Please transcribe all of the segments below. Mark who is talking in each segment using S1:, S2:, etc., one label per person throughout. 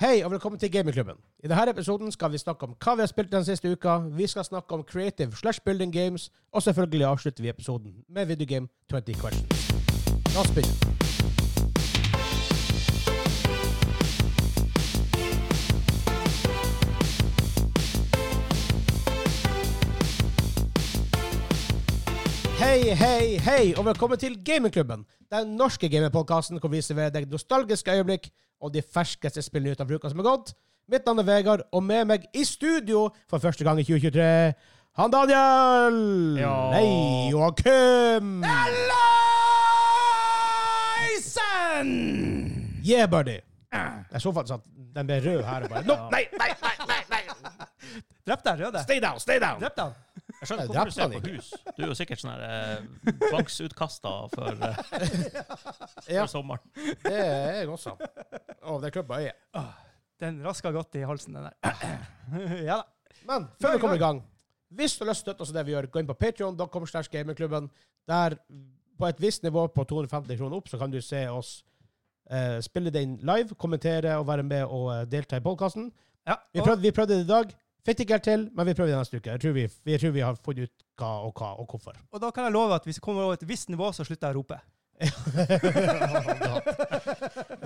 S1: Hei og velkommen til Gamingklubben. I denne episoden skal vi snakke om hva vi har spilt den siste uka, vi skal snakke om creative slash building games, og selvfølgelig avslutter vi episoden med videogame 20 questions. La oss begynne. Hei, hei, hei, og velkommen til Gamingklubben, den norske gamingpodkasten hvor vi serverer deg nostalgiske øyeblikk og de ferskeste spillene ut av uka som er gått. Mitt navn er Vegard, og med meg i studio for første gang i 2023, han Daniel!
S2: Ja.
S1: Hei, Joakim!
S2: Ellaisen!
S1: Yeah, buddy!
S2: Ah.
S1: Jeg så faktisk at den ble rød her. og Bare. No, nei, nei, nei, nei, nei!
S2: Drepte jeg Røde?
S1: Stay down, stay down!
S2: Drepte han?
S3: Jeg skjønner
S1: Jeg
S3: hvorfor du
S1: drepte
S3: ser
S1: han
S3: på hus. Du er jo sikkert sånn her eh, tvangsutkasta for, eh,
S1: Ja.
S3: for sommeren.
S1: Det er jeg også. Og det klubba øyet.
S2: Den raska godt i halsen, den der. ja da.
S1: Men før vi kommer i gang, hvis du har lyst til å støtte oss i det vi gjør, gå inn på patreon.com slash gamingklubben. Der, på et visst nivå på 250 kroner opp, så kan du se oss eh, spille det inn live, kommentere og være med og eh, delta i podkasten.
S2: Ja,
S1: Vi,
S2: og,
S1: prøvde- vi prøvde det i dag. Fikk det ikke helt til, men vi prøver det neste uke. Jeg tror vi, jeg tror vi har funnet ut hva og hva og hvorfor.
S2: og da kan jeg love at hvis vi kommer over et visst nivå, så slutter jeg å rope.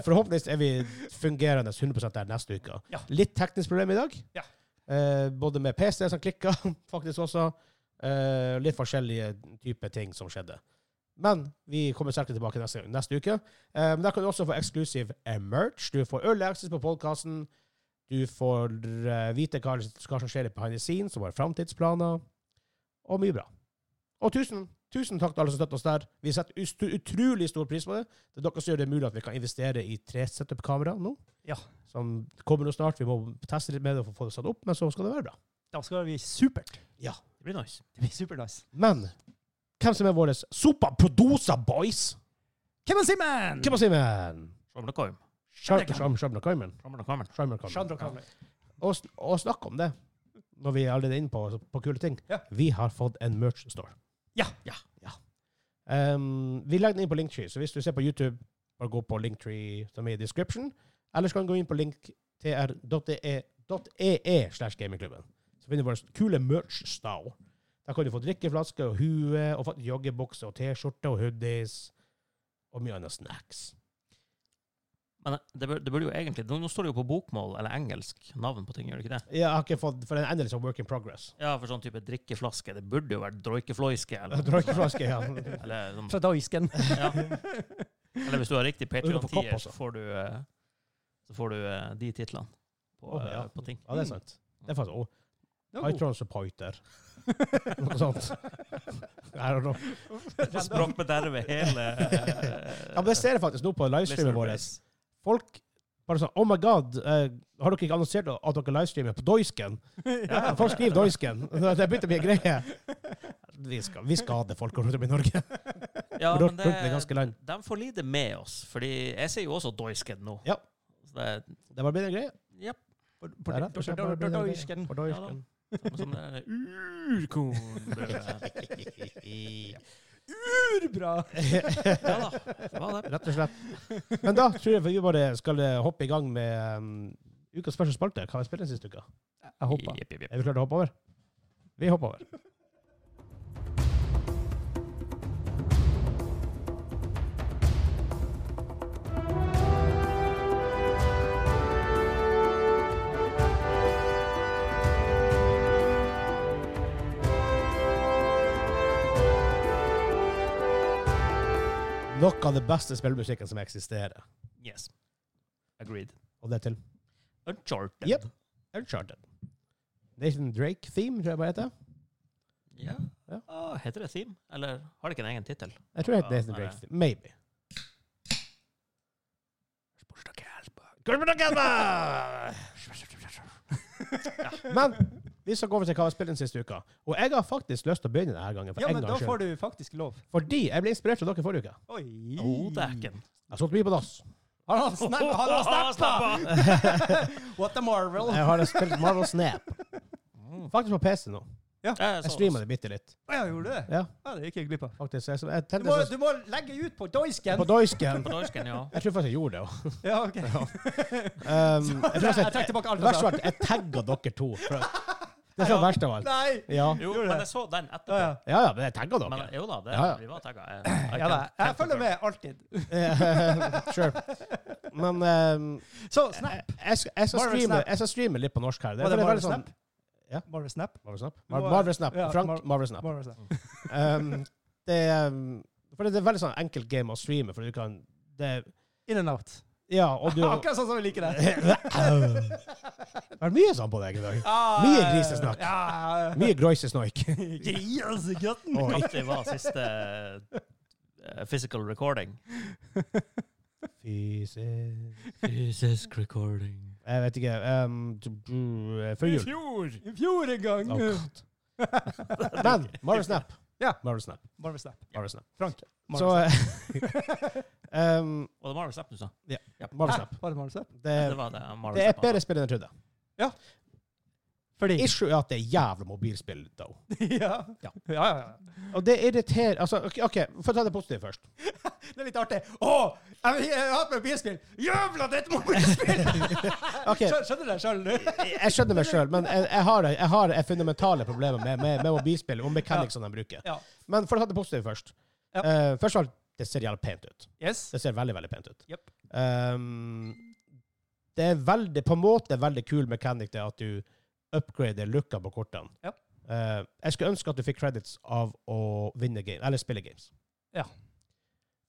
S1: Forhåpentligvis er vi fungerende 100 der neste uke.
S2: Ja.
S1: Litt teknisk problem i dag.
S2: Ja.
S1: Eh, både med PC som klikka, faktisk også. Eh, litt forskjellige typer ting som skjedde. Men vi kommer sterkere tilbake neste, neste uke. Eh, men der kan du også få eksklusiv eh, merch. Du får early access på podkasten. Du får eh, vite hva, hva som skjer i behind the scenes, og våre framtidsplaner. Og mye bra. Og tusen, tusen takk til alle som støtter oss der. Vi setter ust- utrolig stor pris på det. Det er dere som gjør det mulig at vi kan investere i tre setup-kamera nå.
S2: Ja.
S1: Som kommer nå snart. Vi må teste litt med det og få det satt opp, men så skal det være bra.
S2: Da skal det bli supert.
S3: Det blir nice.
S2: Det blir supernice.
S1: Men hvem som er våre superproducer boys?
S2: Kevin Simen!
S1: Hvem er Simen?
S3: Shamla Kaim.
S1: Shamra Kaimen.
S3: Shamla Kaimen.
S2: Chandra Kavli.
S1: Og, sn- og snakk om det, når vi er allerede inne på, altså, på kule ting.
S2: Ja.
S1: Vi har fått en merch store.
S2: Ja.
S3: Ja.
S1: Um, vi legger den inn på Linktree, så hvis du ser på YouTube, bare gå på Linktree som er i description. Ellers kan du gå inn på linktr.ee slash gamingklubben. Så finner du vår kule merch store. Der kan du få drikkeflaske og hue, og faktisk joggebukse og T-skjorte og hoodies. Og mye annet snacks.
S3: Men eh, det burde, det burde jo egentlig Nå nå står det jo på bokmål eller engelsk navn på ting, gjør det ikke det?
S1: Jeg har ikke fått For den er endelig sånn work in progress.
S3: Ja, for sånn type drikkeflaske. Det burde jo vært droikefloiske. Eller,
S1: Drikkeflaske, ja.
S3: eller, sånn,
S2: Fra Daisken.
S3: ja. eller hvis du har riktig
S1: Du kan få kopp
S3: Patrion-tier,
S1: også.
S3: så får du, eh, så får du eh, de titlene på,
S1: Å, ja.
S3: eh, på ting.
S1: Ja, det er sant.
S3: Mm.
S1: Det er faktisk oh,
S2: Det var god.
S1: Itron supporter. Noe sånt. I don't know.
S3: Språkbederve hele
S1: Ja, men det ser jeg faktisk nå på livestreamen vår. Folk bare sånn Oh my god, eh, har dere ikke annonsert at dere livestreamer på Doisken?
S3: Ja.
S1: Folk skriver Doisken. Det begynte å bli en greie. Vi, skal, vi skader folk rundt om i Norge.
S3: Ja,
S1: Rundt-
S3: men det,
S1: rundt det ganske land.
S3: De får lide med oss, fordi jeg sier jo også Doisken nå.
S1: Ja.
S3: Så det, er-
S1: Det var bare en greie.
S3: japp,
S1: Det er det. Det er bare en greie.
S2: Daisken.
S1: På Doisken.
S3: som som det er urkorn.
S2: Urbra!
S3: Ja da, det var det.
S1: Rett og slett. Men da tror jeg vi bare skal eh, hoppe i gang med um, ukas første spalte. Hva har vi spilt den siste uka?
S2: Jeg hoppa.
S3: Jepp, jepp, jepp.
S1: Er vi klare til å hoppe over? Vi hopper over. Noe av det beste spillmusikken som eksisterer.
S3: Yes. Agreed.
S1: Og det er til
S3: Uncharted.
S1: Jepp. Uncharted. Nathan Drake-theme, tror jeg bare heter.
S3: Ja.
S1: Ja.
S3: Ah, heter det Theme? Eller har det ikke en egen tittel?
S1: Jeg tror det heter
S3: Ja,
S1: Nathan
S3: nei.
S1: Drake-theme. Maybe. Men vi skal gå over til hva vi har spilt den siste uka. Og jeg har faktisk lyst til å begynne denne gangen. For
S2: Ja,
S1: en
S2: men da
S1: gangs
S2: får
S1: skyld.
S2: du faktisk lov.
S1: Fordi jeg ble inspirert av dere forrige uke.
S2: Oi!
S3: Oh, dæken.
S1: Jeg har sittet mye på dass.
S2: Har han snappa? Har han snappa?
S3: Snappa!
S2: What a marvel!
S1: Jeg har spilt Marvel Snap. Faktisk på PC nå.
S3: Jeg,
S1: Jeg streama det bitte litt.
S2: Å ja, gjorde du det?
S1: Ja.
S2: Ja, det gikk jeg glipp av.
S1: Faktisk. Jeg, jeg,
S2: Du
S1: tenkte
S2: må,
S1: så-
S2: du må legge ut på doisken!
S1: på doisken.
S3: På dansken, ja.
S1: Jeg tror faktisk jeg gjorde det òg.
S2: Ja, ok.
S1: Um, jeg tror
S2: Jeg
S1: jeg,
S2: trekker tilbake alt.
S1: verst av alt, jeg tagga dere to. for- Det er så verst av alt.
S2: Nei!
S1: Ja.
S3: Jo,
S2: Gjorde
S3: men
S2: det.
S3: jeg så den
S2: Ja,
S3: etterpå.
S2: ja.
S1: Ja, ja, men jeg tagga dere.
S3: Men jo da, det,
S1: Ja, ja.
S3: vi var tagga. Jeg- I
S2: ja da.
S3: can't- can't
S2: Jeg følger
S3: confirm.
S2: med
S1: Eh,
S2: alltid.
S1: sure. Men ehm,
S2: Så
S1: jeg,
S2: Snap.
S1: jeg, skal- jeg, skal
S2: Marvel
S1: streame,
S2: Snap.
S1: jeg skal streame litt på norsk her.
S2: Var det
S1: for
S2: Marvel
S1: veldig sånn-
S2: Snap? Bare Snap.
S1: Marvel Snap?
S2: Du må-
S1: Mar Marvel Snap.
S2: ja,
S1: Frank
S2: Mar-
S1: Marvel Snap.
S2: Bare Snap.
S1: Um, det, um, for det er veldig sånn enkelt game å streame, for du kan det,
S2: In and out.
S1: Ja, og du
S2: Akkurat sånn som vi liker det.
S1: Det er mye sånn på deg i dag.
S2: Ah,
S1: Mye grisesnakk.
S2: Ja.
S1: Mye groisesnoik.
S2: Grisegutten!
S1: Oi.
S3: Kaptein var siste eh, physical recording.
S1: Fysisk
S3: Physisk recording.
S1: Jeg vet ikke. Um, du- du- eh, Før
S2: I
S1: jul.
S2: fjor! I fjor en gang!
S1: Oh, God. Men Marvel Snap.
S2: Ja.
S1: Marvel Snap.
S2: Bare Snap.
S1: Marvel Snap.
S2: Frank.
S1: Så eh, um,
S3: Og det var vel Snap du sa?
S1: Marvel Snap.
S2: Bare Marvel Snap.
S1: Det,
S3: Det var det. Marvel
S1: Eh, det er et
S3: Snap, altså.
S1: bedre spill enn jeg trodde.
S2: Fordi
S1: Issue er at det er jævla mobilspill, though.
S2: ja.
S1: Ja.
S2: Ja. ja, ja.
S1: Og det irriterer Altså, OK, okay få ta det positive først.
S2: Det er litt artig. Å! Jeg jeg har hatt med bilspill! Jævla, det er et mobilspill!
S1: Ok.
S2: Skjø- Skjønner du det sjøl nå?
S1: Jeg skjønner meg sjøl, men jeg, jeg har det Jeg har det fundamentale problemet med, med, med mobilspill og mekanikkene de bruker.
S2: Ja.
S1: Men for å ta det positive først.
S2: Ja.
S1: Eh, først av alt, det ser jævlig pent ut.
S2: Yes.
S1: Det ser veldig, veldig pent ut.
S2: Jepp.
S1: Um, det er veldig, på en måte veldig kul mekanikk det at du upgrader looka på kortene.
S2: Ja.
S1: Eh, jeg skulle ønske at du fikk credits av å vinne game, eller spille games.
S2: Ja.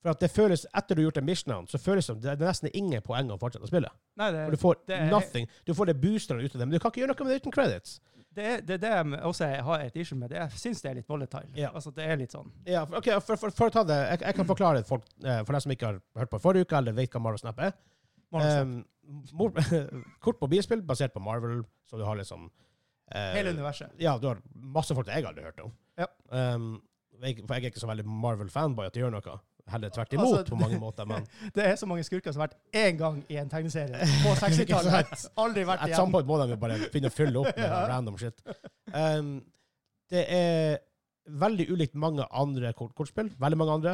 S1: For at det føles, etter du har gjort en mission, så føles det som det er nesten ingen poeng å fortsette å spille.
S2: Nei, det,
S1: For du får
S2: det er-
S1: nothing. Du får det boosterne ut av det, men du kan ikke gjøre noe med det uten credits.
S2: det, er- det er det jeg også har et issue med. Det er- Jeg syns det er litt volatile.
S1: Ja.
S2: Altså, det er litt sånn
S1: Ja, for, ok, for, for, for å ta det, jeg, jeg kan forklare det til folk, eh, for deg som ikke har hørt på forrige uke, eller vet hva Marvel Snap er.
S2: Marvel Snap.
S1: Um, mor- kort på bilspill basert på Marvel, så du har liksom eh,
S2: Hele universet.
S1: Ja, du har masse folk jeg aldri har hørt om.
S2: Ja.
S1: Um, jeg, for jeg er ikke så veldig Marvel-fanboy at det gjør noe. Heller tvert imot
S2: Altså,
S1: på mange måter, men
S2: Det er så mange skurker som har vært én gang i en tegneserie på
S1: Ikke
S2: 60-tallet. Aldri vært
S1: et samme
S2: igjen.
S1: point må de jo bare begynne å fylle opp med
S2: Ja.
S1: random shit. Um, det er veldig ulikt mange andre kort kortspill. Veldig mange andre.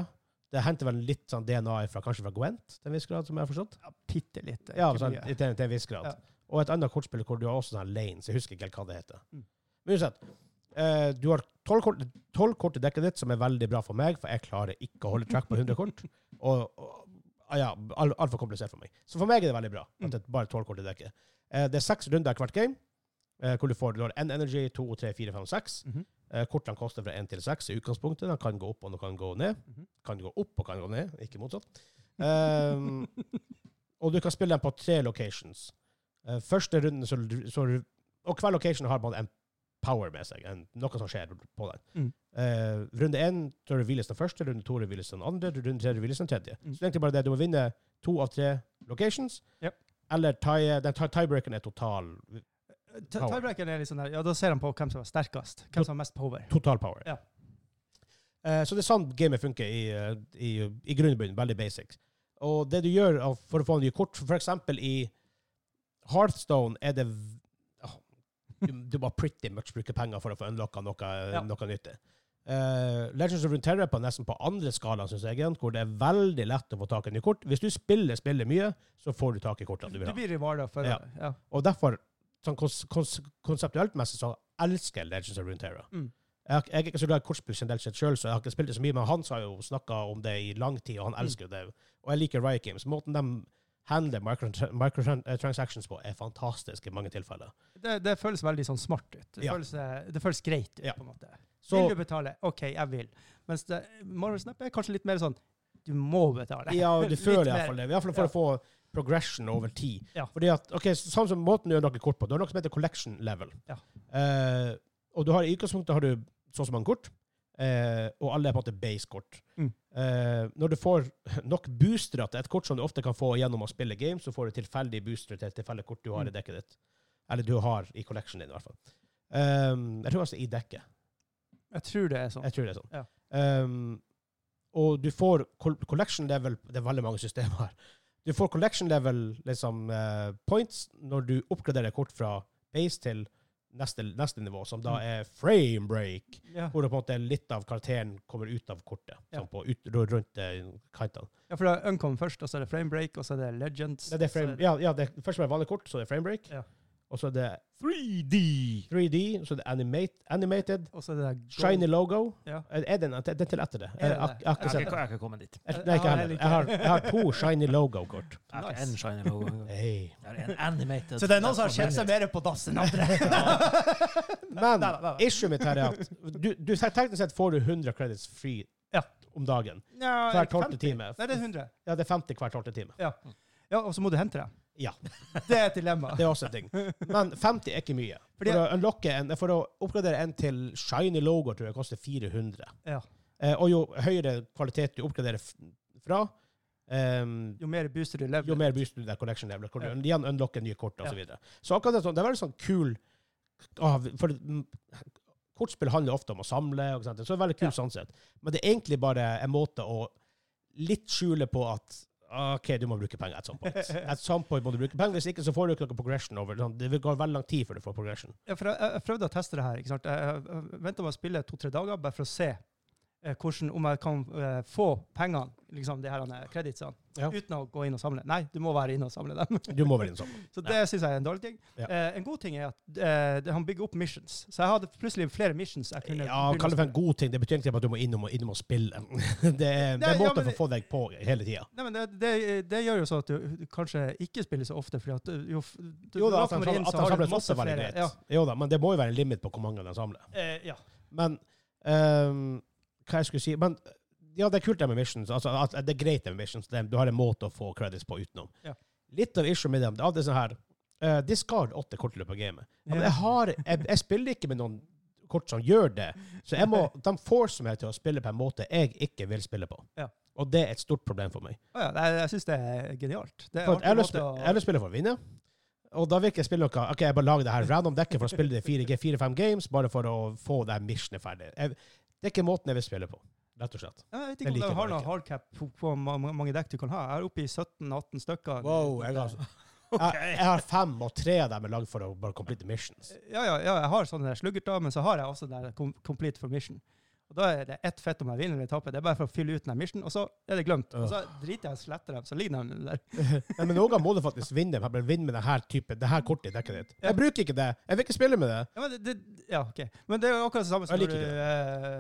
S1: Det henter vel litt sånn DNA fra, kanskje fra Gwent, til en viss grad, som jeg har forstått.
S2: Ja, Bitte litt. eh,
S1: Ja,
S2: ikke
S1: sånn,
S2: mye.
S1: til, til en viss grad.
S2: Ja.
S1: Og et annet kortspill hvor du har også sånn lanes. Jeg husker ikke helt hva det heter.
S2: Mm.
S1: Men uansett, eh, du har tolv kort, tolv kort i dekket ditt, som er veldig bra for meg, for jeg klarer ikke å holde track på 100 kort. Og, og ah, ja, al- altfor komplisert for meg. Så for meg er det veldig bra
S2: Mm.
S1: at det er bare tolv kort i dekket. Eh, det er seks runder hvert game, eh, hvor du får du har en energy, to, tre, fire, fem, seks.
S2: Mhm.
S1: Eh, Kortene koster fra 1 til 6 i utgangspunktet. De kan gå opp og de kan gå ned.
S2: Mhm.
S1: Kan gå opp og kan gå ned, ikke motsatt. Ehm, og du kan spille dem på tre locations. Eh, første runden så, så Og hver location har man en power med seg, en, noe som skjer på den.
S2: Mm.
S1: Eh, runde én så reveales den første, runde to reveales den andre, runde tre reveales den tredje.
S2: Mm.
S1: Så det er egentlig bare det du må vinne to av tre locations.
S2: Yep.
S1: Eller tie, den tie- tiebreakeren er total,
S2: Ti- Tiebreakeren er litt sånn der, ja, da ser han på hvem som er sterkest. Hvem som har mest power.
S1: total power.
S2: Ja.
S1: Eh, så det er sånn gamet funker i, eh, i, i grunnbunnen. Veldig basic. Og det du gjør av- for å få nye kort, for eksempel i Hearthstone er det v- Åh, du, du må pretty much bruke penger for å få unlocka noe,
S2: Ja.
S1: noe nyttig. Eh, Legends of Runeterra er på nesten på andre skalaen, synes jeg, igjen, hvor det er veldig lett å få tak i nye kort. Hvis du spiller spiller mye, så får du tak i kortene du vil
S2: Du
S1: ha.
S2: blir rivaler for
S1: Ja.
S2: ja. Ja.
S1: Og derfor, sånn kons kons konseptuelt messig, så elsker jeg Legends of Runeterra.
S2: Mm.
S1: Jeg, har- jeg er ikke så glad i kortspill generelt sett sjøl, så jeg har ikke spilt det så mye, men han har jo snakka om det i lang tid, og han
S2: Mm.
S1: elsker jo det. Og jeg liker Riot Games. Måten de handler microtra- microtransactions på, er fantastisk i mange tilfeller.
S2: Det, det føles veldig sånn smart ut. Det,
S1: Ja.
S2: føles, eh, det føles greit ut,
S1: Ja.
S2: på en måte.
S1: Så
S2: vil du betale? OK, jeg vil. Mens det, Marvel Snap er kanskje litt mer sånn du må betale.
S1: ja, du
S2: Litt
S1: føler
S2: mer.
S1: iallfall det. Iallfall for å få progression over tid.
S2: Ja.
S1: Fordi at, ok, så- Sånn som måten du gjør noe kort på. Du har noe som heter collection level.
S2: Ja.
S1: Eh, og du har i utgangspunktet har du så og så mange kort, eh, og alle er på en måte base-kort.
S2: Mm.
S1: Eh, når du får nok boostere til et kort som du ofte kan få gjennom å spille games, så får du tilfeldige boostere til et tilfeldig kort du har i
S2: Mm.
S1: dekket ditt. Eller du har i collectionen din, i hvert fall. Um, jeg tror altså i dekket.
S2: Jeg tror det er sånn.
S1: Jeg tror det er sånn.
S2: Ja.
S1: Ehm, og du får col collection level Det er veldig mange systemer her. Du får collection level liksom, eh, points når du oppgraderer kort fra base til neste, neste nivå, som
S2: Mm.
S1: da er frame break.
S2: Ja.
S1: Hvor det på en måte litt av karakteren kommer ut av kortet.
S2: Ja.
S1: Sånn på ut, ru- rundt eh, kantene.
S2: ja, for det er Uncom først, og så er det Frame Break, og så er det Legends.
S1: Det er det frame,
S2: så er det-
S1: ja, ja, det er først med vanlig kort, så er det frame break.
S2: Ja.
S1: Og så er det
S3: 3D!
S1: 3D, så er det animate, animated,
S2: Og så er det der Gold.
S1: shiny logo.
S2: Ja.
S1: Er, er den, er den til etter det?
S2: Er det
S1: Jeg har
S2: det?
S1: jeg har
S3: Jeg
S1: ikke
S3: har
S1: sett
S3: ikke-
S1: det.
S3: jeg har ikke kommet dit.
S1: Jeg, nei, ikke
S2: Ja,
S1: heller.
S2: jeg liker
S1: Jeg har, jeg har to shiny logo-kort.
S3: Jeg har
S2: Nice.
S3: ikke en shiny logo. engang.
S1: Hey.
S3: Jeg har en animated.
S2: Så det er noen som har skjedd seg mer på dass enn andre.
S1: Men
S2: Nei, nei, nei, nei.
S1: issue mitt her er at du, du teknisk sett får du 100 credits free
S2: Ja.
S1: om dagen.
S2: Ja,
S1: Hver tolvte
S2: 50.
S1: time.
S2: Nei, det er 100.
S1: Ja, det er 50 hver tolvte time.
S2: Ja, og så må du hente det.
S1: Ja.
S2: Det er et dilemma.
S1: Det er også en ting. Men 50 er ikke mye.
S2: Fordi-
S1: For å, unlocke en, for å oppgradere en til shiny logo tror jeg koster 400.
S2: Ja.
S1: Eh, og jo høyere kvalitet du oppgraderer f- fra, ehm,
S2: Jo mer booster du lever
S1: jo mer booster du der collection level. Hvor du
S2: Ja.
S1: igjen unlocker nye kort
S2: Ja.
S1: osv. Så, videre. så akkurat det, er sånn, det er veldig sånn kul ah, For mm, kortspill handler ofte om å samle, og sånt, så det er veldig kult
S2: Ja.
S1: sånn sett. Men det er egentlig bare en måte å litt skjule på at OK, du må bruke penger at some point. At some point må du bruke penger, Hvis ikke så får du ikke noe progression over. Sånn, Det går veldig lang tid før du får progression.
S2: Ja, for jeg, jeg prøvde å teste det her. ikke sant? Jeg, jeg venta med å spille to-tre dager bare for å se eh, hvordan, om jeg kan eh, få pengene, liksom de her eh, kreditsene,
S1: Ja.
S2: uten å gå inn og samle. Nei, du må være inne og samle dem.
S1: Du må vel inn sånn.
S2: Så det synes syns jeg er en dårlig ting.
S1: Ja.
S2: Eh, en god ting er at eh, det- han bygger opp missions. Så jeg hadde plutselig flere missions jeg kunne
S1: Ja,
S2: begynne å
S1: Kall det for
S2: spille.
S1: en god ting. Det betyr egentlig bare at du må innom og innom og spille. Det er, det
S2: Nei,
S1: er
S2: ja,
S1: måter
S2: men
S1: for å få deg på hele tida.
S2: Nei, men det, det, det gjør jo så at du, du kanskje ikke spiller så ofte, fordi at du, jo, f- du,
S1: Jo da,
S2: da
S1: at de
S2: kommer
S1: samler-
S2: inn,
S1: at de
S2: så har du
S1: samles
S2: masse
S1: ofte, veldig
S2: flere.
S1: greit.
S2: Ja.
S1: Jo da, men det må jo være en limit på hvor mange de samler.
S2: Eh, ja.
S1: Men ehm, hva jeg skulle si Men ja, det er kult det med missions. Altså, at det er greit det med missions. Det, er- du har en måte å få credits på utenom.
S2: Ja.
S1: Litt av issue med dem det er alltid sånn her eh, Discard åtte kort i løpet av gamet. Ja, men
S2: Ja.
S1: jeg, har, jeg, jeg spiller ikke med noen kort som gjør det, så jeg må, de forcer meg til å spille på en måte jeg ikke vil spille på.
S2: Ja.
S1: Og det er et stort problem for meg.
S2: Å ja, nei, jeg syns det er genialt. Det er
S1: For
S2: en
S1: at jeg
S2: Eh, artig
S1: vil spille,
S2: måte å-
S1: jeg vil spille for å vinne. Og da virker spillet noe OK, jeg bare lager det her random dekket for å spille det 4-5 games, bare for å få det her missionet ferdig. Jeg, det er ikke måten jeg vil spille på, rett og slett.
S2: Ja, Jeg vet
S1: Det
S2: ikke om
S1: liker
S2: de
S1: jeg
S2: har
S1: bare
S2: noe
S1: ikke.
S2: hardcap på hvor ma- ma- mange dekk du kan ha. Jeg er oppe i 17-18
S1: jeg
S2: stykker.
S1: har, jeg, jeg har fem, og tre av dem er lagd for å bare complete missions.
S2: Ja, ja, ja, jeg har sånne sluggerter, men så har jeg også den der com complete for mission. Og Da er det ett fett om jeg vinner eller taper. Det er bare for å fylle ut den her mission, og så er det glemt. Og så driter jeg og sletter dem, så ligger de der.
S1: Nei, men noen må du faktisk vinne, men vinne med denne typen, det her kortet i dekket ditt. Jeg bruker ikke det. Jeg vil ikke spille med det.
S2: Ja, men det, det, ja, ok. Men det er jo akkurat det samme som
S1: Jeg
S2: når
S1: liker
S2: du,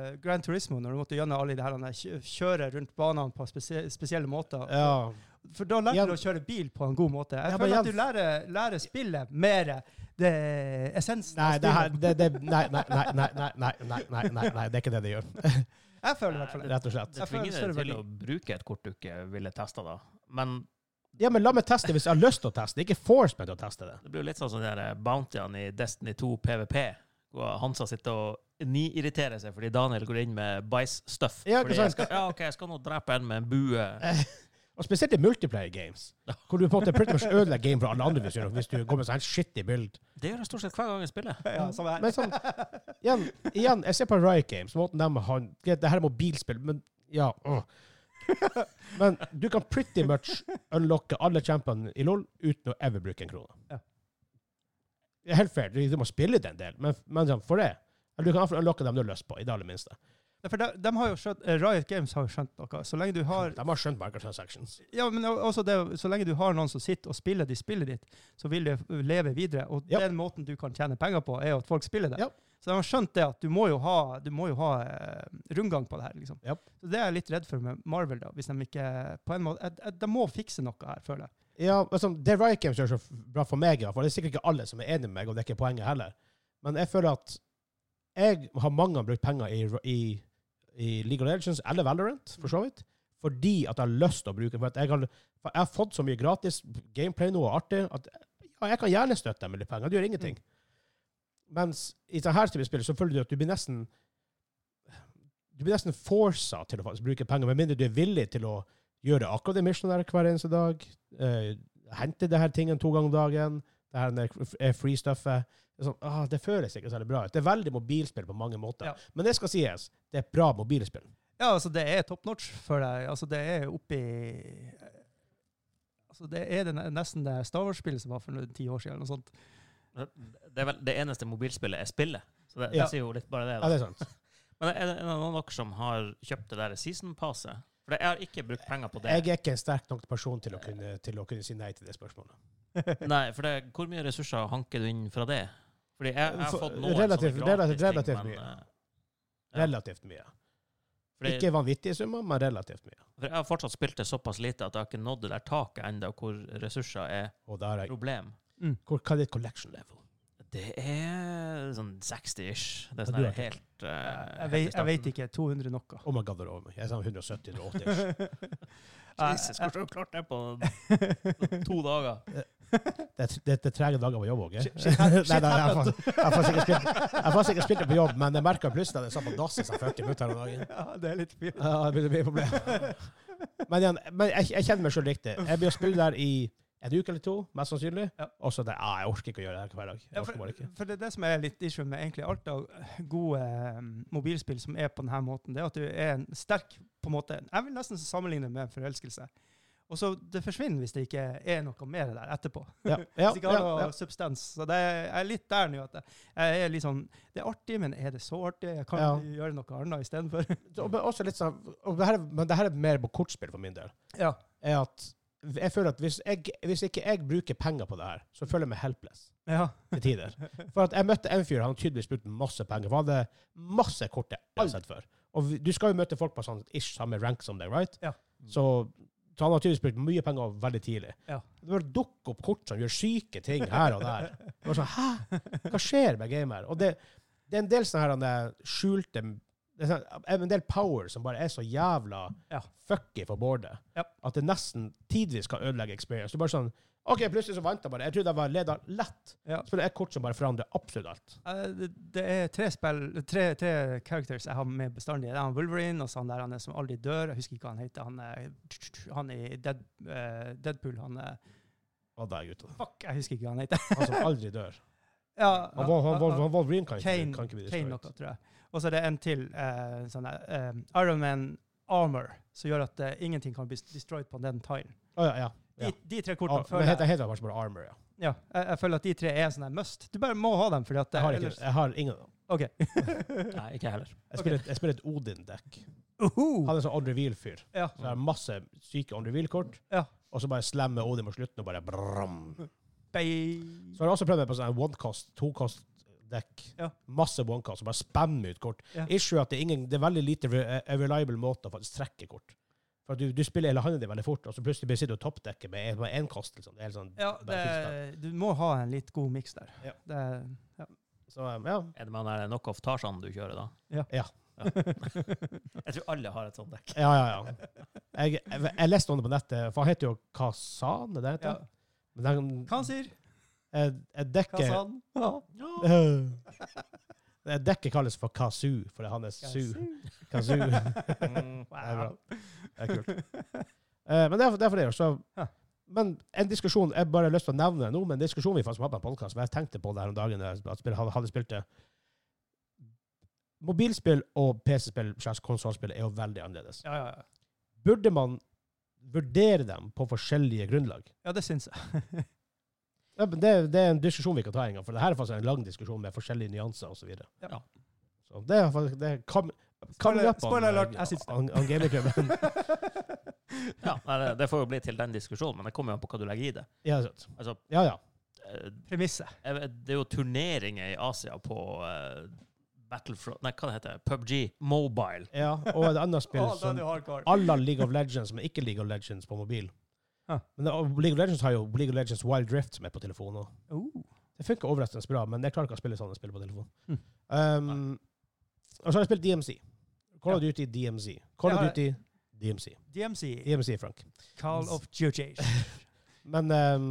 S2: eh, Grand Turismo, når du måtte gjennom alle de her denne kjø- kjøre rundt banene på spesie spesielle måter.
S1: Ja.
S2: For da lærer
S1: Igjen-
S2: du å kjøre bil på en god måte. Jeg
S1: Ja, men
S2: føler at
S1: igjen-
S2: du lærer, lærer spillet mer det essensen
S1: Nei,
S2: av
S1: det her
S2: spillet.
S1: det, det, nei, nei, nei, nei, nei, nei, nei, nei, nei, nei, det er ikke det det gjør.
S2: Jeg føler i hvert fall det.
S1: Rett og slett.
S3: Det
S2: Jeg føler
S3: tvinger
S2: større
S3: deg til
S2: verdi.
S3: å bruke et kort du ikke ville testa, da. Men
S1: Ja, men la meg teste hvis jeg har lyst til å teste. Ikke force meg til å teste det.
S3: det blir jo litt sånn som de der bountyene i Destiny 2 PVP, hvor Hansa sitter og ni-irriterer seg fordi Daniel går inn med bæsj-stuff.
S1: Ja, ikke
S3: fordi
S1: sant?
S3: jeg skal, ja, OK, jeg skal nå drepe en med en bue.
S1: Og spesielt i multiplayer games, hvor du på en måte pretty much ødelegger game for alle andre hvis du, gjør noe- hvis du går med sånn helt shitty build.
S3: Det gjør jeg stort sett hver gang jeg spiller.
S2: Ja, samme her.
S1: Men sånn, igjen, igjen, jeg ser på Riot Games, måten de har greit, Det her er mobilspill, men ja åh. Men du kan pretty much unlocke alle championene i LOL uten å ever bruke en krone.
S2: Ja.
S1: Det er helt fair, du, du må spille det en del, men, men sånn, for det Eller du kan iallfall unlocke dem du har lyst på, i det aller minste.
S2: Ja, For de, de har jo skjønt, eh, Riot Games har jo skjønt noe. Så lenge du har,
S1: De har skjønt microtransactions.
S2: ja, men o- også det, så lenge du har noen som sitter og spiller de spillet ditt, så vil du leve videre. Og
S1: Ja.
S2: den måten du kan tjene penger på, er jo at folk spiller det.
S1: Ja.
S2: Så de har skjønt det at du må jo ha, du må jo ha eh, rundgang på det her. liksom.
S1: Ja.
S2: Så Det er jeg litt redd for med Marvel. da, hvis De ikke, på en måte, eh, eh, de må fikse noe her, føler jeg.
S1: Ja, altså, det Riot Games gjør så f- bra for meg, i hvert fall. Det er sikkert ikke alle som er enig med meg, og det er ikke poenget heller. Men jeg føler at jeg har mange brukt penger i, i, i League of Legends eller Valorant, for så vidt, fordi at jeg har lyst til å bruke for at jeg, har, for jeg har fått så mye gratis gameplay nå og artig at ja, jeg kan gjerne støtte dem med litt penger. Det gjør ingenting. Mens i sånne her type spill så føler du at du blir nesten du blir nesten forsa til å faktisk bruke penger, med mindre du er villig til å gjøre akkurat det missionet der hver eneste dag. eh, hente det her tingen to ganger om dagen. Det her med f- eh, free stuffet. Det, er sånn, ah, det føles ikke særlig bra ut. Det er veldig mobilspill på mange måter.
S2: Ja.
S1: Men det skal sies, det er bra mobilspill.
S2: Ja, altså det er top notch for deg. Altså det er oppi eh, Altså det er det ne- nesten det Star Wars-spillet som var for noen ti år siden, eller noe sånt.
S3: Det er vel det eneste mobilspillet jeg spiller. Så det,
S1: Ja.
S3: det sier jo litt bare det.
S1: Ja,
S3: Da.
S1: det er sant.
S3: Men er det er det noen av dere som har kjøpt det der season passet? For jeg har ikke brukt penger på det.
S1: Jeg er ikke en sterk nok person til å kunne, til å kunne si nei til det spørsmålet.
S3: Nei, for det, hvor mye ressurser hanker du inn fra det? Fordi jeg, jeg har
S1: For-
S3: fått noen
S1: relativt-
S3: sånne gratis
S1: relativt- relativt
S3: ting, men,
S1: mye.
S3: eh, Ja.
S1: Relativt mye.
S3: fordi,
S1: Ikke vanvittige summer, men relativt mye.
S3: For jeg har fortsatt spilt det såpass lite at jeg har ikke nådd det der taket ennå hvor ressurser er
S1: Og da har jeg
S3: problem.
S1: Hvor, Hva er ditt collection level?
S3: Det er sånn 60-ish. Det er
S1: Ja,
S3: sånn
S1: du
S3: her
S1: har ikke-
S3: helt eh,
S2: Jeg
S3: helt i
S2: vet, jeg
S3: starten.
S2: vet ikke. 200 noe.
S1: Oh my god, det er over meg. Jeg er sånn
S2: Eh,
S1: 170-180.
S3: Jesus, hvordan har du klart det på to dager?
S1: Det er- det det er trege dager på jobb òg.
S2: Shit- shit hap- shit
S1: Jeg har
S2: happened.
S1: fast- jeg har fast ikke spilt- jeg har fast ikke spilt det på jobb, men jeg merker plutselig at jeg satt på dass i sånn 40 minutter om dagen. Eh,
S2: Ja, det er litt fint.
S1: Ja, det blir mye problem. Men, igjen, men jeg, jeg kjenner meg sjøl riktig. Jeg blir å spille der i en uke eller to, mest sannsynlig.
S2: Ja.
S1: Og så det, ah, jeg orker ikke å gjøre det her hver dag. Jeg
S2: Ja,
S1: orker
S2: for,
S1: bare ikke.
S2: for det er det som er litt issue med egentlig alt av gode eh, mobilspill som er på denne måten, det er at du er en sterk på en måte, Jeg vil nesten sammenligne det med en forelskelse. Og så det forsvinner hvis det ikke er noe mer der etterpå.
S1: Ja, ja,
S2: hvis det ikke har
S1: ja,
S2: noe
S1: ja.
S2: substans. Så det er, jeg er litt der nå at jeg, jeg er litt sånn Det er artig, men er det så artig? Jeg kan
S1: Ja.
S2: gjøre noe annet istedenfor.
S1: Og men også litt sånn, og det her, er- men det her er mer på kortspill for min del.
S2: ja.
S1: Er at jeg føler at hvis, jeg, hvis ikke jeg bruker penger på det her, så føler jeg meg helpless
S2: ja.
S1: til tider. For at jeg møtte en fyr, han tydeligvis brukte masse penger. For han hadde masse kort jeg aldri har sett før. Og vi- du skal jo møte folk på sånn ish samme rank som deg, right?
S2: Ja.
S1: Så, så han har tydeligvis brukt mye penger veldig tidlig.
S2: Ja.
S1: Det bare dukker opp kort som gjør syke ting her og der. Det var sånn, hæ? Hva skjer med gamer? Og det, det er en del sånne her han der skjulte det er sånn- en del power som bare er så jævla
S2: Ja.
S1: fucky for bordet
S2: Ja.
S1: at det nesten tidvis kan ødelegge experience. Du bare sånn OK, plutselig så vant jeg bare. Jeg trodde jeg var leder lett.
S2: Ja.
S1: Så det er kort som bare forandrer absolutt alt.
S2: Eh, Det, det er tre spill, tre, tre characters jeg har med bestandig. Det er han Wolverine og så han der han er som aldri dør. Jeg husker ikke hva han heter. Han, er, han i Dead, eh, Deadpool han er,
S1: Og da er jeg ute.
S2: Fuck, jeg husker ikke hva han heter.
S1: Han som aldri dør.
S2: Ja,
S1: Han, han, han, han, han Wolverine kan ikke,
S2: Kane,
S1: kan ikke bli
S2: Kane
S1: destroyed.
S2: noe, tror jeg. Og så er det en til eh, sånn der, eh, Iron Man Armor, som gjør at eh, ingenting kan bli destroyed på den tilen.
S1: Å ja, ja.
S2: De,
S1: Ja.
S2: de tre
S1: Ah,
S2: kortene
S1: men
S2: føler
S1: heter,
S2: jeg,
S1: heter han kanskje bare Armor, ja.
S2: ja, jeg, jeg føler at de tre er sånn der must. Du bare må ha dem, fordi at eh,
S1: Jeg har, ikke,
S2: ellers-
S1: jeg har ingen av dem.
S2: OK.
S3: Nei, ikke heller.
S1: Jeg spiller, et- jeg spiller et Odin-dekk.
S2: Uhu.
S1: Han er en sånn Underwheel-fyr.
S2: Ja.
S1: Så jeg har masse syke Underwheel-kort,
S2: Ja.
S1: og så bare slammer Odin på slutten og bare bram.
S2: Bye.
S1: Så har jeg også prøvd meg på sånn one-cost, to-cost-dekk.
S2: Ja.
S1: Masse one-cost, og bare spammer ut kort.
S2: Ja.
S1: Issue er at det er, ingen, det er veldig lite re eh, reliable måte å faktisk trekke kort. For at du, du spiller hele handen din veldig fort, og så plutselig blir du sitter og toppdekker med med en kost. Liksom. Det er helt sånn
S2: Ja,
S1: bare tilstand.
S2: det, du må ha en litt god miks der.
S1: Ja.
S2: Det,
S1: Så um, ja.
S3: Er det med han der knockoff Tarzan du kjører, da?
S1: Ja.
S3: Jeg tror alle har et sånt dekk.
S1: Ja, ja, ja. Jeg, jeg, jeg leste om det på nettet, for han heter jo Kazan, er det det
S2: ja.
S1: heter? Men den,
S2: Hva han sier?
S1: eh, eh, dekket,
S2: Hva sa han? Ja.
S1: Eh, eh, dekket kalles for Kazu, fordi han er su. Kazu. Det er bra. Det er kult. Eh, men derfor, derfor det, er jo
S2: Ja.
S1: så... Men en diskusjon, jeg bare har lyst til å nevne det nå, men en diskusjon vi faktisk hadde på en podcast, men jeg tenkte på det her om dagen, da jeg hadde spilt- hadde- hadde spilt det. Mobilspill og PC-spill, slags konsolspill, er jo veldig annerledes.
S2: Ja, ja, ja.
S1: burde man vurdere dem på forskjellige grunnlag?
S2: ja, det syns jeg.
S1: Ja, men Det, det er en diskusjon vi kan ta en gang, for det her er faktisk en lang diskusjon med forskjellige nyanser osv. Så videre.
S2: Ja.
S1: Så det er faktisk det er kam,
S2: Spoiler-
S1: Coming up
S2: spoiler alert, jeg synes det.
S1: on, on gamingklubben.
S3: Ja, nei, det- det får jo bli til den diskusjonen, men det kommer jo an på hva du legger i det.
S1: ja, sant.
S3: Altså,
S1: ja, ja.
S3: eh,
S2: Premisset.
S3: jeg vet- det er jo turneringer i Asia på eh, Battlefront Nei, hva det heter det? PubG Mobile.
S1: ja. Og et annet spill
S2: Å, da er
S1: som
S2: du hardcore.
S1: alle League of Legends, men ikke League of Legends på mobil.
S2: Ja.
S1: Men det- og League of Legends har jo League of Legends Wild Rift som er på telefonen òg.
S2: Oh.
S1: Det funker overraskende bra, men jeg klarer ikke å spille sånne spill på telefon.
S2: Mm.
S1: Um, og så har jeg spilt DMC. Call of Duty DMC. Call
S2: Ja,
S1: of
S2: jeg-
S1: Duty DMC.
S2: DMC.
S1: DMC, Frank.
S2: Call of Duty.
S1: Men um,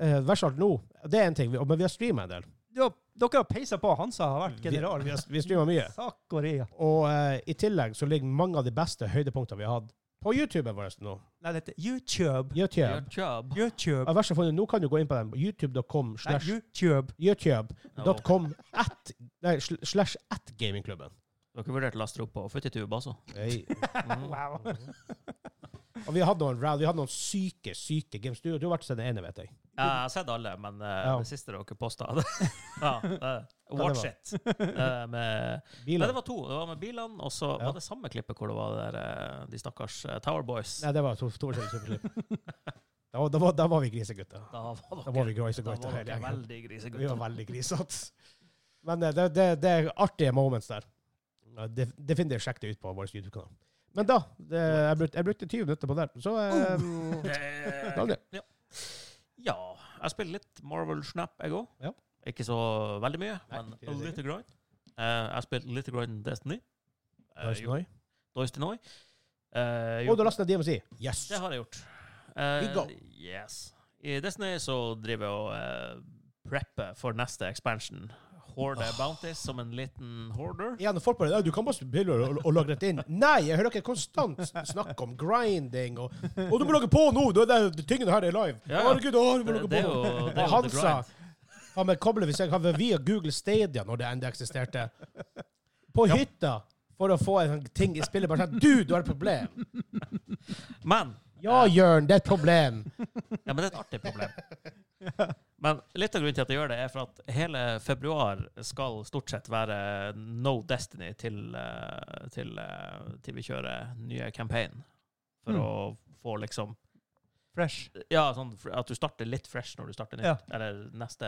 S1: uh, verst av alt nå, det er en ting, vi- men vi har streama en del.
S2: Du har- Dere har peisa på. Hansa har vært general.
S1: Mm. Vi, vi, har- vi streama mye.
S2: Sakoria.
S1: Og eh, i tillegg så ligger mange av de beste høydepunktene vi har hatt på YouTuben vår nå.
S2: Nei, det heter YouTube.
S1: YouTube.
S3: Your job.
S1: Og
S2: YouTube.
S1: verst av alt, nå kan du gå inn på dem. YouTube.com
S2: Nei,
S1: slash
S2: YouTube.
S1: YouTube.com
S3: Ja, og
S1: at nei, sl- slash at gamingklubben.
S3: Mm. Dere vurderte å laste det opp på Futtitube også?
S1: Hey.
S3: Mm.
S2: Wow.
S1: Og vi hadde noen, round- vi hadde noen syke, syke games. Du, du har vært til den ene, vet jeg.
S3: Ja, jeg har sett alle, men eh,
S1: Ja.
S3: det siste dere posta ja, eh, Watch
S1: var-
S3: it. Eh, med, nei,
S1: Bilen.
S3: det var to. Det var med bilene, og så
S1: Ja.
S3: var det samme klippet hvor det var der, eh, de stakkars eh, Tower Boys.
S1: Nei, det var to, to år siden. Superklipp. Da, var- da, var- da var vi grisegutter.
S3: Da var
S1: Da var
S3: dere,
S1: vi grisegutter
S3: da var
S1: hele
S3: dere
S1: gjengen.
S3: veldig
S1: Vi var
S3: grisegutter.
S1: veldig grisete. Men eh, det, det, det er artige moments der. Ja, def- Definitivt sjekk det ut på vår YouTube-kanal. Men da det, jeg, brukte, jeg brukte 20 minutter på det. Så um,
S3: Oh. Eh,
S1: Daniel.
S3: Ja, jeg spiller litt Marvel Snap, jeg òg.
S1: Ja.
S3: Ikke så veldig mye,
S1: Nei,
S3: men
S1: det er det
S3: lite grann. Eh, jeg spilte lite grann Destiny. Eh,
S1: Nice,
S3: jo,
S1: nice.
S3: Destiny. Eh, jo,
S1: Og du lastet ned DMC. Yes!
S3: det har jeg gjort. Eh,
S1: You go.
S3: Yes. I Destiny så driver jeg og eh, prepper for neste expansion. Horde
S1: Ah.
S3: Bounties som en liten hoarder.
S1: Igjen, folk bare, «Nei, Du kan bare spille og, og lagre det inn. Nei, jeg hører dere konstant snakke om grinding og Og du må logge på nå! Det, det, det, tingene her er live.
S3: Ja, ja.
S1: Herregud, å, du må
S3: Det,
S1: logge
S3: det
S1: på
S3: er
S1: nå.
S3: jo,
S1: Og
S3: det er jo
S1: han
S3: the
S1: sa
S3: grind.
S1: Faen meg kobler hvis jeg kan være via Google Stadia når det enda eksisterte. På
S3: Ja.
S1: hytta for å få en sånn ting i spillet. Bare sånn Du, du har et problem!
S3: Men
S1: Ja, Jørn, det er et problem.
S3: Ja, men det er et artig problem. Men litt av grunnen til at jeg gjør det, er for at hele februar skal stort sett være no destiny til, eh, til, eh, til vi kjører nye campaign. For
S2: Mm.
S3: å få liksom
S2: Fresh.
S3: Ja, sånn fr- at du starter litt fresh når du starter nytt.
S2: Ja.
S3: Eller neste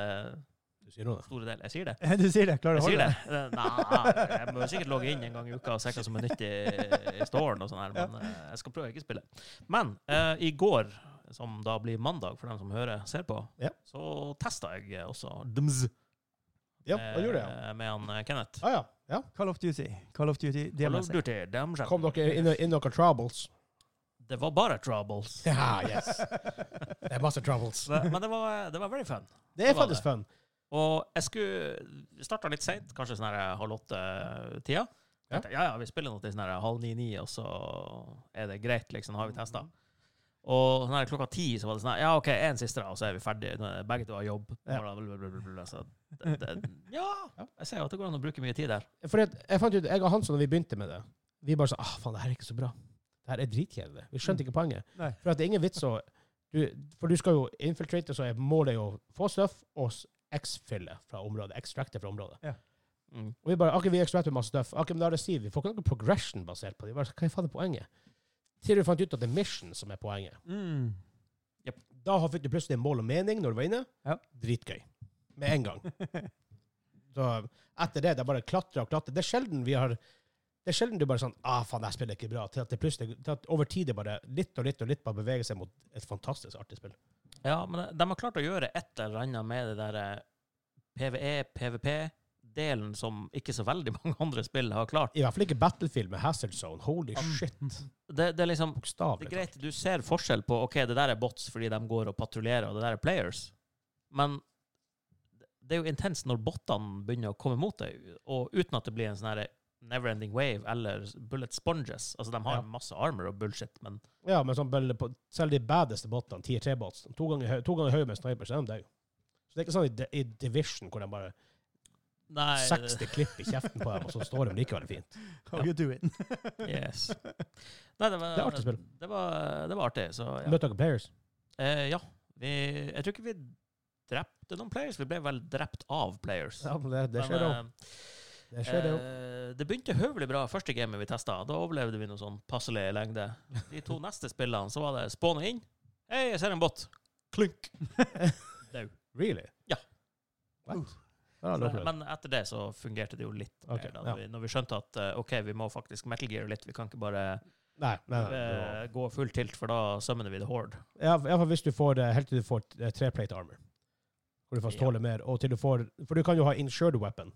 S1: Du sier noe, da.
S3: store del. Jeg sier det.
S2: Du sier det, klarer du
S3: Jeg
S2: å
S3: sier
S2: holde
S3: det.
S2: det?
S3: Nei, jeg må sikkert logge inn en gang i uka og se hva som er nytt i, i storen og sånn her, men eh, jeg skal prøve å ikke spille. Men eh, i går, som da blir mandag for dem som hører, ser på,
S1: Ja.
S3: så testa jeg også Dms
S1: Ja, han gjorde det. ja.
S3: eh, med han eh, Kenneth.
S1: Ah, ja. ja.
S2: Call of Duty. Call of Duty
S3: Call of
S2: DMS.
S3: Duty, Damn
S1: Kom dere inn, inn noen troubles?
S3: Det var bare troubles.
S1: Ja, yes. Det er masse troubles.
S3: Så det- Men det var, det var very fun.
S1: Det er faktisk fun.
S3: Og jeg skulle starta litt seint, kanskje sånn her halv åtte-tida.
S1: Ja.
S3: Ja. ja, ja, vi spiller noe til sånn her halv ni-ni, og så er det greit, liksom. Har vi testa? Og sånn her klokka ti så var det sånn her, Ja, OK, én siste, da, og så er vi ferdige. Nå er det Begge to har jobb.
S1: Ja.
S3: Blablabla, Så det, det, ja, jeg ser jo at det går an å bruke mye tid der.
S1: For jeg, jeg fant ut, jeg og Hansson, da vi begynte med det, vi bare sa ah, faen, det her er ikke så bra. Det her er dritkjedelig. Vi skjønte ikke poenget.
S2: Nei.
S1: For at det er ingen vits å du, For du skal jo infiltrate, så er målet jo å få stuff og s- X-fylle fra området. Extracte fra området.
S3: Mm.
S1: Og vi bare OK, vi extracter masse stuff. OK, men da er det Siv. Vi får ikke noe progression basert på det. Vi Bare, hva faen er poenget? Til du fant ut at det er mission som er poenget.
S2: Mm.
S1: Da har- fikk du plutselig mål og mening når du var inne.
S2: Ja.
S1: Dritgøy. Med en gang. Så etter det, det er bare klatre og klatre. Det er sjelden vi har det er sjelden du bare sånn ah, faen, jeg spiller ikke bra. Til at det plutselig, til at over tid det bare litt og litt og litt bare beveger seg mot et fantastisk artig spill.
S3: Ja, men eh, de har klart å gjøre et eller annet med det eh, derre PVE, PVP-delen som ikke så veldig mange andre spill har klart.
S1: I hvert fall ikke Battlefield med Hazard Zone. Holy shit.
S3: Det, det er liksom Mm. Det
S1: Bokstavelig
S3: er greit, du ser forskjell på ok, det der er bots fordi de går og patruljerer, og det der er players. Men det er jo intenst når bottene begynner å komme mot deg, og uten at det blir en sånn her never-ending wave eller bullet sponges. Altså, de har
S1: Ja.
S3: masse armor og bullshit, men
S1: Ja, men sånn, bølle på- selv de badeste båtene, tier 3-båts, to ganger høy- to ganger høy med sniper, så er de døde. Så det er ikke sånn i, D- i Division hvor de bare
S3: Nei, det-
S1: 60 klipp i kjeften på dem, og så står de likevel fint.
S2: How you do it?
S3: Yes. Nei, det
S1: Det
S3: var
S1: er artig spill.
S3: Det var, det var artig, så ja.
S1: Møter dere players?
S3: Eh, ja. Vi, jeg tror ikke vi drepte noen players, vi ble vel drept av players.
S1: Ja, men det, det skjer det òg.
S3: eh,
S1: Det skjer det òg.
S3: Eh, det begynte høvelig bra første gamet vi testa. Da overlevde vi noe sånn passelig lengde. De to neste spillene så var det spåne inn. Hei, jeg ser en båt. Klunk.
S1: Really?
S3: Ja. Mm.
S1: What?
S3: Så,
S1: Ja, det er
S3: men etter det så fungerte det jo litt. mer
S1: Ok,
S3: da,
S1: ja.
S3: når, vi, når vi skjønte at eh, OK, vi må faktisk metal gear litt. Vi kan ikke bare
S1: nei, nei, nei. det var-
S3: eh, gå full tilt, for da summoner vi the horde.
S1: Ja, i hvert fall hvis du får eh, helt til du får eh, treplate armor, hvor du faktisk
S3: Ja.
S1: tåler mer, og til du får For du kan jo ha insured weapon,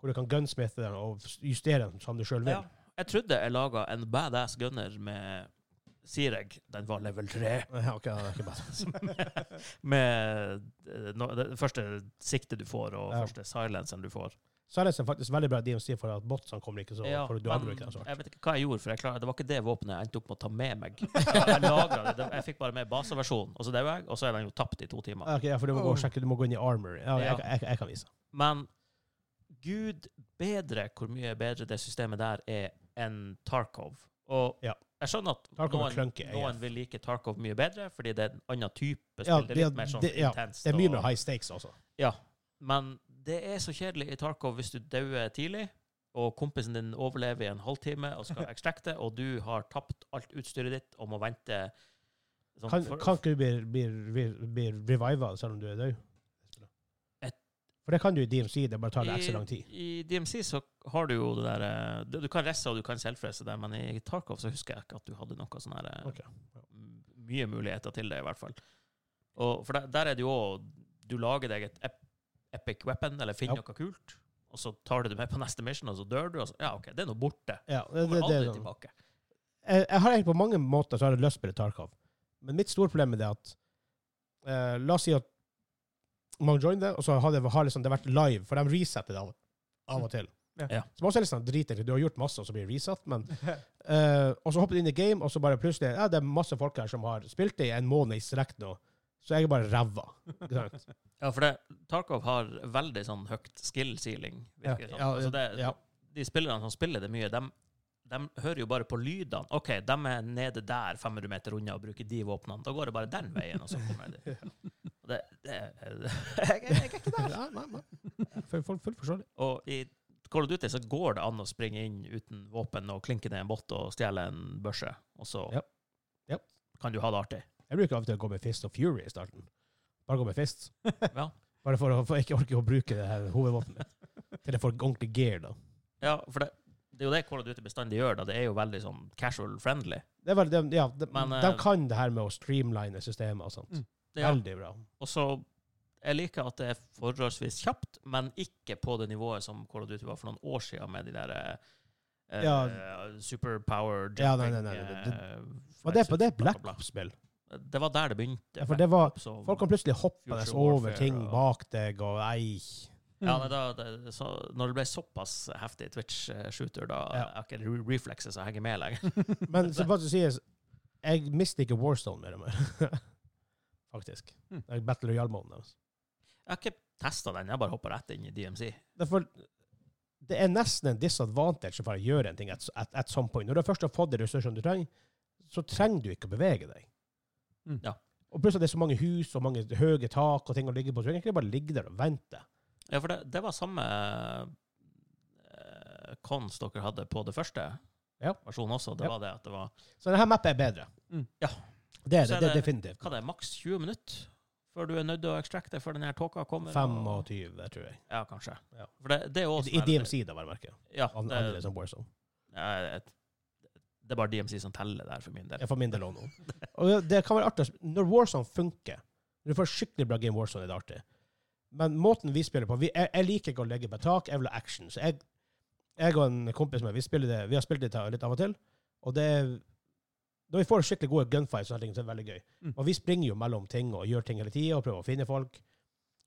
S1: hvor du kan gunsmithe den og justere den som du sjøl vil.
S3: Ja. Jeg trodde jeg laga en badass gunner med Sireg. Den var level 3.
S1: Ja, ok, det er ikke bad.
S3: Med eh, no, det første siktet du får, og
S1: Ja.
S3: første silencen du får.
S1: Silence er faktisk veldig bra DMC for at botsene kommer ikke så
S3: Ja,
S1: for du altså.
S3: men
S1: angrer ikke den så hardt.
S3: Jeg vet ikke hva jeg gjorde, for jeg klar, det var ikke det våpenet jeg endte opp med å ta med meg. Jeg, jeg lagret det, det, jeg fikk bare med baseversjonen, og så døde jeg, og så er den jo tapt i to timer.
S1: Ja, ok, ja, for du må gå og sjekke, du må gå inn i armor. Ja, jeg,
S3: Oh. Ja.
S1: jeg, jeg, jeg kan vise.
S3: Men gud bedre hvor mye bedre det systemet der er enn Tarkov. Og
S1: Ja.
S3: jeg skjønner at
S1: Tarkov er
S3: noen,
S1: klunky, AF.
S3: noen vil like Tarkov mye bedre, fordi det er en annen type
S1: Ja,
S3: spill. Det er
S1: det-
S3: litt mer sånn
S1: det- ja,
S3: intenst.
S1: Det er mye
S3: og-
S1: mer high stakes, altså.
S3: Ja, men det er så kjedelig i Tarkov hvis du dauer tidlig, og kompisen din overlever i en halvtime og skal ekstrakte, og du har tapt alt utstyret ditt og må vente sånn,
S1: Kan,
S3: for-
S1: kan ikke du bli, bli, bli, bli reviva selv om du er død?
S3: Et-
S1: For det kan du i DMC, det bare tar det ekstra lang tid.
S3: I, I DMC så har du jo det der eh, det- Du kan resse og du kan selvfresse det, men i Tarkov så husker jeg ikke at du hadde noe sånn her eh,
S1: Ok,
S3: m- Mye muligheter til det, i hvert fall. Og, for der, der er det jo òg Du lager deg et ep epic weapon, eller finner
S1: Ja.
S3: noe kult, og så tar du det med på neste mission, og så dør du, og så Ja, OK, det er nå borte.
S1: Ja, det, det,
S3: Kommer
S1: det, er
S3: aldri
S1: sånn.
S3: tilbake.
S1: jeg, jeg har egentlig på mange måter så har jeg lyst på Tarkov. Men mitt store problem er det at eh, La oss si at man joiner det, og så har det, har liksom, det vært live, for de resetter det av, av og til.
S2: Ja.
S3: Ja.
S1: Som også er litt sånn dritete. Du har gjort masse, og så blir det resatt. Men, eh, og så hopper du inn i game, og så bare plutselig ja, det er masse folk her som har spilt det i en måned i strekk nå. Så jeg er bare ræva. ikke sant?
S3: Ja, for det, Tarkov har veldig sånn høyt skill ceiling.
S2: Ja.
S3: virker det som.
S1: Ja,
S3: altså det,
S1: ja.
S3: De spillerne som spiller det mye, de, hører jo bare på lydene. OK, de er nede der 500 meter unna og bruker de våpnene. Da går det bare den veien, og så kommer de. Og Det, det, jeg, jeg er ikke der.
S1: Ja, nei, nei. For- for- Fullt forståelig.
S3: Og i Call of Duty så går det an å springe inn uten våpen og klinke ned en bot og stjele en børse, og så
S1: Ja. Ja.
S3: kan du ha det artig.
S1: Jeg bruker av og til å gå med Fist og Fury i starten. Bare gå med Fist.
S3: Ja.
S1: Bare for å for ikke orke å bruke det her hovedvåpenet. Til jeg får ordentlig gear, da.
S3: ja, for det, det er jo det Call of Duty bestandig gjør. Da. Det er jo veldig sånn casual friendly.
S1: Det er vel, de, ja, de,
S3: Men,
S1: de
S3: eh,
S1: kan det her med å streamline systemet og sånt.
S2: Mm.
S3: Ja.
S1: Veldig bra.
S3: Og så jeg liker at det er forholdsvis kjapt, men ikke på det nivået som Call of Duty var for noen år siden, med de der eh,
S1: Ja.
S3: eh, superpower jumping
S1: Ja, nei, nei, nei, det- det-
S3: eh,
S1: Men det, er på- det er
S3: bla,
S1: Black
S3: bla,
S1: Ops-spill.
S3: bla. Det var der det begynte.
S1: Ja, for det var-
S3: Black Ops og-
S1: Folk kan plutselig hoppe
S3: Future
S1: over
S3: Warfare
S1: ting
S3: og-
S1: bak deg, og ei
S3: ja,
S2: Mm.
S3: nei, da, det, så, Når det ble såpass heftig Twitch-shooter, da
S1: Ja.
S3: er ikke re- reflexes som henger med lenger.
S1: Men som faktisk sies, jeg mister ikke Warstone mer og mer. Faktisk.
S3: Hm.
S2: Mm.
S1: Det er Battle Royale-måten deres.
S3: Jeg har ikke testa den, jeg bare hoppa rett inn i DMC.
S1: Derfor, det er nesten en disadvantage for å gjøre en ting at, at, at some point. Når du først har fått de ressursene du trenger, så trenger du ikke å bevege deg.
S2: Mm.
S3: Ja.
S1: Og plutselig er det så mange hus og mange høye tak og ting å ligge på, så du kan egentlig bare ligge der og vente.
S3: Ja, for det, det var samme eh, cons dere hadde på det første
S1: Ja.
S3: versjonen også. Det
S1: Ja.
S3: var det at det var
S1: Så denne mappet er bedre.
S2: Mm.
S3: Ja.
S1: Det er
S3: Så
S1: det,
S3: er
S1: det er
S3: det-
S1: definitivt.
S3: hva det er, maks 20 minutter før du er nødt til å ekstrakte før den her tåka kommer?
S1: 25, det tror jeg.
S3: Ja, kanskje.
S1: Ja.
S3: For det, det er jo
S1: I,
S3: også
S1: i
S3: sånn her-
S1: DMC, da, vel å merke.
S3: Ja,
S1: An-
S3: det,
S1: Annerledes enn Warzone.
S3: ja, jeg- det er bare DMC som teller der, for min del.
S1: Ja, for min del også nå. Og det, det kan være artig. å sp- Når Warzone funker, når du får skikkelig bra game Warzone, er det artig. Men måten vi spiller på vi, jeg, jeg liker ikke å legge på tak, jeg vil ha action. Så jeg, jeg og en kompis med, vi, spiller det, vi har spilt det litt av og til, og det er- når vi får skikkelig gode gunfights, og sånne ting, så er det veldig gøy.
S2: Mm.
S1: Og vi springer jo mellom ting og gjør ting hele tida og prøver å finne folk.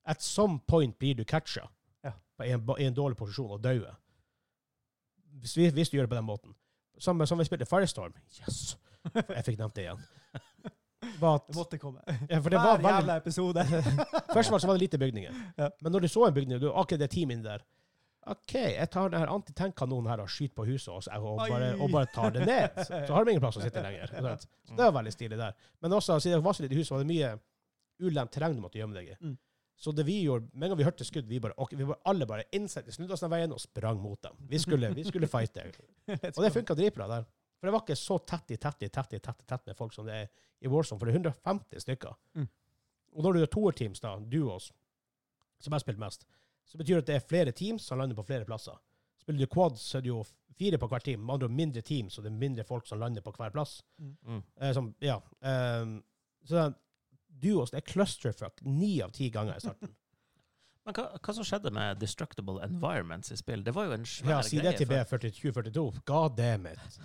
S1: At some point blir du catcha
S2: Ja.
S1: på en, ba- i en dårlig posisjon og dauer. Hvis, vi- hvis du gjør det på den måten. Samme som vi spilte Firestorm. Yes! Jeg fikk nevnt det igjen. Var
S2: Det
S1: at,
S2: måtte komme.
S1: ja, for det var
S2: Hver
S1: veldig,
S2: jævla episode.
S1: først var det så var det lite bygninger.
S2: Ja.
S1: Men når du så en bygning, du, ok, det er team inni der. OK, jeg tar den her antitankkanonen her og skyter på huset og, så- og, bare,
S2: Oi.
S1: og bare tar det ned. Så har de ingen plass å sitte lenger. ikke sant?
S2: Mm.
S1: Så det var veldig stilig der. Men også, siden det var så lite hus, så var det mye ulendt terreng du måtte gjemme deg i.
S2: Mm.
S1: Så det vi gjorde, med en gang vi hørte skudd, vi bare, ok, vi bare alle bare innsendte, snudde oss den veien og sprang mot dem. Vi skulle, vi skulle fighte. Og det funka dritbra der. For det var ikke så tett i tett i tett i tett, i tett med folk som det er i Warzone, for det er 150 stykker.
S2: Mm.
S1: Og når du har toerteams, da, duos, som jeg har spilt mest, så betyr det at det er flere teams som lander på flere plasser. Spiller du quads, så er det jo fire på hver team. Med andre ord mindre teams, så det er mindre folk som lander på hver plass.
S3: Mm.
S1: Eh, som, ja. ehm, så den duos, det er clusterfuck ni av ti ganger i starten.
S3: Men hva, hva som skjedde med destructible environments i spill? Det var jo en
S1: Ja,
S3: svær
S1: si det til
S3: greie.
S1: B4242. God damn it.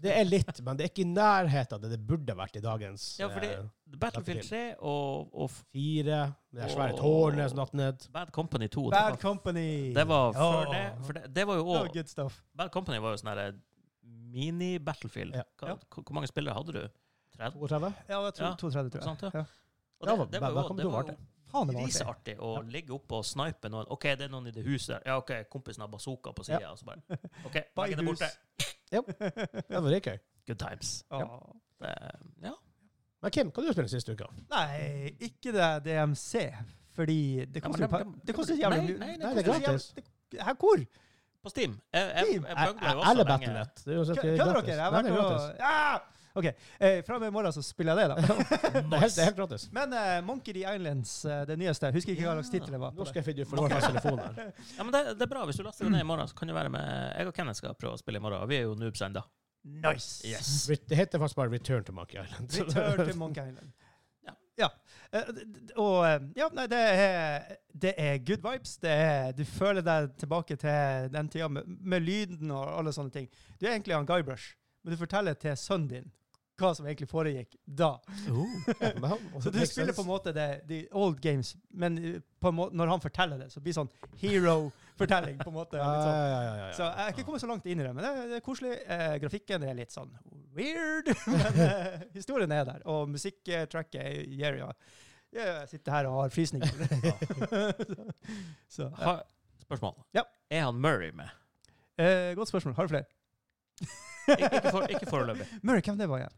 S1: Det er litt, men det er ikke i nærheten av det det burde vært i dagens
S3: Ja, fordi-
S1: eh,
S3: for Battlefield 3 og, og f-
S1: fire. Det er svære
S3: Åh.
S1: tårnet som datt ned.
S3: Bad Company 2 det
S2: Bad
S3: var,
S2: Company.
S3: det var
S2: Ja.
S3: før det. For det, det var jo
S2: Det var
S3: òg
S2: good stuff.
S3: Bad Company var jo sånn her mini-battlefield.
S1: Ja.
S3: Hva-
S2: Ja.
S3: Hvor hvor mange spillere hadde du? 30?
S1: 32?
S2: Ja, jeg tror
S3: Ja.
S2: 32, tror jeg.
S3: Sant, ja.
S2: Ja.
S3: Og
S1: Ja,
S3: det, det var
S1: da
S3: jo,
S1: kom
S3: det
S1: du
S3: var
S1: hardt,
S3: jo
S2: Faen, det var artig.
S3: griseartig å ligge oppe og snipe noen. OK, det er noen i det huset der. Ja, OK, kompisen har bazooka på sida. Og så bare OK,
S2: Bye,
S3: legg det borte.
S2: hus.
S1: Jo. Det var gøy.
S3: Good times.
S2: Åh.
S3: Det, ja.
S1: Men Kim, hva har du spilt siste uka?
S2: Nei, ikke det DMC. Fordi det koster
S3: men
S2: jo
S3: det-
S2: pa- Det koster ikke jævlig
S3: Nei,
S2: mye.
S1: Nei,
S3: nei,
S1: det er
S2: koster ikke
S1: gratis.
S2: jævlig- det- Hæ, hvor?
S3: På Steam. Jeg, jeg, jeg, bøgla jo også
S1: Eller
S3: lenge.
S1: Battlenet. Det er uansett
S2: Kødder dere? Jeg har
S1: Nei, det
S2: vært
S1: er
S2: og
S1: gratis.
S2: ja! OK. Eh, Fra og med i morgen så spiller jeg det, da.
S1: Det er helt, det er helt gratis.
S2: Men eh, Monkey D. Islands, eh, det nyeste Jeg husker ikke hva slags
S3: Ja.
S2: tittel det var. på
S1: Nå
S2: det.
S1: skal jeg finne ut for noen av telefonen her.
S3: Ja, men det, det er bra. Hvis du laster det ned i morgen, så kan du være med. Jeg og Kenneth skal prøve å spille i morgen. og Vi er jo noobs ennå.
S2: Nice!
S3: Yes.
S1: Re- Det heter faktisk bare Return to Monkey Island.
S2: Return to Monkey Island.
S3: Ja.
S2: Ja. Eh, d- d- Og eh, ja, nei, det er, det er good vibes. Det er, du føler deg tilbake til den tida med, med lyden og alle sånne ting. Du er egentlig han Guybrush, men du forteller til sønnen din hva som egentlig foregikk da.
S1: Ja, men han-
S2: Så du
S1: makes
S2: spiller på
S1: sense.
S2: en måte det, de old games, men eh, på en måte, når han forteller det, så blir det sånn hero-fortelling. på en måte.
S1: Ja,
S2: Litt sånn.
S1: ja, ja, ja, ja.
S2: Så jeg har ikke kommet så langt inn i det, men det, det er koselig. Eh, grafikken er litt sånn weird, men eh, historien er der. Og musikktracket er Jerry. Jeg sitter her og har frysninger. så,
S3: Ha, spørsmål.
S2: Ja.
S3: Er han Murray med?
S2: eh, godt spørsmål. Har du flere?
S3: Ik ikke, for, ikke foreløpig.
S2: Murray, hvem det var igjen?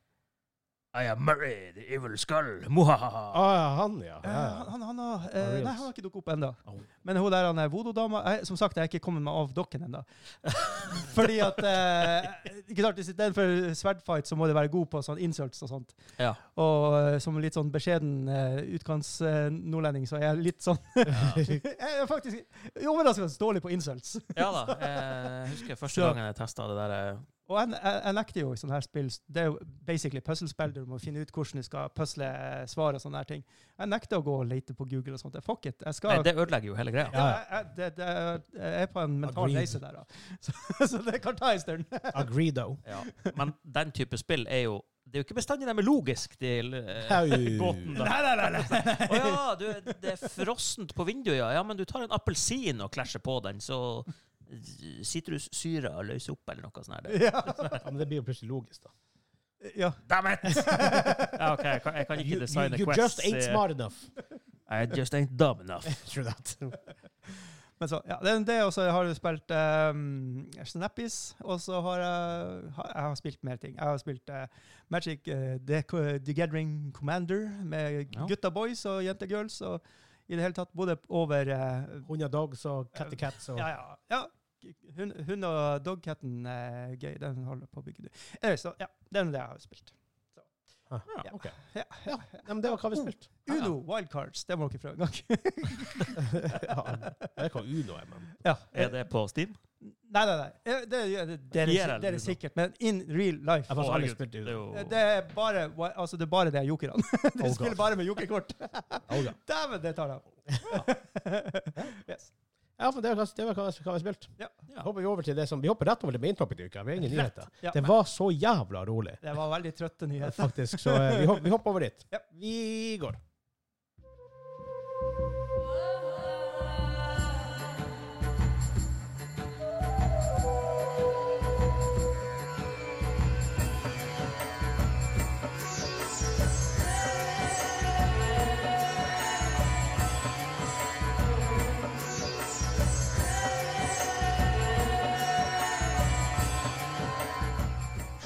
S3: I am Murray, the evil skull. Muhahaha.
S1: Ah, ja, han, ja.
S2: Eh,
S1: ja,
S2: han,
S1: ja.
S2: han, han, har, eh,
S1: Ariels.
S2: nei, han har ikke dukket opp ennå.
S3: Oh.
S2: Men hun der han er voodoo-dama jeg- Som sagt, jeg er ikke kommet meg av dokken ennå. Fordi at eh, ikke sant, Istedenfor sverdfight så må du være god på sånn insults og sånt.
S3: Ja.
S2: Og eh, som litt sånn beskjeden utkants-nordlending, så er jeg litt sånn
S3: ja.
S2: Jeg er faktisk overraskende dårlig på insults.
S3: Ja da. Jeg husker første
S2: Så-
S3: gangen jeg testa det der eh,
S2: Og jeg, jeg, jeg nekter jo i sånne her spill Det er jo basically puzzlespill du må finne ut hvordan du skal pusle eh, svar og sånne her ting. Jeg nekter å gå og lete på Google og sånt. Jeg- Fuck it. Jeg skal
S3: Nei, det ødelegger jo hele greia.
S2: ja, jeg, jeg, det, det, jeg er på en mental
S1: Agreed.
S2: reise der, da. Så, så det kan ta en stund.
S1: Agreedo.
S3: Ja. Men den type spill er jo Det er jo ikke bestandig de er logisk til eh,
S1: Au.
S3: gåten, da.
S2: nei, nei, nei.
S3: Å ja, du, det er frossent på vinduet, ja. ja. Men du tar en appelsin og klasjer på den, så eh, sitrussyra løser opp, eller noe sånt. her.
S2: Ja.
S1: Ja, men det blir jo plutselig logisk, da.
S2: ja.
S3: Damn it! ja, OK, jeg kan, jeg kan ikke
S1: You,
S3: designe
S1: you, you
S3: quests.
S1: just ain't
S3: eh,
S1: smart enough.
S3: I just ain't dumb enough.
S1: True that.
S2: Men så, ja, det, det og så har jeg spilt um, Snappies, og så har jeg, har, jeg har spilt mer ting. Jeg har spilt eh, Magic eh, The, Co- The Gathering Commander med
S3: Ja.
S2: gutta boys og jente girls, og i det hele tatt både over eh,
S1: Hundre dogs og catty cats og
S2: Ja, ja. ja. Hun, hun og dogcatten er gøy. Den holder på å bygge nå. Eh, Så ja, det er det jeg har spilt.
S1: Ah,
S2: Ja.
S1: ok.
S2: Ja.
S1: Ja, nei, men det var hva vi
S3: Mm.
S1: spilte.
S3: Ja, ja.
S2: Uno Wildcards, det må dere prøve en gang.
S1: ja, jeg vet hva Uno er, men
S2: ja.
S3: Er det på Steam?
S2: Nei, nei, nei. Eh, Det, det, det, det,
S3: Gir
S2: er-
S3: jeg
S2: det er
S3: Uno?
S2: sikkert, men in real life
S1: jeg har
S2: eh,
S1: faktisk
S3: Å,
S1: aldri
S3: herregud,
S1: spilt
S3: Det er
S1: Uno.
S3: jo
S2: Det det er bare, wa- altså det er bare det er jokerne. Du
S1: Oh,
S2: spiller
S1: God.
S2: bare med jokerkort.
S1: Oh, ja.
S2: Dæven, det tar jeg yes.
S1: ja, men det var, det var hva, vi- hva vi spilte.
S3: ja.
S1: Hopper vi over til det som Vi hopper rett over til main topic i uka. Vi har ingen nyheter.
S2: Ja.
S1: Det var så jævla rolig,
S2: Det var veldig trøtte nyheter.
S1: faktisk, så eh, vi, hopper, vi hopper over dit.
S2: Ja.
S1: Vi går.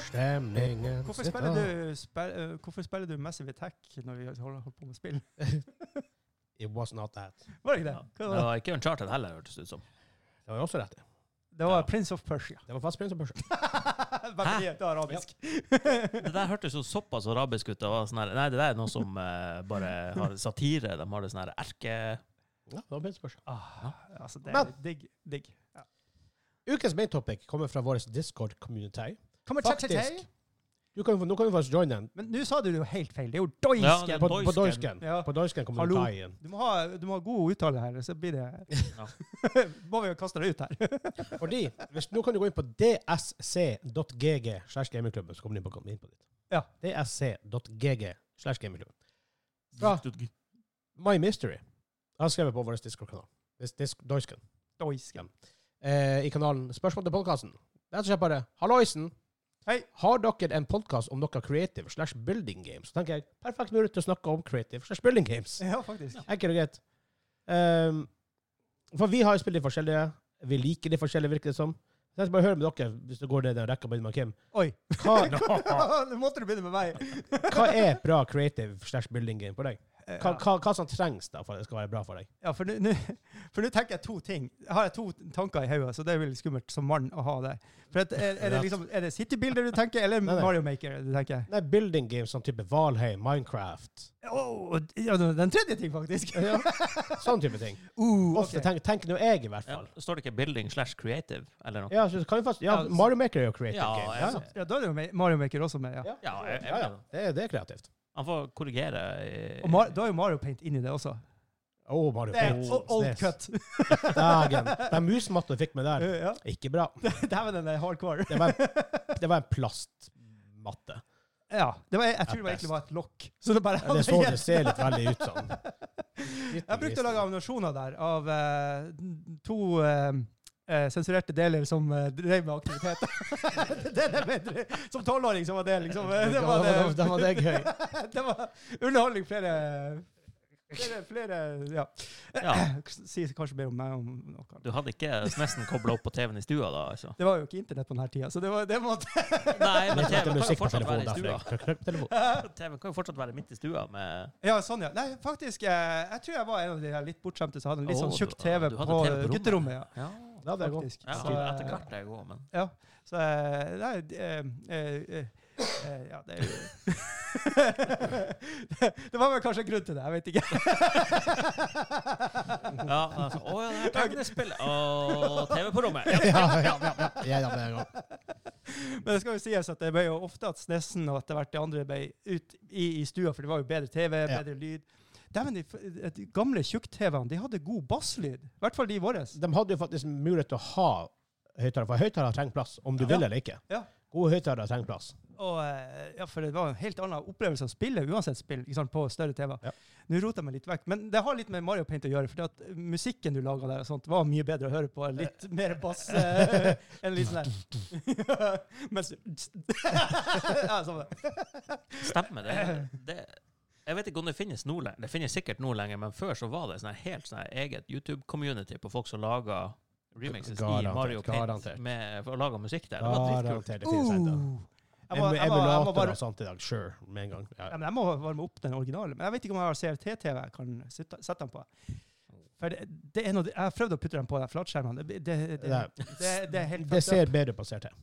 S1: Stemningen
S2: Hvorfor
S1: sitter-
S2: spiller, du, spill, eh, hvorfor spiller du Massive Attack når vi holder, holder på med spill?
S1: It was not that.
S2: Var det ikke det?
S3: Ja.
S2: Hva
S3: Det
S2: var det?
S3: var ikke Uncharted heller, hørtes det ut som.
S1: Det var jo også rett. i.
S2: det var
S3: Ja.
S2: Prince of Persia.
S1: Det var fast prins og børs.
S2: Batteriet er arabisk.
S3: Det der hørtes jo såpass arabisk ut. Det var sånn her, nei, det der er noe som eh, bare har satire. De har det sånn her erke...
S1: Ja, det var prins og børs.
S2: Ah, altså, det er
S1: Men-
S2: digg. digg. Ja.
S1: Ukens main topic kommer fra vår Discord-community.
S2: Kommer
S1: Faktisk.
S2: Faktisk.
S1: Du kan jo- Nå kan du faktisk joine den.
S2: Men nå sa du det jo helt feil. Det er jo doisken.
S3: Ja, det-
S1: På, på
S3: Doisken.
S1: doisken.
S2: Ja.
S1: På doisken kommer
S2: Hallo.
S1: du ta igjen.
S2: Du må, ha, du må ha god uttale her, så blir det
S3: Ja.
S2: Må vi jo kaste det ut her.
S1: Fordi, hvis, nå kan du gå inn på dsc.gg slash gamingklubben, så kommer du inn på, inn på dit.
S2: Ja.
S1: dsc.gg slash gamingklubben. Bra. My Mystery har skrevet på vår Discord-kanal. Dis- Dis- Doisken.
S2: Doisken.
S1: Eh, I kanalen Spørsmål til podkasten. Det er så kjapt bare Halloisen!
S2: Hei.
S1: Har dere en podkast om noe creative slash building games? Så tenker jeg, perfekt mulighet til å snakke om creative slash building games.
S2: Ja, faktisk.
S1: Enkelt og greit. Ehm, for vi har jo spilt de forskjellige. Vi liker de forskjellige, virker det som. Jeg skal bare høre med dere, hvis det går det der rekka begynner med Kim.
S2: Oi!
S1: Hva,
S2: Nå måtte du begynne med meg!
S1: hva er bra creative slash building game for deg? Hva,
S2: Ja.
S1: hva, hva som trengs da for at det skal være bra for deg?
S2: Eh, Ja, for nå- nå for nå tenker jeg to ting. Jeg har jeg to tanker i hodet, så det er veldig skummelt som mann å ha det. For at, er, er det liksom, er det City Builder du tenker, eller
S1: Nei, nei.
S2: Mario Maker du tenker?
S1: Nei, building games som type Valheim, Minecraft,
S2: Åh, ja, den tredje ting, faktisk!
S1: Ja. sånn type ting.
S2: Uh,
S1: Ofte
S2: ok.
S1: tenk, tenker nå jeg, i hvert
S3: Ja,
S1: fall.
S3: står det ikke 'building slash creative' eller noe?
S1: Ja, så kan vi faktisk, ja,
S2: Ja, så-
S1: Mario Maker er jo creative
S3: Ja,
S1: game.
S3: ja,
S1: Ja,
S2: Ja, da er det jo Ma- Mario Maker også med, ja.
S1: ja.
S3: Ja, jeg- jeg-
S1: ja, ja. Det, er- det er kreativt.
S3: Han får korrigere. eh,
S2: Og Mar da er jo Mario Paint inni det også.
S1: Å, Mario
S2: Det er
S1: Paint.
S2: o- old
S1: Snes.
S2: cut.
S1: Dagen. Den musmatta du fikk med der,
S2: ja.
S1: ikke bra.
S2: Dæven, den er hardcore.
S1: Det var, det var en plastmatte.
S2: Ja, det var, jeg
S1: At
S2: tror det var egentlig
S1: best.
S2: var et lokk. Så det bare
S1: Ja, Det så det ser litt veldig ut sånn.
S2: Jeg brukte å lage animasjoner der av eh, to eh, eh, sensurerte deler som eh, drev med aktivitet. det er det bedre. Som tolvåring så var det liksom eh, det var,
S1: Da var- da var det gøy.
S2: det var underholdning flere Flere, flere ja.
S3: Ja.
S2: Si kanskje mer om meg om noe.
S3: Du hadde ikke Snesen kobla opp på TV-en i stua da, altså?
S2: Det var jo ikke internett på denne tida, så det var det måtte
S3: Nei, men
S1: Jeg setter
S3: TV kan jo
S1: musikk på
S3: fortsatt være
S1: telefonen
S3: i
S1: derfor jeg
S3: stua.
S1: krøk- krøk på telefonen.
S3: TV kan jo fortsatt være midt i stua med
S2: Ja, sånn, ja. Nei, faktisk, eh, jeg tror jeg var en av de her litt bortskjemte som hadde en litt sånn
S3: Å,
S2: tjukk
S3: du-
S2: TV
S3: du
S2: på,
S3: hadde TV på rommet.
S2: gutterommet. ja.
S3: Ja,
S1: Ja, det er godt.
S2: Faktisk.
S3: ja
S2: Så,
S3: etter
S2: eh,
S3: hvert er jeg god, men
S2: Så eh, nei, d- eh, eh, eh, Ja, det er jo det, det var vel kanskje en grunn til det, jeg vet ikke.
S3: Ja, altså, å ja, det er tegnespill. Å, TV på rommet.
S1: Ja, ja, ja, ja, ja, ja, det er godt.
S2: Men det skal jo sies at det ble jo ofte at Snesen og etter hvert de andre ble ut i, i stua, for det var jo bedre TV,
S1: Ja.
S2: bedre lyd. Dæven, de, f- de gamle tjukk-TV-ene de hadde god basslyd. I hvert fall de våre.
S1: De hadde jo faktisk mulighet til å ha høyttaler, for høyttaler trenger plass, om du
S2: Ja.
S1: vil eller ikke.
S2: Ja.
S1: Gode høyttalere trenger plass.
S2: Og, eh, ja, for det var en helt annen opplevelse å spille uansett spill ikke sant, på større TV.
S1: Ja.
S2: Nå roter jeg meg litt vekk, men det har litt med Mario Paint å gjøre. For at musikken du laga der, og sånt, var mye bedre å høre på. Litt mer bass eh, enn litt sånn der. Mens du- ja, sånn.
S3: Stemmer det. det. Jeg vet ikke om det finnes nå lenger. Det finnes sikkert nå lenger, men før så var det sånn her helt sånn her eget YouTube-community på folk som laga remixes
S1: Garantert,
S3: i Mario Paint
S1: garantert.
S3: med og laga musikk der. Det var dritkult.
S1: Garantert det finnes ennå.
S2: Uh. Jeg må, jeg, må, jeg, må
S1: Emulator
S2: bare,
S1: og sånt i dag, sure, med en gang. Ja.
S2: ja, men jeg må varme opp den originale. Men jeg vet ikke om jeg har CRT-TV jeg kan sitte- sette den på. For det, det er noe, jeg har prøvd å putte den på den flatskjermen. Det, det, det, det,
S1: Det,
S2: det, er helt
S1: det
S2: fucked up.
S1: ser bedre på CRT.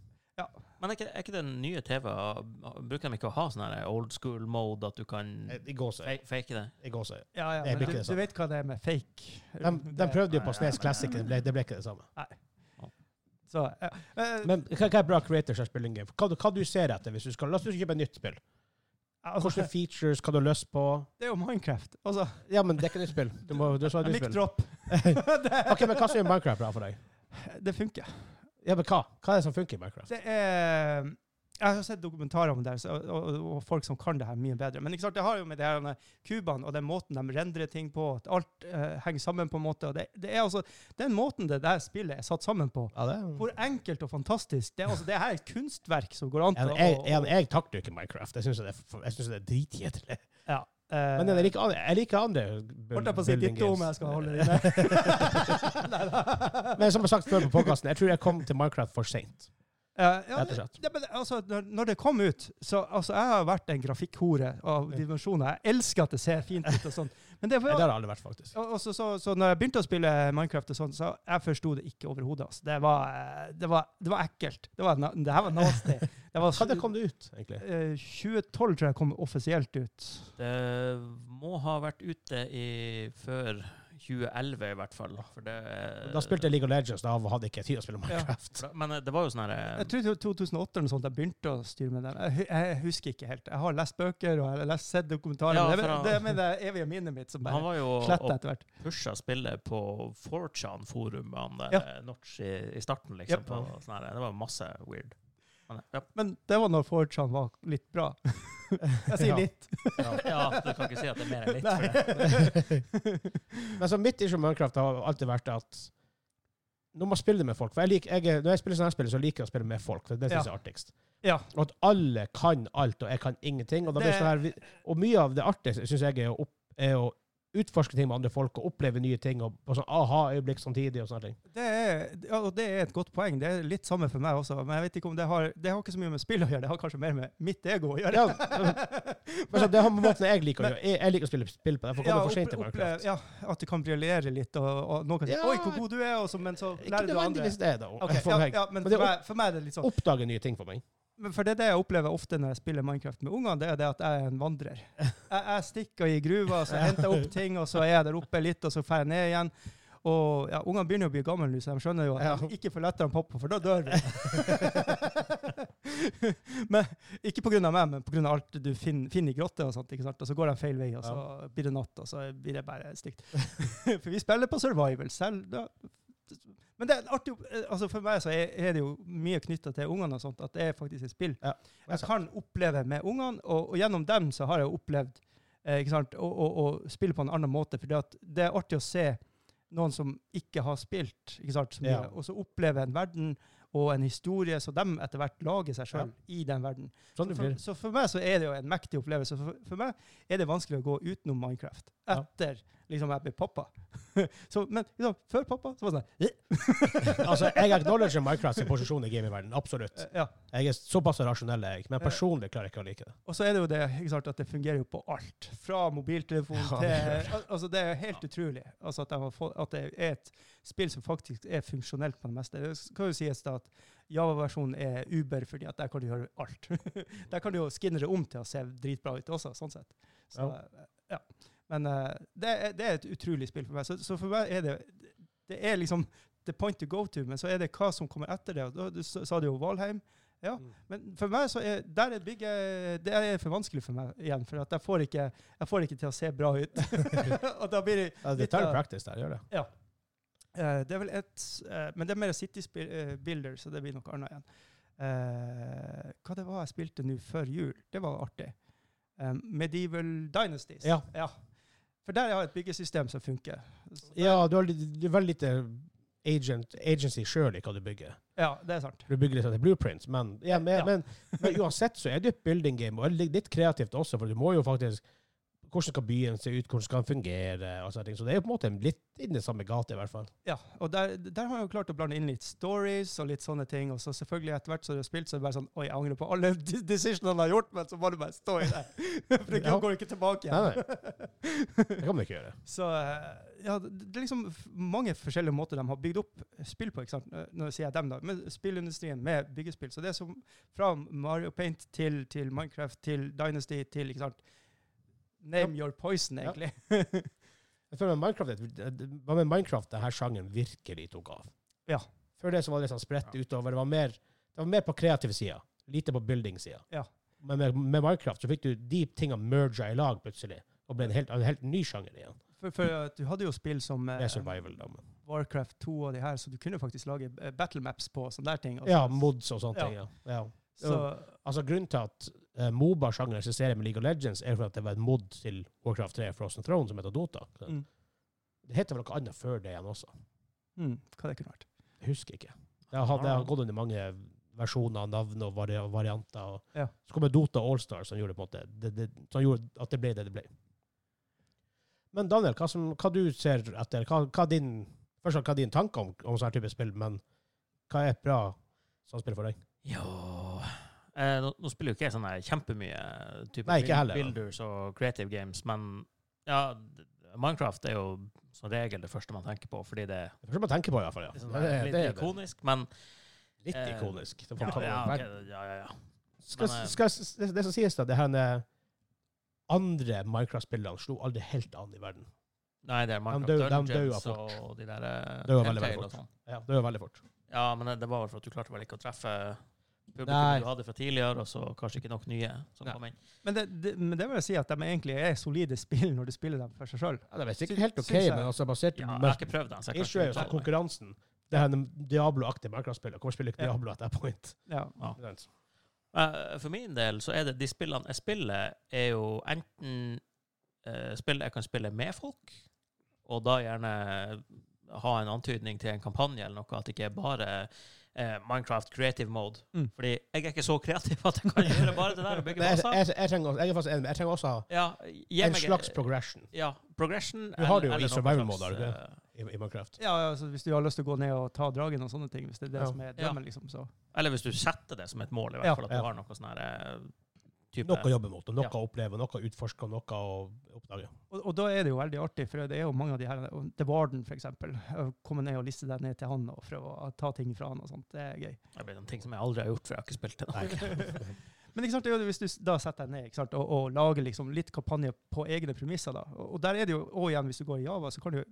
S3: Men er ikke, er ikke den nye TV-en Bruker de ikke å ha sånn her old school mode, at du kan
S1: Eh, I gåsøy.
S3: fe- fake det?
S1: I gåsøy.
S2: Ja, ja,
S1: Det blir
S2: men du,
S1: ikke det
S2: du
S1: samme.
S2: vet hva det er med fake.
S1: De, de
S2: Det-
S1: prøvde jo
S3: Nei,
S1: på Snes
S3: men-
S1: Classic, det ble, det ble ikke det samme.
S2: Så, ja. Eh,
S1: Men hva hva er bra creator slash building game? Hva, du- hva du ser etter hvis du skal La oss si du skal kjøpe et nytt spill.
S2: altså,
S1: Hvilke features kan du ha lyst på?
S2: det er jo Minecraft. Altså,
S1: Ja, men det er ikke nytt spill. Du må, du skal ha nytt
S2: mic
S1: spill.
S2: drop.
S1: OK, men hva som gjør Minecraft bra for deg?
S2: Det funker.
S1: Ja, men hva? Hva er det som funker i Minecraft?
S2: Det er jeg har sett dokumentarer om det, her, så- og, og, og folk som kan det her mye bedre. Men ikke sant, det har jo med de her, eh, kubene og den måten de rendrer ting på, at alt eh, henger sammen på en måte. Og det, det er altså, Den måten det der spillet er satt sammen på,
S1: Ja, det
S2: hvor enkelt og fantastisk det er. Altså, det her er et kunstverk som går an
S1: jeg,
S2: til
S1: jeg, jeg, jeg takler jo ikke Minecraft. Jeg syns det, er for- jeg synes det er dritkjedelig. Men
S2: eh,
S1: jeg liker, andre- jeg liker andre bu-
S2: Holdt jeg på å si
S1: building
S2: ditt om
S1: games.
S2: jeg skal holde det inne. Neida.
S1: Men som jeg har sagt før på podkasten, jeg tror jeg kom til Minecraft for seint.
S2: Eh,
S1: Rett
S2: ja,
S1: og
S2: det-
S1: slett.
S2: ja, men altså, når, når det kom ut så, altså, Jeg har vært en grafikkhore av dimensjoner. Jeg elsker at det ser fint ut. og sånt. Men det
S1: Det har
S2: var,
S1: jeg aldri vært, faktisk.
S2: og, og så, så, så når jeg begynte å spille Minecraft, og sånt, så jeg forsto det ikke overhodet. Altså. Det, var, eh, det, var- det var ekkelt. Det, var, na- det her var nasty. Det var,
S1: Når kom det ut, egentlig?
S2: eh, 2012 tror jeg kom offisielt ut.
S3: Det må ha vært ute i før 2011, i hvert fall. For det,
S1: Da spilte jeg League of Legends, da hadde jeg ikke tid å spille Minecraft.
S3: For da- Men eh, det var jo sånn her
S2: Jeg tror det var 2008 eller noe sånt jeg begynte å styre med den. Jeg, hu- jeg husker ikke helt. Jeg har lest bøker og jeg har lest, sett dokumentarer.
S3: Ja,
S2: men det,
S3: for
S2: er-
S3: han-
S2: det er med det evige minnet mitt som
S3: Han
S2: bare
S3: var jo og
S2: sletter etter hvert.
S3: pusha spillet på 4chan-forumene der
S2: Ja.
S3: eh, Notch i, i starten, liksom.
S2: Yep.
S3: På, sånn her. Det var masse weird. Men, ja.
S2: Men det var når 4chan var litt bra. Jeg sier
S1: Ja.
S2: litt.
S3: ja, du kan ikke si at det er mer enn litt.
S2: Nei.
S3: For det.
S1: Men så mitt issue med Minecraft har alltid vært at når man spiller med folk for jeg liker, jeg, er- Når jeg spiller sånne her spill, så liker jeg å spille med folk. for Det synes
S2: Ja.
S1: jeg er artigst.
S2: Ja.
S1: Og at alle kan alt, og jeg kan ingenting. Og, da blir det sånn her, og mye av det artige syns jeg er å, opp, er å utforske ting med andre folk og oppleve nye ting og, og sånn aha-øyeblikk samtidig og sånne ting.
S2: Det er, ja, og det er et godt poeng. Det er litt samme for meg også. Men jeg vet ikke om det har, det har ikke så mye med spill å gjøre. Det har kanskje mer med mitt ego å gjøre.
S1: Ja, Men så, det har med måten jeg liker å gjøre. Jeg, jeg liker å spille spill på. Derfor
S2: Ja,
S1: kommer jeg for sent til
S2: opple-
S1: Minecraft.
S2: ja, at du kan briljere litt, og, og noen kan si
S1: Ja.
S2: 'oi, hvor god du er', og så, men så
S1: Ikke
S2: lærer du andre.
S1: nødvendigvis det, da.
S2: Ok,
S1: for
S2: ja,
S1: meg.
S2: ja, men
S1: Men det
S2: for
S1: er
S2: meg, for meg er det litt sånn.
S1: Oppdage nye ting for meg.
S2: Men for det er det jeg opplever ofte når jeg spiller Minecraft med ungene, det er det at jeg er en vandrer. Jeg, jeg stikker i gruva, så jeg henter opp ting, og så er jeg der oppe litt, og så drar jeg ned igjen. Og ja, Ungene begynner jo å bli gamle nå, så de skjønner jo at
S1: Ja.
S2: de ikke får lettere enn pappa, for da dør vi. men Ikke pga. meg, men pga. alt du finner, finner i grotter, og sånt, ikke sant? og så går de feil vei, og så blir det natt, og så blir det bare stygt. for vi spiller på survival selv. Da. Men det er en artig, opp- eh, altså for meg så er, er det jo mye knytta til ungene, og sånt, at det er faktisk et spill jeg kan oppleve med ungene, og, og gjennom dem så har jeg opplevd eh, ikke sant, å, å, å spille på en annen måte. For det er artig å se noen som ikke har spilt, ikke sant, så mye,
S1: Ja.
S2: og så oppleve en verden og en historie, så de etter hvert lager seg sjøl i den verden.
S1: Sånn det
S2: for,
S1: blir.
S2: så for meg så er det jo en mektig opplevelse. For, for meg er det vanskelig å gå utenom Minecraft
S1: Ja.
S2: etter liksom jeg ble pappa. så, men liksom, før pappa så var det sånn
S1: Altså, jeg acknowledger Minecraft sin posisjon i gamingverdenen. Absolutt.
S2: eh, ja.
S1: Jeg er såpass rasjonell, jeg. Men personlig klarer jeg ikke å like det.
S2: Og så er det jo det ikke sant, at det fungerer jo på alt. Fra mobiltelefon
S1: Ja, det
S2: til
S1: gjør
S2: al- Altså, det er helt utrolig altså, at, de har fått, at det er et spill som faktisk er funksjonelt på det meste. Det skal jo sies da at Java-versjonen er Uber, fordi at der kan du gjøre alt. der kan du jo skinne det om til å se dritbra ut også, sånn sett. Så, ja. Men eh, det, er, det er et utrolig spill for meg. Så, så for meg er det Det er liksom the point to go to, men så er det hva som kommer etter det. Og da, du sa sa du jo Valheim. Ja. Men for meg så er der er bygget Det er for vanskelig for meg igjen, for at jeg får ikke, jeg får ikke til å se bra ut. og da blir det
S1: Ja, det
S2: litt
S1: tar
S2: av-
S1: practice der, gjør det.
S2: eh, Det er vel et eh, Men det er mer City spi- eh, Builder, så det blir noe annet igjen. Eh, hva det var jeg spilte nå før jul? Det var artig. Eh, Medieval Dynasties.
S1: Ja.
S2: For der har jeg et byggesystem som funker. Så,
S1: Ja, du har, litt- du har veldig lite agent, agency sjøl i hva du bygger.
S2: ja, det er sant.
S1: Du bygger litt etter blueprints, men, ja, men,
S2: Ja.
S1: men, men uansett så er det jo et building game, og litt litt kreativt også, for du må jo faktisk Hvordan skal byen se ut, hvordan skal den fungere, og sånne ting. Så det er jo på en måte litt inn i samme gate, i hvert fall.
S2: Ja, og der, der har jeg jo klart å blande inn litt stories og litt sånne ting. Og så selvfølgelig etter hvert som du har spilt, så er det bare sånn Oi, jeg angrer på alle de- decisionene jeg har gjort, men så må du bare stå i det. For det
S1: Ja.
S2: går ikke tilbake
S1: Nei,
S2: igjen.
S1: Det kan man ikke gjøre.
S2: Så eh, ja, det det er liksom f- mange forskjellige måter de har bygd opp spill på. ikke sant? Eh, Nå sier jeg dem, da. Men spillindustrien med byggespill. Så det er som fra Mario Paint til, til Minecraft til Dynasty til ikke sant? Name your poison,
S1: Ja.
S2: egentlig.
S1: Jeg føler med Minecraft, det var eh, med Minecraft denne sjangeren virkelig tok av.
S2: Ja.
S1: Før det så var det sånn spredt utover. Det var mer, det var mer på kreativ sida, lite på building-sida.
S2: Ja.
S1: Men med, med Minecraft så fikk du de tinga merga i lag plutselig, og ble en helt, en helt ny sjanger igjen.
S2: For, for at du hadde jo spill som eh,
S1: Det er survival, da. Men.
S2: Warcraft 2 og de her, så du kunne faktisk lage eh, battle maps på sånne der ting. altså.
S1: Ja, mods og sånne ting. Ja. Ja.
S2: så,
S1: Altså, grunnen til at eh, Moba-sjangeren eksisterer med League of Legends, er for at det var en mod til Warcraft 3 Frozen Throne som heter Dota.
S2: Mm.
S1: Det heter vel noe annet før det igjen også.
S2: mm, hva det kunne vært.
S1: Jeg husker ikke. Det har, det
S2: Ah.
S1: har gått under mange versjoner, navn og vari varianter. Og
S2: Ja.
S1: Så kom det Dota Allstar, som gjorde, på en måte, det, det, som gjorde at det ble det det ble. Men Daniel, hva, som, hva du ser etter? Hva, hva, er din, først, og fremst, hva er din tanke om, om sånn her type spill? Men hva er et bra sånt spill for deg?
S3: Ja eh, nå, nå spiller jo ikke jeg sånne kjempemye eh, type
S1: Nei, ikke
S3: buil-
S1: heller, da.
S3: builders og creative games, men ja, d- Minecraft er jo som regel det første man tenker på, fordi det
S1: Det første man tenker på, i hvert fall.
S3: er
S1: Ja.
S3: sånn
S1: Det,
S3: der
S1: er-
S3: litt
S1: det er det.
S3: ikonisk. Men
S1: litt
S3: eh,
S1: ikonisk. Det
S3: ja,
S1: får man
S3: ja,
S1: ta med.
S3: ok, ja, ja, ja.
S1: skal,
S3: Men, eh,
S1: skal, det, det som sies, da, det her eh, andre Minecraft-spillene slo aldri helt an i verden.
S3: Nei, det er Minecraft
S1: dø- de
S3: Dungeons
S1: døde
S3: og de der eh,
S1: Døde veldig, veldig
S3: Telltale
S1: fort.
S3: og sånn.
S1: Ja, det var veldig fort.
S3: Ja, men eh, det- det var vel for at du klarte vel ikke å treffe
S1: Nei.
S3: publikum du hadde fra tidligere, og så kanskje ikke nok nye som
S1: Nei.
S3: kom inn.
S2: Men det, det, men det vil jeg si at de egentlig er solide spill når du spiller dem for seg sjøl.
S1: Ja, det er
S2: Sy-
S1: sikkert helt OK,
S2: syns jeg.
S1: men altså basert
S3: Ja, jeg
S1: men
S3: har ikke prøvd den, så jeg kan
S1: Issue er jo sånn
S3: ikke uttale meg.
S1: konkurransen. Det her Diablo-aktige Minecraft-spillet. Hvorfor spiller ikke
S2: Ja.
S1: Diablo at that point?
S2: Ja.
S3: Eh, For min del så er det de spillene jeg spiller, er jo enten eh, spill jeg kan spille med folk, og da gjerne ha en antydning til en kampanje eller noe, at det ikke er bare eh, Minecraft creative mode.
S2: Mm.
S3: Fordi jeg er ikke så kreativ at jeg kan gjøre bare det der og bygge
S1: Men jeg,
S3: baser.
S1: jeg, jeg, trenger, også- jeg, er faktisk enig, men jeg trenger også ha
S3: Ja, gi
S1: en
S3: meg-
S1: slags progression
S3: Ja, progression.
S1: Du har det jo i
S3: eller- eller noe
S1: survival
S3: slags,
S1: mode, har du ikke
S3: eh,
S1: i, i Minecraft.
S2: Ja, ja, altså, hvis du har lyst til å gå ned og ta dragen og sånne ting, hvis det er det
S1: Ja.
S2: som er
S3: Ja.
S2: drømmen, liksom, så
S3: Eller hvis du setter det som et mål, i hvert
S2: Ja,
S3: fall at du
S1: ja.
S3: har noe sånn her eh, type
S1: Noe å jobbe mot, og noe
S3: Ja.
S1: å oppleve, noe å utforske, og noe å oppdage.
S2: Og, og da er det jo veldig artig, for det er jo mange av de her og The Warden, for eksempel. Å Komme ned og liste deg ned til han og prøve å ta ting fra han og sånt. Det er gøy.
S3: Det blir en ting som jeg aldri har gjort, for jeg har ikke spilt det.
S1: Nei.
S2: Men ikke sant, det er jo hvis du s- da setter deg ned ikke sant, og, og lager liksom litt kampanje på egne premisser, da. Og, og der er det jo òg igjen, hvis du går i Java, så kan du jo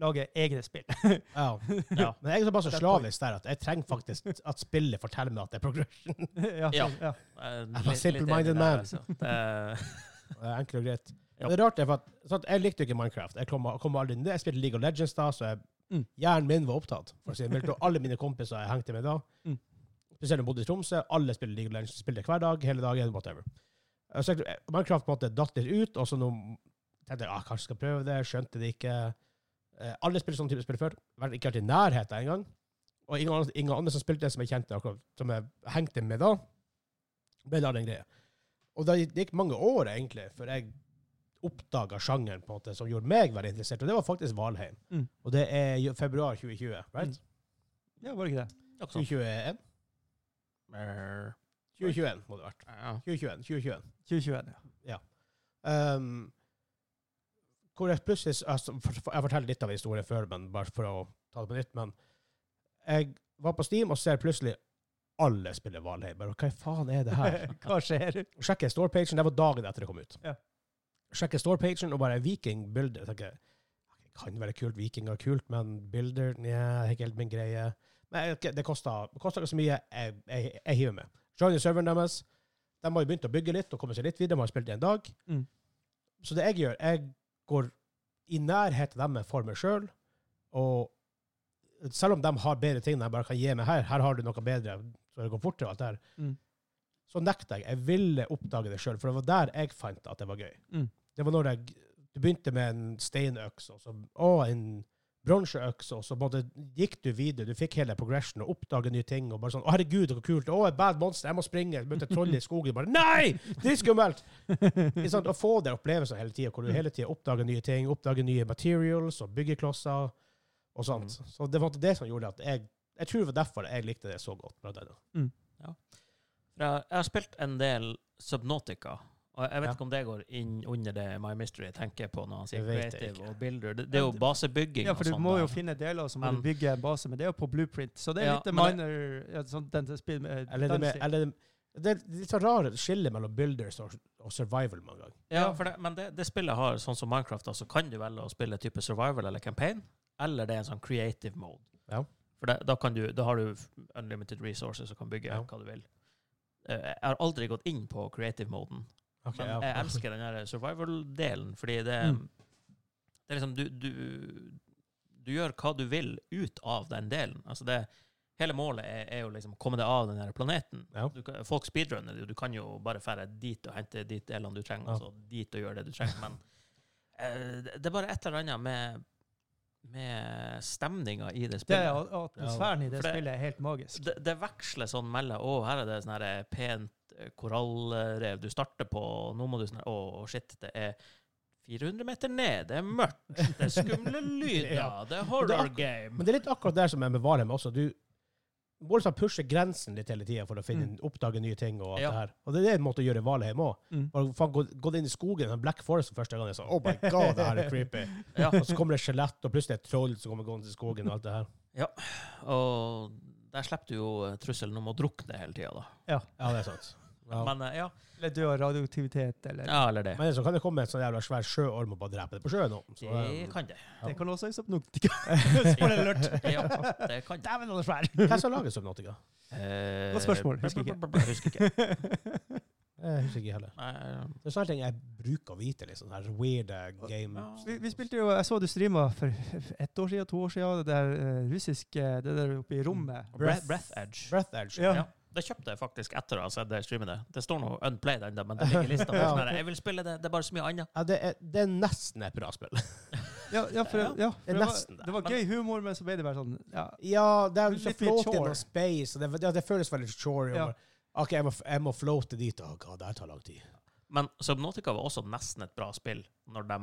S2: lage egne spill.
S1: Ja.
S3: Ja.
S1: Men jeg er såpass
S2: Det er
S1: slavisk der at jeg trenger faktisk at spillet forteller meg at det er progression.
S2: ja,
S3: Ja.
S2: ja.
S3: Eh,
S1: a
S3: litt- litt
S1: simple-minded
S3: enig
S1: man.
S3: der, altså. Det-
S1: Det er Enkelt og greit.
S3: Ja.
S1: Men Det er rart, det, for at, sånn at jeg likte jo ikke Minecraft. Jeg, kom, kom aldri, ned. jeg spilte League of Legends da, så jeg,
S2: Mm.
S1: hjernen min var opptatt. For å si det mildt, og alle mine kompiser jeg hengte med da,
S2: Mm.
S1: spesielt når jeg bodde i Tromsø, alle spiller League of Legends, spiller hver dag, hele dagen, whatever. Eh, Så jeg, Minecraft på en måte datt litt ut, og så nå tenkte jeg ah, kanskje jeg skal prøve det, skjønte det ikke. Eh, Alle spiller sånn type spill før, vært ikke vært i nærheten engang. Og ingen andre, ingen andre som spilte det som jeg kjente, akkurat, som jeg hengte med da, ble da den greia. Og det gikk mange år, egentlig, før jeg oppdaga sjangeren på en måte som gjorde meg veldig interessert, og det var faktisk Valheim.
S2: Mm.
S1: Og det er jo februar 2020, right?
S2: ja, var det ikke det?
S3: Noe sånt.
S1: 2021?
S3: Mer-
S1: 2021 må det ha vært.
S3: Ja.
S1: 2021, 2021.
S2: 2021, ja.
S1: Um, hvor jeg plutselig altså, for- for- Jeg forteller litt av historien før, men bare for å ta det på nytt. Men jeg var på Steam og ser plutselig alle spiller Valheim. Bare, Hva faen er det her?
S2: Hva skjer?
S1: Og sjekker storepagen. Det var dagen etter det kom ut.
S2: Ja.
S1: Sjekker storepagen og bare vikingbilder. Jeg tenker, det kan være kult, viking er kult, men bilder, nja, det er ikke helt min greie. Men ok, det koster det koster ikke så mye, jeg, jeg, jeg hiver med. Johnny serveren deres, de har jo begynt å bygge litt og komme seg litt videre, de har spilt i en dag.
S2: Mm.
S1: Så det jeg gjør, jeg går i nærhet av dem for meg sjøl, og selv om de har bedre ting de bare kan gi meg her, her har du noe bedre, så det går fortere og alt det her,
S2: Mm.
S1: så nekter jeg. Jeg ville oppdage det sjøl, for det var der jeg fant at det var gøy.
S2: Mm.
S1: Det var når jeg du begynte med en steinøks, og så å, en bronseøks, og så både gikk du videre, du fikk hele progression og oppdaget nye ting, og bare sånn, å herregud, det var kult, å, et bad monster, jeg må springe, jeg begynte å trolle i skogen, bare, nei, det er skummelt! Ikke sant? Å få det opplevelsen hele tiden, hvor du hele tiden oppdager nye ting, oppdager nye materials og byggeklosser, og sånt.
S2: Mm.
S1: Så det var det som gjorde at jeg, jeg tror det var derfor jeg likte det så godt. blant annet.
S3: Ja, Jeg har spilt en del Subnautica. Og jeg vet
S1: Ja.
S3: ikke om det går inn under det My Mystery tenker på når han sier
S1: Det vet jeg
S3: creative
S1: ikke.
S3: og builder. Det, det er jo basebygging
S2: Ja, for
S3: og
S2: du
S3: sånn.
S2: må
S3: der.
S2: jo finne deler, og så må
S3: Men-
S2: du bygge en base, men det er jo på blueprint. Så det er
S3: Ja,
S2: litt
S3: men
S2: minor ja, sånn, den, til spill, eh,
S1: Eller det, med,
S2: density.
S1: eller det, det er litt så rare skille mellom builders og, og survival mange ganger.
S3: Ja, for det, men det, det spillet har, sånn som Minecraft, da, så kan du velge å spille type survival eller campaign, eller det er en sånn creative mode.
S1: Ja.
S3: For det, da, kan du, da har du f- unlimited resources og kan bygge
S1: Ja.
S3: hva du vil. Eh, Jeg har aldri gått inn på creative-moden,
S1: Ok,
S3: men
S1: ja.
S3: jeg elsker den her survival-delen, fordi det,
S2: Mm.
S3: det er liksom du, du, du gjør hva du vil ut av den delen. Altså det, hele målet er, er jo liksom å komme deg av den her planeten.
S1: Ja.
S3: Du kan, folk speedrunner, jo, du kan jo bare fære dit og hente de delene du trenger,
S1: Ja.
S3: og så dit og gjøre det du trenger, men eh, det- det er bare et eller annet med, med stemninga i det
S2: Det
S3: spillet.
S2: er at- atmosfæren i det
S3: For det-
S2: spillet er helt magisk.
S3: Det, det veksler sånn mellom Å, her er det sånn her pent eh, korallrev du starter på, og nå må du sånn Å, shit, det er 400 meter ned, det er mørkt, det er skumle lyder,
S1: Ja.
S3: det er
S1: det er
S3: horror
S1: akkur-
S3: game.
S1: Men det er litt akkurat der som er med Valheim også. Du må liksom pushe grensen litt hele tida for å finne, oppdage nye ting. Og alt
S3: Mm. Ja.
S1: det her. Og det er det en måte å gjøre i Valheim òg.
S2: Mm.
S1: Gått inn i skogen, den Black Forest for første gang, jeg sa oh my god, det her er creepy.
S3: Ja.
S1: Og så kommer det et skjelett, og plutselig et troll som kommer gående i skogen. og alt det her.
S3: Og der slipper du jo eh, trusselen om å drukne hele tida, da.
S1: Ja, det er sant. Ja. Men,
S3: Men eh, ja.
S2: Eller død av radioaktivitet, eller
S3: ja, eller det.
S1: så kan det komme en sånn jævla svær sjøorm og bare drepe det på sjøen. også. Så,
S3: Det
S1: um,
S3: kan det.
S1: Ja.
S2: Det kan også være Subnautica. Spoiler alert!
S3: Ja, det kan det.
S2: Dæven, han er svær!
S1: Hvem som lager Subnautica?
S3: Eh,
S2: Godt spørsmål, husker ikke.
S3: bla, bla, bla, Eh,
S1: Jeg
S3: Husker ikke.
S1: husker ikke heller.
S3: Nei,
S1: Det er sånne ting jeg bruker å vite. liksom, her weird eh, game.
S3: ja.
S2: Vi, vi spilte jo, Jeg så du streama for ett år siden, to år siden, det der eh, russiske Det der oppe i rommet.
S3: Breath, breath Edge.
S1: Breath Edge.
S2: Ja.
S3: Ja. Det kjøpte jeg faktisk etter å ha sett det streamet. der. Det står noe unplayed ennå, men det ligger i lista.
S1: Ja.
S3: Sånn her, Jeg vil spille det, det er bare så mye annet.
S1: Ja, det, er, det er nesten et bra spill.
S2: Ja, ja, for,
S3: Ja,
S2: ja, for
S1: det er
S2: det,
S1: nesten
S2: var,
S1: det,
S2: det var
S3: men-
S2: gøy humor, men så ble det bare sånn ja.
S1: Ja, det er
S2: Litt
S1: så
S2: mye
S1: float
S2: chore.
S1: in a space. og Det, ja, det føles veldig chore.
S2: Ja.
S1: og bare, OK, jeg må, jeg må floate dit. Å, god, det her tar lang tid.
S3: Men Subnotica var også nesten et bra spill når de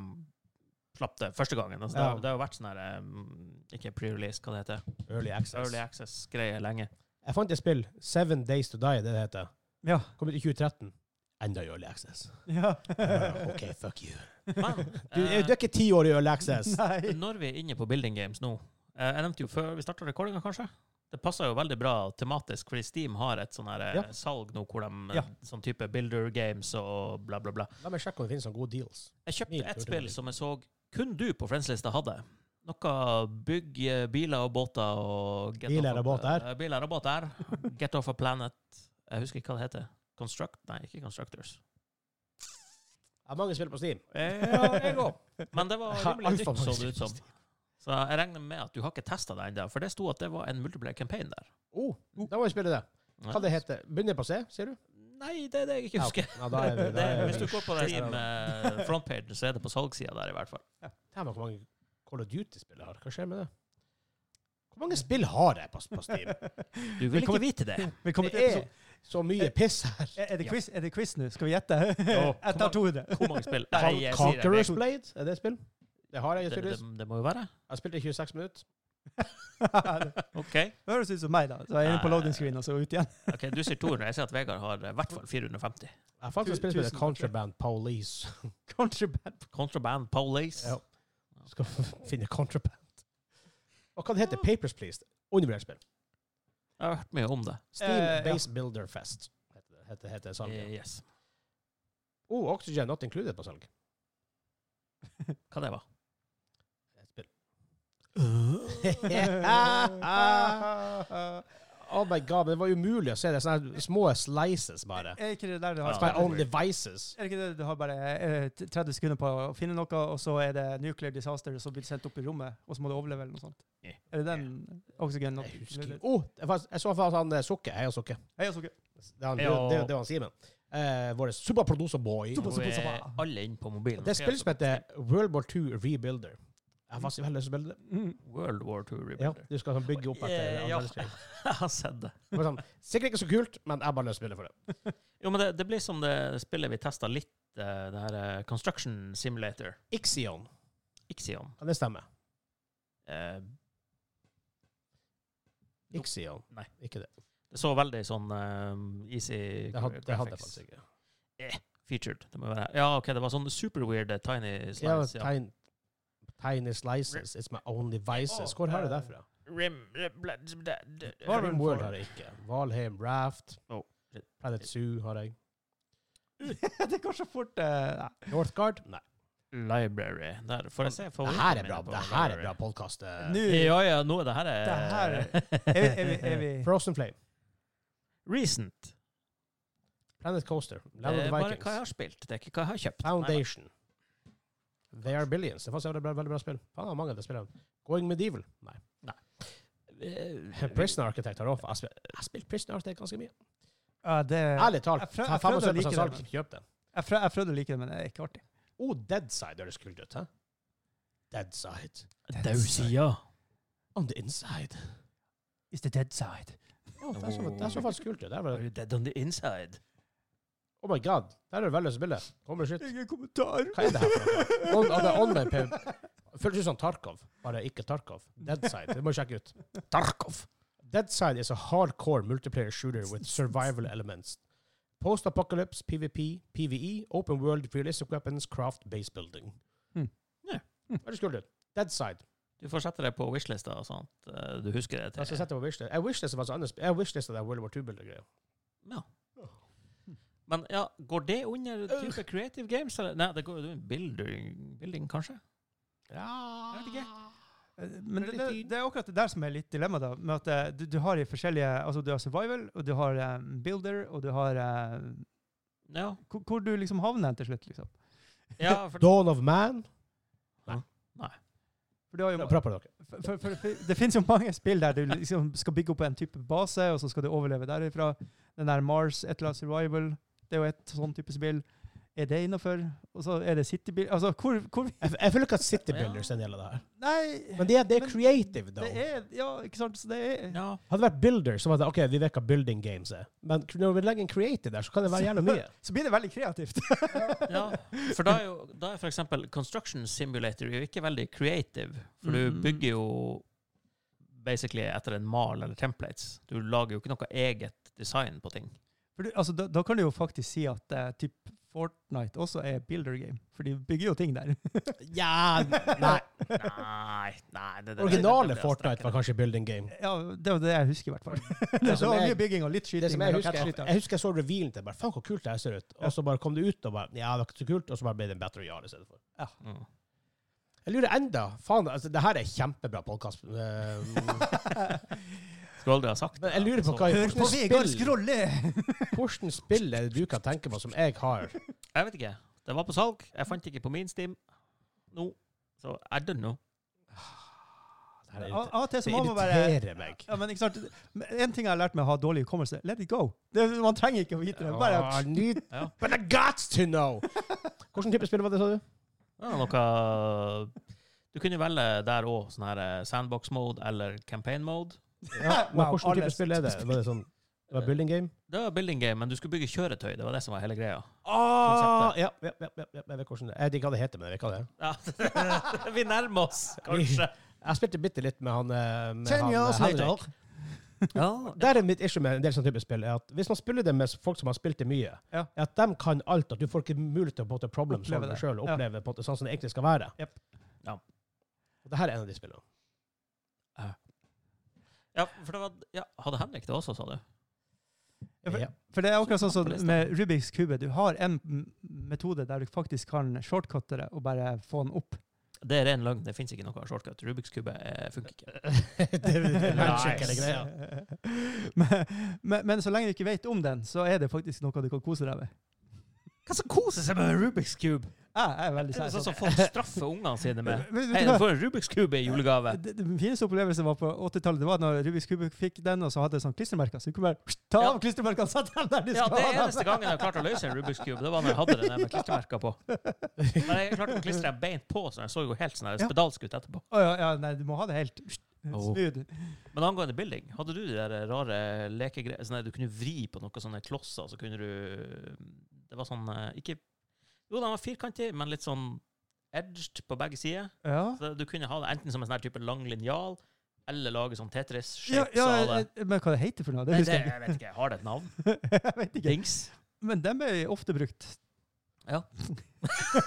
S3: slapp det første gangen. Altså,
S1: Ja.
S3: det, har- det har jo vært sånn her um, Ikke pre-release, hva det heter.
S1: Early access.
S3: Early Access-greie lenge.
S1: Jeg fant et spill, Seven Days To Die, det det heter.
S2: Ja.
S1: Kom ut i 2013. Enda i early access.
S2: ja.
S1: Ja, Eh, OK, fuck you.
S3: Men
S1: Du,
S3: eh,
S1: du er ikke ti år i early access.
S2: Nei.
S3: når vi er inne på building games nå eh, Jeg nevnte jo før vi starta recordinga, kanskje. Det passer jo veldig bra tematisk, fordi Steam har et sånn her eh,
S1: Ja.
S3: salg nå hvor de eh,
S2: Ja.
S3: Sånn type builder games og bla, bla, bla.
S1: La meg sjekke om det finnes noen gode deals.
S3: Jeg
S1: Mil,
S3: kjøpte et
S1: tror jeg.
S3: spill som jeg så kun du på Friendslista hadde. Noe bygg eh, biler og båter og get
S1: Biler
S3: off
S1: og
S3: a-
S1: båter.
S3: eh, Biler og båter. Get off a planet. Jeg husker ikke hva det heter. Construct? Nei, ikke Constructors.
S1: Jeg har mange spill på Steam.
S3: Ja, jeg òg. Men det var
S1: Ja,
S3: rimelig
S1: alfa
S3: nytt, så
S1: mange
S3: det ut som. Så jeg regner med at du har ikke testa det ennå, for det sto at det var en multiplayer campaign der.
S1: Oh, da må vi spille det. Hva det heter Begynner på C, sier du?
S3: Nei, det er det jeg ikke
S1: Ja,
S3: husker.
S1: Ja, da er vi, da
S3: Det,
S1: er
S3: hvis
S1: vi.
S3: du går på Steam eh, frontpage, så er det på salgssida der, i hvert fall.
S1: Her hvor mange Call of Duty-spill jeg har. Hva skjer med det? Hvor mange spill har jeg på, på Steam?
S3: Du vil ikke vite det.
S2: Velkommen
S1: Det
S2: til
S1: er
S2: episode.
S1: så mye piss her.
S2: Eh, Er, er, det
S3: Ja.
S2: quiz, er det quiz nå? Skal vi gjette? Jeg
S3: kom an.
S2: tar 200.
S3: Hvor mange spill? Nei, jeg sier det.
S1: Conqueror's Blade, er det et spill? Det har jeg
S3: Det, det,
S1: tydeligvis.
S3: det må jo være.
S1: Jeg har spilt i 26 minutter.
S2: det
S3: OK.
S2: høres ut som meg, da. Så jeg er inne på
S3: Nei.
S2: loading screen og så ut igjen.
S3: ok, Du sier 200. Jeg sier at Vegard har eh, i hvert fall 450.
S1: Jeg fant et spill som heter
S2: Tusen
S1: Contraband Police.
S2: Contraband.
S3: Contraband Police.
S1: Ja. Du skal finne Contraband. Og hva det heter Papers, Please? Undervurdert spill.
S3: Jeg har hørt mye om det.
S1: Steam
S2: Eh, ja.
S1: Base Builder Fest heter, det- heter, heter
S3: Eh,
S1: salget.
S3: Yes.
S1: Oh, Oxygen Not Included på salg.
S3: Hva det var?
S1: Et spill. Oh my god, men det var umulig å se det. Sånne her små slices bare.
S2: Er ikke det der du har
S3: Ja.
S1: My own devices.
S2: Er det ikke det du har bare eh, t- 30 sekunder på å finne noe, og så er det nuclear disaster som blir sendt opp i rommet, og så må du overleve eller noe sånt?
S3: Ja.
S2: Er det den oksygen?
S1: Jeg husker oh, jeg var- Jeg så faktisk han eh, Sukke. Jeg og Sukke.
S2: Hei, Asuke.
S1: Det er han- det er- det er- det er han Simen. Eh, Vår superproducer boy.
S3: Nå
S2: Super- Supposed to
S3: er
S2: be-
S3: alle inne på mobilen.
S1: Det er et spill som heter World War 2 Rebuilder. Jeg har faktisk veldig lyst til å spille det.
S2: Mm.
S3: World War II
S1: Ja,
S3: Rebuilder.
S1: du skal sånn bygge opp etter
S3: Eh,
S1: andre
S3: ja.
S1: verdenskrig.
S3: Jeg har sett det.
S1: Det var Sånn, sikkert ikke så kult, men jeg har bare lyst til å spille for det.
S3: Jo, men det, det blir som det spillet vi testa litt, eh, det her eh, Construction Simulator.
S1: Ixion,
S3: Ixion.
S1: kan det stemme?
S3: Eh,
S1: Ixion.
S3: Nei.
S1: Ikke det.
S3: det så veldig sånn eh, easy
S1: Det hadde, det hadde jeg
S3: graphics
S1: faktisk ikke.
S3: featured. Det må være. Ja, OK, det var sånn super weird eh, tiny
S1: Ja,
S3: slice. Ja.
S1: tiny, tiny slices. It's my only vices.
S2: Å,
S1: Hvor har du
S2: eh,
S1: det fra?
S3: Rim, rim, bla, d- d- d- d-
S2: Var det
S1: Dream
S2: en
S1: World
S2: for-
S1: har jeg ikke. Valheim Raft.
S3: Oh.
S1: Planet Zoo har jeg.
S2: det går så fort. eh, nei.
S1: Northgard? Nei.
S3: Library. Der får jeg se
S1: Det
S3: favorittene
S1: her er
S3: mine
S1: bra,
S3: på
S1: det her er
S3: Library.
S1: bra eh. podkast.
S2: Nå
S3: Ja, ja, nå er det her er,
S2: Det er vi, er vi, er vi
S1: Frozen Flame.
S3: Recent.
S1: Planet Coaster. Land of
S3: Det er
S1: the
S3: Eh, bare hva jeg
S1: Vikings.
S3: har spilt, det er ikke hva jeg har kjøpt. Nei,
S1: Foundation. They Are Billions. Det var et veldig, veldig bra spill. Faen, det er mange av de spillene. Going Medieval. Nei.
S3: nei. Eh,
S1: Prison Architect har også. Jeg spil- Jeg har spilt Prison Architect ganske mye.
S2: ja, det, jeg,
S1: Ærlig talt.
S2: jeg prøv-
S1: ta
S2: jeg prøvde å
S1: 75%
S2: like det,
S1: salg,
S2: men-
S1: Kjøp den.
S2: prøv, jeg prøvde å like det, men det er ikke artig.
S1: Oh, Deadside høres kult ut, hæ? Deadside.
S3: Dausida.
S1: On the inside.
S2: It's the dead side.
S1: Oh, det, er så, det er så faktisk kult ut. Det er
S3: Are
S1: vel-
S3: you dead on the inside?
S1: Oh my god. Det er det veldig lyst til å spille. Kommer shit.
S2: Ingen kommentar.
S1: Hva er det her for noe? On- on- det er online pub. Føles ut som Tarkov, bare ikke Tarkov. Deadside. Det må du sjekke ut. Tarkov. Deadside is a hardcore multiplayer shooter with survival elements. Post-apocalypse, PVP, PVE, E, open world, realistic weapons, craft, base building.
S2: Hmm.
S3: Ja.
S1: Veldig kult ut. Deadside.
S3: Du får sette deg på wishlista og sånt. eh, Du husker det
S1: Jeg skal
S3: til.
S1: sette på wishlist. Jeg wishlista faktisk andre spill. Jeg wishlista det World War 2-bildet-greia.
S3: Ja. Men ja, går det under
S1: Øh.
S3: type creative games? Eller? Nei, det går jo under building, building, kanskje?
S1: Ja
S3: Jeg vet ikke.
S2: Eh, Men det, det, det er akkurat det der som er litt dilemma, da. Med at eh, du, du har i forskjellige Altså, du har survival, og du har eh, builder, og du har eh,
S3: Ja.
S2: hvor, hvor du liksom havner hen til slutt, liksom.
S3: ja for,
S1: Dawn of Man.
S2: For, du har jo,
S1: Bra på dere.
S2: for, for, for, for det finnes jo mange spill der du liksom skal bygge opp en type base, og så skal du overleve derifra. Den der Mars, et eller annet survival, det er jo et sånn type spill. Er det innafor? Og så er det citybil Altså, hvor, hvor
S1: Jeg, jeg føler ikke at City Builders er en del av det her.
S2: Nei!
S1: Men det, er- det er
S2: Men
S1: creative, though.
S2: Det er Ja, ikke sant? Så det er
S3: Ja.
S1: Hadde det vært Builder, så var det OK, vi vet hva building games er. Men når vi legger en creative der, så kan det være jævla mye.
S2: Så blir det veldig kreativt.
S3: ja. For da er jo da er for eksempel Construction Simulator jo ikke veldig creative. For du
S2: Mhm.
S3: bygger jo basically etter en mal eller templates. Du lager jo ikke noe eget design på ting.
S2: For du, altså, da, da kan du jo faktisk si at eh, typ Fortnite også er builder game, for de bygger jo ting der.
S1: Ja, nei.
S3: Nei, nei det,
S1: Originale
S3: det, det- det- det- det- det- det- det- det- det- det- det- det-
S1: Fortnite var kanskje building game.
S2: ja, det var det jeg husker, i hvert fall.
S1: Det
S2: Det
S1: som
S2: var
S1: jeg-
S2: mye bygging og litt skyting.
S1: Det som jeg
S2: med
S1: husker, jeg,
S2: rakettskyter.
S1: jeg husker jeg så revealen til det. bare, Faen, hvor kult det her ser ut.
S2: Ja.
S1: Og så bare kom det ut, og bare Ja, det var ikke så kult. Og så bare ble det en Battle Royale i stedet for.
S3: Mm.
S1: Jeg lurer enda Faen, altså, det her er kjempebra eh, podkast. Men
S3: Skulle aldri ha sagt det.
S1: jeg lurer på hva
S3: Så-
S2: Hør på Vegard
S1: hvordan spill,
S2: skrolle!
S1: hvordan spill er det du kan tenke på som jeg har?
S3: Jeg vet ikke. Det var på salg. Jeg fant det ikke på min Steam nå. Så I don't know.
S1: Det her
S2: Av
S1: irriterer-
S2: av og til så
S1: det
S2: må man bare
S1: irriterer meg.
S2: ja, men ikke sant? Men En ting jeg har lært med å ha dårlig hukommelse, let it go. Det, man trenger ikke å vite det.
S1: Ah,
S2: Bare,
S1: need,
S3: Ja.
S1: but I got to know! Hvilken type spill var det, sa du?
S3: Det var noe Du kunne velge der òg sånn her eh, sandbox mode eller campaign mode.
S1: Ja, men
S2: Wow,
S1: hvilken type
S2: alles.
S1: spill er det? Var det sånn det var building game?
S3: Det var building game, men du skulle bygge kjøretøy. Det var det som var hele greia.
S1: Ah, ja, ja, ja, ja, ja, jeg vet hvordan det Jeg vet ikke hva det heter, men jeg vet hva det er.
S3: Ja. Vi nærmer oss, kanskje.
S1: Jeg spilte bitte litt med han, eh, med
S2: Ten
S1: han
S2: years
S1: eh, Henrik.
S2: later.
S3: Ja.
S1: Der er mitt issue med en del sånne type spill, er at hvis man spiller det med folk som har spilt det mye,
S2: Ja.
S1: er at de kan alt, at du får ikke mulighet til å på en måte problem
S2: Oppleve
S1: solve deg
S2: det.
S1: selv, og
S2: Ja.
S1: oppleve på en måte sånn som det egentlig skal være.
S2: Jep.
S3: Ja.
S1: Og det her er en av de spillene.
S3: ja, for det var ja, Hadde Henrik det også, sa du?
S2: Ja, for-
S1: Ja.
S2: For det er akkurat sånn som
S3: Topplista.
S2: med Rubiks kube. Du har en m- metode der du faktisk kan shortcutte det og bare få den opp.
S3: Det er ren løgn. Det fins ikke noe shortcut. Rubiks kube eh, funker ikke.
S1: det er en magic, eller
S3: Nice.
S1: greia.
S2: men, men, men så lenge du ikke vet om den, så er det faktisk noe du kan kose deg med.
S3: Hva som koser seg med en Rubiks kube?
S2: Jeg er veldig
S3: Det er
S2: sær.
S3: sånn som folk straffer ungene sine med.
S2: Men- men vet
S3: Hei,
S2: du
S3: du
S2: hva?
S3: får en Rubiks kube i julegave.
S2: Det- Den fineste opplevelsen var på 80-tallet. Det var når Rubiks kube fikk den, og så hadde det sånn klistremerker. Så du kunne bare ta
S3: Ja.
S2: av klistremerkene og sette dem der de
S3: Ja,
S2: skal
S3: det er
S2: ha dem.
S3: eneste gangen jeg har klart å løse en Rubiks kube. Det var når jeg hadde den der med klistremerker på. Men jeg klarte å klistre den beint på, så jeg så jo helt sånn her
S2: Ja.
S3: spedalsk ut etterpå.
S2: Å, ja, ja, nei, du må ha det helt
S3: Oh.
S2: smooth.
S3: Men angående building, hadde du de der rare lekegreiene sånn der Du kunne vri på noen sånne klosser, så kunne du Det var sånn eh, Ikke Jo, de var firkantige, men litt sånn edged på begge sider.
S2: Ja.
S3: Så du kunne ha det enten som en sånn her type lang linjal, eller lage sånn
S2: Ja,
S3: Tetris-shapes
S2: ja,
S3: av det.
S2: eh, men hva det heter for noe? Det
S3: Nei, det,
S2: husker jeg
S3: jeg vet ikke. Har det et navn?
S2: ikke. jeg vet ikke.
S3: Dings?
S2: Men den ble ofte brukt.
S3: Ja.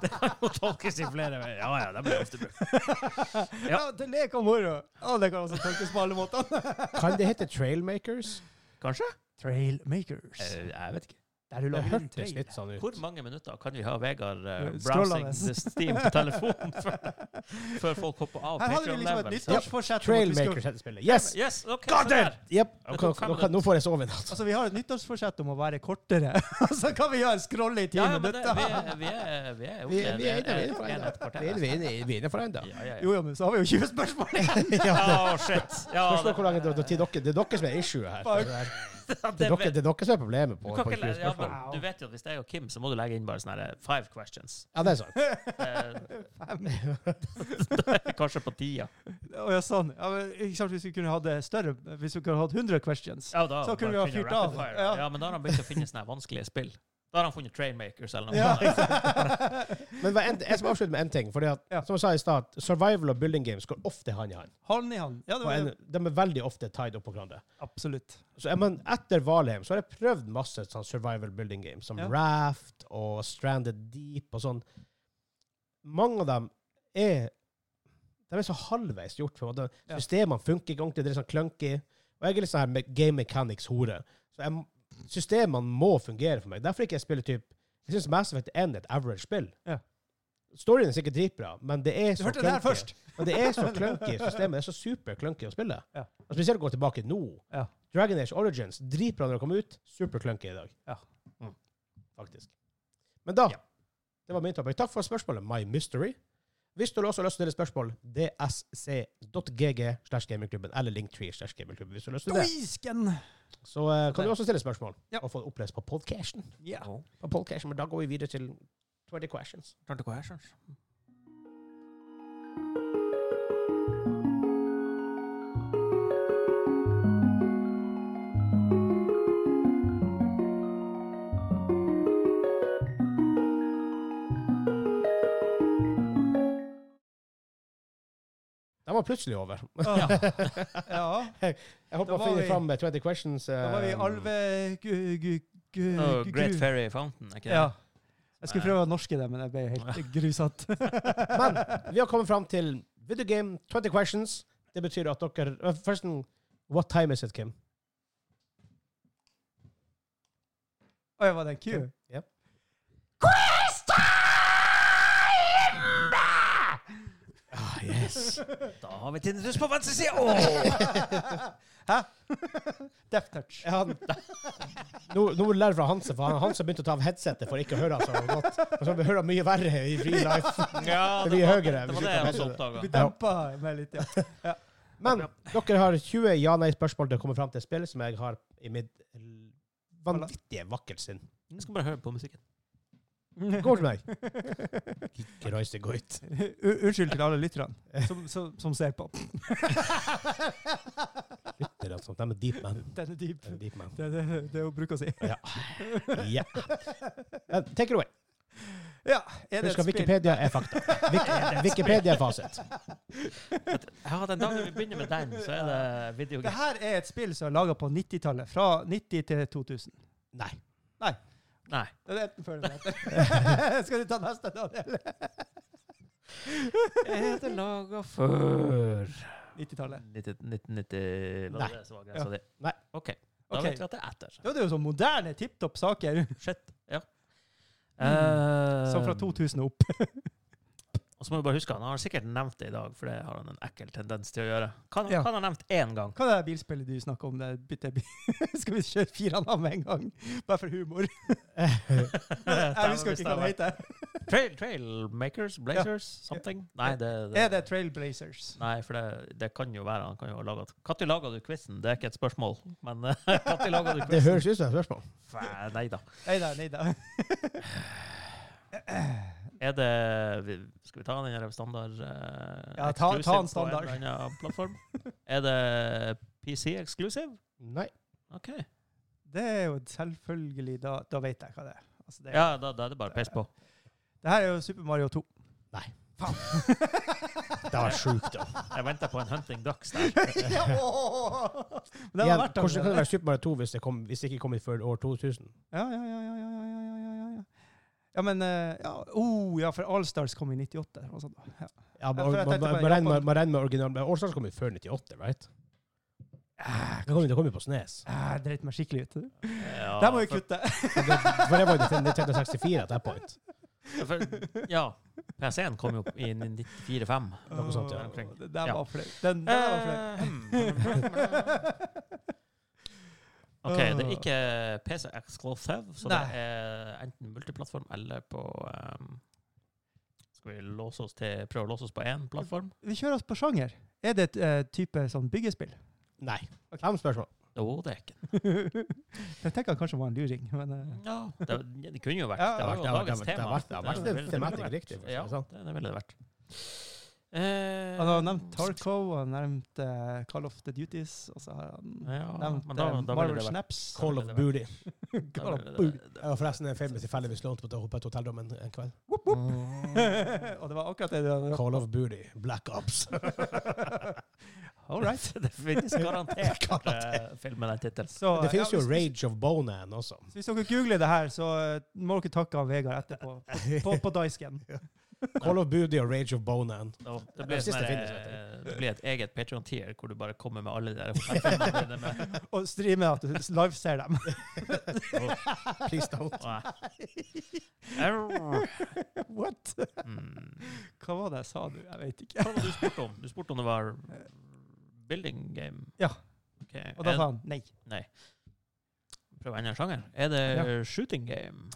S3: Det kan jo tolkes i flere veier. Ja, ja, det blir ofte brukt.
S2: Ja, til lek og moro. Å, det kan også tolkes på alle måter.
S1: Kan det hete Trailmakers?
S3: Kanskje?
S2: Trailmakers.
S3: Eh, jeg vet ikke.
S2: Der du
S1: Det
S2: lager en
S1: hørtes
S2: trail.
S1: litt sånn
S3: Hvor
S1: ut.
S3: mange minutter kan vi ha Vegard eh, browsing
S2: Scrollende.
S3: Steam på telefonen før, før folk hopper av
S2: Her hadde vi liksom et
S3: Patreon-level? Så-
S2: nyttårsforsett. om at vi skulle-
S1: Trailmakers heter spillet. Yes!
S3: Yes, ok,
S1: God
S3: se
S1: damn!
S3: der.
S1: Yep.
S3: Det
S1: Nå,
S3: tok fem
S1: nå, nå får jeg sove i natt.
S2: Altså, vi har et nyttårsforsett om å være kortere. Så kan vi gjøre scrolle i ti
S3: Ja, ja, men det,
S2: minutter.
S3: vi er vi er- vi er ok.
S1: Vi, vi er
S3: Det er-
S1: inne for
S3: er et kvarter. Ja,
S1: ennå.
S3: ja, ja.
S2: Jo, ja, men så har vi jo 20 spørsmål igjen.
S3: Ja, shit. Ja,
S1: Spørs nå
S3: det-
S1: hvor lang det det er til dere. Det er dere som er issue her.
S2: Fuck.
S1: Det er-
S3: Ja,
S1: Det
S3: det
S1: er dere,
S3: vet-
S1: det er dere som er problemet på,
S3: Du
S1: på
S3: kan ikke le-
S1: 20
S3: ja,
S1: spørsmål.
S3: men du vet jo at hvis det er jo Kim, så må du legge inn bare sånne her eh, five questions.
S1: Ja, det er sant.
S3: Eh, Da er vi kanskje på tida.
S2: Å, ja, sånn. Ja, men, ikke sant, hvis vi kunne hatt det større, hvis vi kunne hatt 100 questions.
S3: Ja, da,
S2: Så kunne vi
S3: bare
S2: ha fyrt
S3: rapid
S2: av.
S3: fire.
S2: Ja.
S3: Ja. men da har han begynt å finne sånne her vanskelige spill. Da har han funnet Trainmakers eller noe.
S2: Ja.
S3: sånt.
S1: Men hva- en, jeg skal avslutte med en ting. Fordi at,
S2: Ja.
S1: Som jeg sa i stad, survival og building games går ofte hand i hand.
S2: Hånd i hånd. Ja, det
S1: Og
S2: var
S1: en,
S2: det.
S1: de er veldig ofte tied opp på hverandre.
S2: Absolutt.
S1: Så jeg mener, etter Valheim så har jeg prøvd masse sånn survival building games, som
S2: Ja.
S1: Raft og Stranded Deep og sånn. Mange av dem er De er så halvveis gjort. for at
S2: Ja.
S1: Systemene funker ikke ordentlig, det er sånn clunky. Og jeg er litt sånn her me- game mechanics-hore. Så jeg, m- systemene må fungere for meg. Derfor ikke jeg spiller typ Jeg syns Mass Effect 1 er et average spill.
S2: Ja.
S1: Storyen er sikkert dritbra, men det er
S2: Du
S1: så
S2: hørte det her
S1: clunky.
S2: først.
S1: Men det er så clunky i systemet. Det er så super clunky å spille.
S2: Ja.
S1: Og spesielt å gå tilbake nå.
S2: Ja.
S1: Dragon Age Origins, dritbra når det kom ut. Super clunky i dag.
S2: Ja.
S3: Mm.
S1: Faktisk. Men da
S3: Ja.
S1: Det var min topic. Takk for spørsmålet, My Mystery. Hvis du også har lyst til å stille spørsmål, dsc.gg slash gamingklubben, eller linktree slash gamingklubben, hvis du har lyst til det.
S2: Doisken!
S1: Så eh, kan du også stille spørsmål,
S2: Ja.
S1: og få det opplest på podcasten.
S2: Ja.
S3: Oh.
S1: På podcasten, men da går vi videre til 20 questions.
S3: Klarte ikke å høre, kanskje.
S1: Den var plutselig over.
S2: Ja. ja.
S1: Jeg håper
S2: Da
S1: man
S2: var
S1: finner
S2: vi-
S1: fram med 20 questions.
S2: Da var vi i
S1: eh,
S2: alve... Gu, gu, gu,
S3: Oh,
S2: gu-
S3: Great
S2: gru.
S3: Fairy Fountain, er ikke det?
S2: Ja. Jeg skulle prøve å norske det, men jeg ble helt grusete.
S1: Men vi har kommet fram til video game 20 questions. Det betyr at dere eh, Forresten, what time is it, Kim?
S2: Oi, var det en Q?
S1: Ja.
S2: Quiz time!
S1: Ah, yes.
S3: Da har vi tinnitus på venstre side! Åh!
S2: Hæ? Death touch.
S1: Ja, han- nå, nå vil jeg lære fra Hanse, for han- Hanse begynte å ta av headsetet for ikke å høre han så godt. Og så hører han mye verre i free life. Det
S3: Ja, det
S1: blir
S3: var
S1: høyere.
S3: det,
S1: hvis du
S3: var det
S1: tar
S3: jeg også
S1: headsetet.
S2: Du
S3: oppdaga.
S2: blir dempa med litt, ja.
S1: Men dere har 20 ja-nei-spørsmål til å komme fram til et spill som jeg har i mitt vanvittige vakkelsinn.
S3: Jeg skal bare høre på musikken.
S1: Går til meg. Ikke røys det godt.
S2: U- Unnskyld til alle lytterne som, som, som ser på.
S1: Det er altså, de er deep man.
S2: Den er dyp.
S1: De er deep man.
S2: Det er det, det hun bruker å si.
S1: Ja. ja. Eh, Take it away.
S2: Ja, er det
S1: Husk at
S2: et spill?
S1: Wikipedia er fakta. Wik Wikipedia er fasit.
S3: Ja, den dagen vi begynner med den, så er det
S2: Det
S3: videogame.
S2: her er et spill som er laga på 90-tallet. Fra 90 til 2000.
S1: Nei.
S3: Nei.
S2: Det er enten før eller etter. Skal du ta neste, Daniel?
S3: Er det laga før
S2: 90-tallet.
S3: 1990 var
S1: Nei.
S3: det det som var grensa di?
S1: Nei.
S3: OK. Da
S2: Ok.
S3: vet vi at det er etter.
S2: Det er jo sånn moderne tipp topp saker.
S3: Shit. Ja.
S2: Som Mm.
S1: Um.
S2: fra
S3: Eh,
S2: 2000 og opp.
S3: Og så må vi bare huske, han har sikkert nevnt det i dag, for det har han en ekkel tendens til å gjøre. Kan,
S2: Ja.
S3: kan han ha nevnt én gang?
S2: Hva er det her bilspillet du snakker om? Det er bytte bil. Skal vi kjøre fire navn med en gang? Bare for humor. Jeg husker ikke hva det heter.
S3: Trail, Trailmakers? Blazers? Something? Nei, det, det,
S2: Er det Trailblazers?
S3: nei for det, det kan jo være han kan jo ha laget Når laga du quizen? Det er ikke et spørsmål, men når laga du
S1: Det
S3: quizen?
S1: høres ut som et spørsmål.
S3: Fæ, Nei da.
S2: Nei da, nei da.
S3: Er det vi- Skal vi ta den her standard eh,
S2: Ja, ta- ta
S3: exclusive
S2: en standard.
S3: På en eller annen plattform? er det PC exclusive?
S1: Nei.
S3: OK.
S2: Det er jo selvfølgelig Da, da vet jeg hva det er. Altså, det, er-
S3: Ja, da, da er det bare å peise på.
S2: det her er jo Super Mario 2.
S1: Nei.
S2: Faen.
S1: Det var sjukt, da.
S3: Jeg venter på en Hunting Ducks der.
S2: ja, ååå. Men
S1: Igjen,
S2: det var verdt det.
S1: Hvordan kan det være Super Mario 2 hvis det, kom, hvis det ikke kom før år 2000?
S2: Ja, ja, ja, ja, ja, ja, ja, ja, ja, ja. Ja, men eh, ja, oh, ja, for Allstars kom i sånn 98. eller noe sånt. Ja.
S1: Ja, man,
S2: for jeg
S1: man,
S2: tenkte
S1: man,
S2: på
S1: man, regner med-
S2: Japan.
S1: man regner med originalen. men Årsaken kom jo før 98, right? Det kom jo- det kom jo på Snes.
S2: Eh, Dreit meg skikkelig ut.
S3: Ja,
S2: Der må vi
S3: for-
S2: kutte.
S1: For det, for det var jo 1964 at that point.
S3: For, ja, PC-en kom jo i 94-5.
S1: Noe sånt, ja.
S2: Åh, Det der
S3: Ja. Eh.
S2: var flaut. Den der var Hmm. flau.
S3: OK, det er ikke PC exclusive, så
S2: Nei.
S3: det er enten multiplattform eller på ehm, Skal vi låse oss til, prøve å låse oss på én plattform?
S2: Vi kjører oss på sjanger. Er det et eh, type sånn byggespill?
S1: Nei. Fem spørsmål.
S3: Jo, det er ikke
S2: Jeg tenker han kanskje var en luring, men eh,
S3: ja, det, det kunne jo vært
S2: Ja,
S3: Det
S1: Det
S3: var
S1: har vært-
S3: jo
S1: det har vært-
S3: dagens
S1: det
S3: tema.
S1: har vært- det har vært
S3: Det
S1: en
S3: ville det
S1: tematisk
S3: vært.
S1: riktig. for å si
S3: Ja,
S1: det sånn.
S3: det det ville det vært. Eh,
S2: Han har nevnt Tarco, han har nevnt eh, Call of the Duties, og så har han
S3: Ja,
S2: nevnt
S3: men da-
S2: eh,
S3: da ville
S2: Marvel
S3: det vært-
S2: Snaps.
S1: Call of Booty.
S3: Da
S2: Call of
S3: ville det-
S2: Duty.
S1: Jeg var forresten en film tilfeldigvis lånt på et- på et hotellrom en en kveld.
S2: Whoop, whoop.
S3: Mm.
S2: og det var akkurat det du hadde
S1: Call of Booty. Black Ops.
S2: All right.
S3: Det finnes garantert eh, film med den tittelen.
S2: Så,
S1: Det finnes
S2: ja,
S1: jo
S2: hvis-
S1: Rage of Bonan også.
S2: Så hvis dere googler det her, så eh, må dere takke han Vegard etterpå. På, på, på Dysken.
S1: Call of Booty og Rage of Bonan.
S3: Ja, Det
S1: Den
S3: blir,
S1: siste
S3: sånn
S1: finnes,
S3: her,
S1: vet
S3: eh, det blir et eget Patreon-tier hvor du bare kommer med alle de der fortellingene dine med.
S2: Og streame at du liveser dem.
S1: Please don't.
S3: Nei. Au.
S2: What?
S3: Mm.
S2: Hva var det jeg sa nå? Jeg vet ikke.
S3: Hva var det du spurte om? Du spurte om det var building game.
S2: Ja.
S3: Ok,
S2: Og da
S3: er-
S2: sa han nei.
S3: Prøv å endre sjanger. Er det shooting game?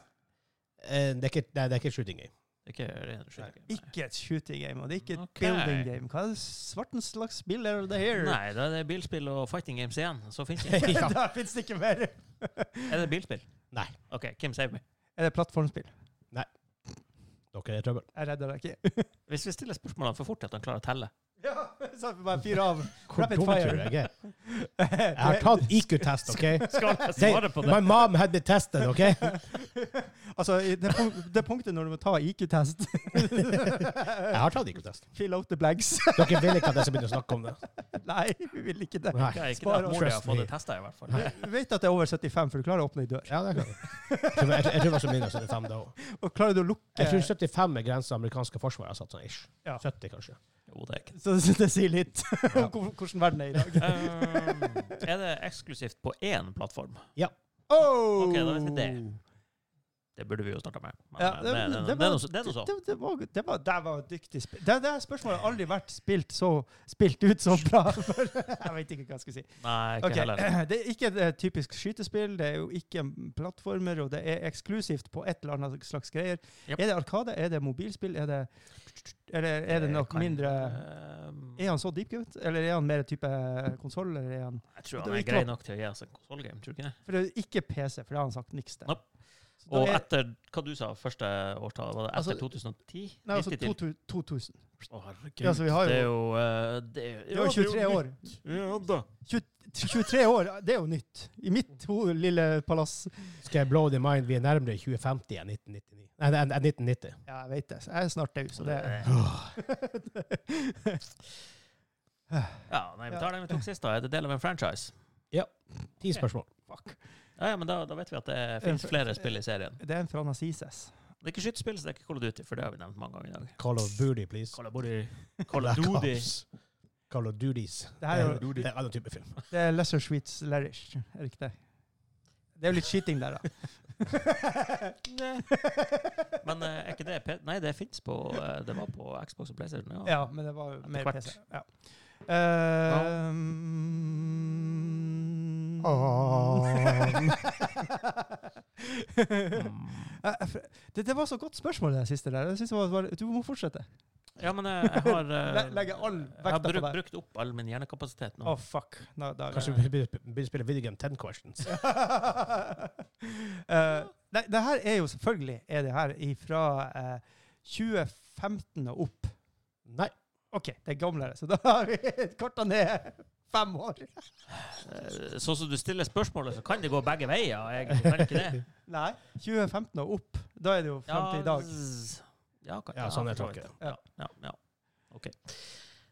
S1: Eh, Det er ikke, nei, det er ikke shooting game.
S3: Det er ikke ren skyting. Nei.
S2: Ikke et shooting game, og det er ikke et
S3: Ok.
S2: building game. Hva er det svarten slags spill er det her?
S3: Nei, da er det bilspill og fighting games igjen. Så finnes det ikke.
S1: ja.
S2: da fins det ikke mer.
S3: Er det bilspill?
S1: Nei.
S3: OK, Kim, save me.
S2: Er det plattformspill?
S1: Dere er i trøbbel.
S2: Jeg redder deg ikke.
S3: Hvis vi stiller spørsmålene for fort til at han klarer å telle
S2: ja, så får vi bare fyre av.
S1: Hvor
S2: Rapid
S1: dum
S2: fire.
S1: tror jeg er? Jeg har tatt IQ-test, OK?
S3: Skal jeg
S1: They-
S3: svare på det?
S1: My mom had me tested, OK?
S2: altså, i det, punk det punktet når du må ta IQ-test.
S1: Jeg har tatt IQ-test.
S2: Fill out the blanks.
S1: Dere vil ikke at jeg skal begynne å snakke om det.
S2: Nei, vi vil ikke det.
S1: Nei.
S3: Det er ikke det
S2: Spar
S3: at
S2: oss.
S3: mora har
S1: Trust
S3: fått
S1: me.
S3: det testet i hvert fall.
S2: Du vet at det er over 75, for du klarer å åpne ei dør.
S1: Ja, det kan jeg. Jeg tror- Jeg tror jeg tror det var så mindre enn 75 da også.
S2: Og klarer du å lukke
S1: Jeg tror 75 er grensa amerikanske forsvaret har satt sånn ish.
S2: Eh. Ja.
S1: 70, kanskje.
S3: Jo, det er ikke det.
S2: Så det det sier litt om hvor- hvordan verden er i dag.
S3: Um, er det eksklusivt på én plattform?
S2: Oh!
S3: Ok, da vet vi det. Det burde vi jo starta med. Men,
S2: Ja,
S3: det, det, det, er noe så- det er noe sånn.
S2: Det, det, var, det, var, det var dyktig spill. Det, det her spørsmålet har aldri vært spilt, så, spilt ut så bra. jeg vet ikke hva jeg skal si.
S3: Nei, ikke
S2: Ok,
S3: heller.
S2: Det er ikke et eh, typisk skytespill, det er jo ikke en plattformer, og det er eksklusivt på et eller annet slags greier.
S3: Yep.
S2: Er det Arkade? Er det mobilspill? Er det, er det, eh, er det noe
S3: Eh, kan-
S2: mindre
S3: Um,
S2: Er han så deepcut, eller er han mer type konsoll? eller er han-
S3: Jeg tror
S2: Det
S3: han
S2: er
S3: er
S2: ikke
S3: grei
S2: lov.
S3: nok til å gi oss en konsollgame, tror du ikke det?
S2: For det er jo ikke PC, for det har han sagt niks til.
S3: Nope.
S2: Så da
S3: Og
S2: er-
S3: etter hva du sa, første årstallet, var det etter
S2: Altså,
S3: 2010?
S2: Nei, altså
S3: 90 til-
S2: 2000. 2000.
S3: Å, herregud.
S2: Ja, så vi har jo-
S3: det er jo eh, Det er
S2: Det er jo 23 år.
S3: Ja da.
S2: 23 år, det er jo nytt. I mitt ho- lille palass.
S1: Skal jeg blow the mind? Vi er nærmere 2050 enn 1999. Nei, det er- enn 1990.
S2: Ja, jeg vet det. Jeg er snart død, så det
S3: Eh. Ja, nei, vi tar den vi tok sist, da. Er det del av en franchise?
S1: Ti spørsmål.
S2: Fuck.
S3: Ja, ja, men da, da vet vi at det finnes flere spill i serien.
S2: Det er en fra Nazises.
S3: Det er ikke skytespill, så det er ikke Call of Duty, for det har vi nevnt mange ganger i dag.
S1: Call of Booty, please.
S3: Call of Duty. Call of
S1: Black
S3: Duty.
S1: Ops. Call of Duties.
S2: Det her er jo-
S1: Det er en annen type film.
S2: Det er Lesser Sweets Lerish, er det ikke det? Det er jo litt skyting der, da.
S3: Men eh, er ikke det P Nei, det fins på eh, Det var på Xbox og PlayStation. Ja.
S2: Ja, men det var jo mer
S3: hvert.
S2: PC. Ja. Ehm. Eh, eh, for- det, det var så godt spørsmål, det siste der. Jeg synes det var, var- du må fortsette.
S3: Ja, men eh, jeg har eh,
S2: Le- legger all
S3: Jeg har
S2: vekta på
S3: brukt,
S2: deg.
S3: brukt opp all min hjernekapasitet
S2: Å,
S3: nå.
S2: fuck. Nå, da,
S1: Kanskje vi begynner begynner å spille video game 10 questions.
S2: Eh, nei, det her er jo selvfølgelig er det her ifra eh, 2015 og opp.
S1: Nei.
S2: OK, det er gamlere, så da har vi korta ned fem år.
S3: Eh, Sånn som du stiller spørsmålet, så kan det gå begge veier. Jeg kan ikke det.
S2: Nei, 2015 og opp. Da er det jo fram til i dag.
S3: z- Ja, kan,
S1: Ja, sånn er
S3: for så vidt.
S1: tanken.
S3: Ja, ja, ja. OK.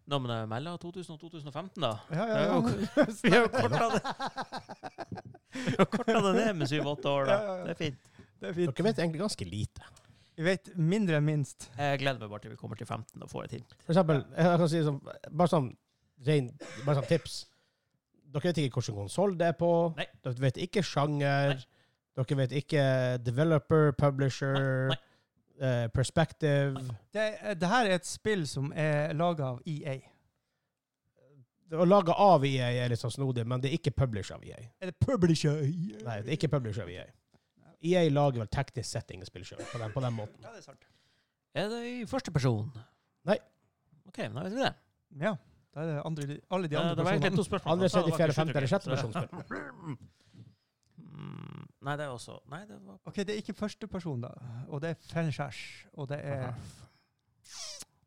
S3: Nå, men eh, mellom 2000 og 2015, da?
S2: Ja,
S3: Det er jo Vi har jo korta det Vi har korta det ned med syv-åtte år, da.
S2: Ja, ja, ja.
S3: Det er fint.
S2: Det er
S1: Dere
S2: fint.
S1: vet egentlig ganske lite.
S2: Vi vet mindre enn minst.
S3: Jeg gleder meg bare til vi kommer til 15 og får et hint.
S1: For eksempel, jeg kan si sånn, bare sånn, ren, bare sånn tips. Dere vet ikke hvilken konsoll det er på.
S3: Nei.
S1: Dere vet ikke sjanger.
S3: Nei.
S1: Dere vet ikke developer, publisher,
S3: Nei,
S1: eh, perspective.
S2: Det, eh, det her er et spill som er laga av E EA.
S1: Det Å lage av EA er litt sånn snodig, men det er ikke publish av EA.
S2: Er det publisher? EA?
S1: Nei, det er ikke publish av E EA. EA lager vel teknisk sett ingen spillshow på den, på den måten.
S2: Ja, det er sant.
S3: Er det i første person?
S1: Nei.
S3: OK, men da vet vi det.
S2: Ja. Da er det andre, alle de
S3: Eh,
S2: andre
S3: det var egentlig to spørsmål.
S1: Andre,
S3: Så det
S1: tredje,
S3: var
S1: fjerde,
S3: ikke
S1: femte eller sjette
S3: skyttergame, så-
S1: personspill.
S3: Mm, Nei, det er også Nei, det var
S2: Ok, det er ikke første person da, og det er franchise, og det er,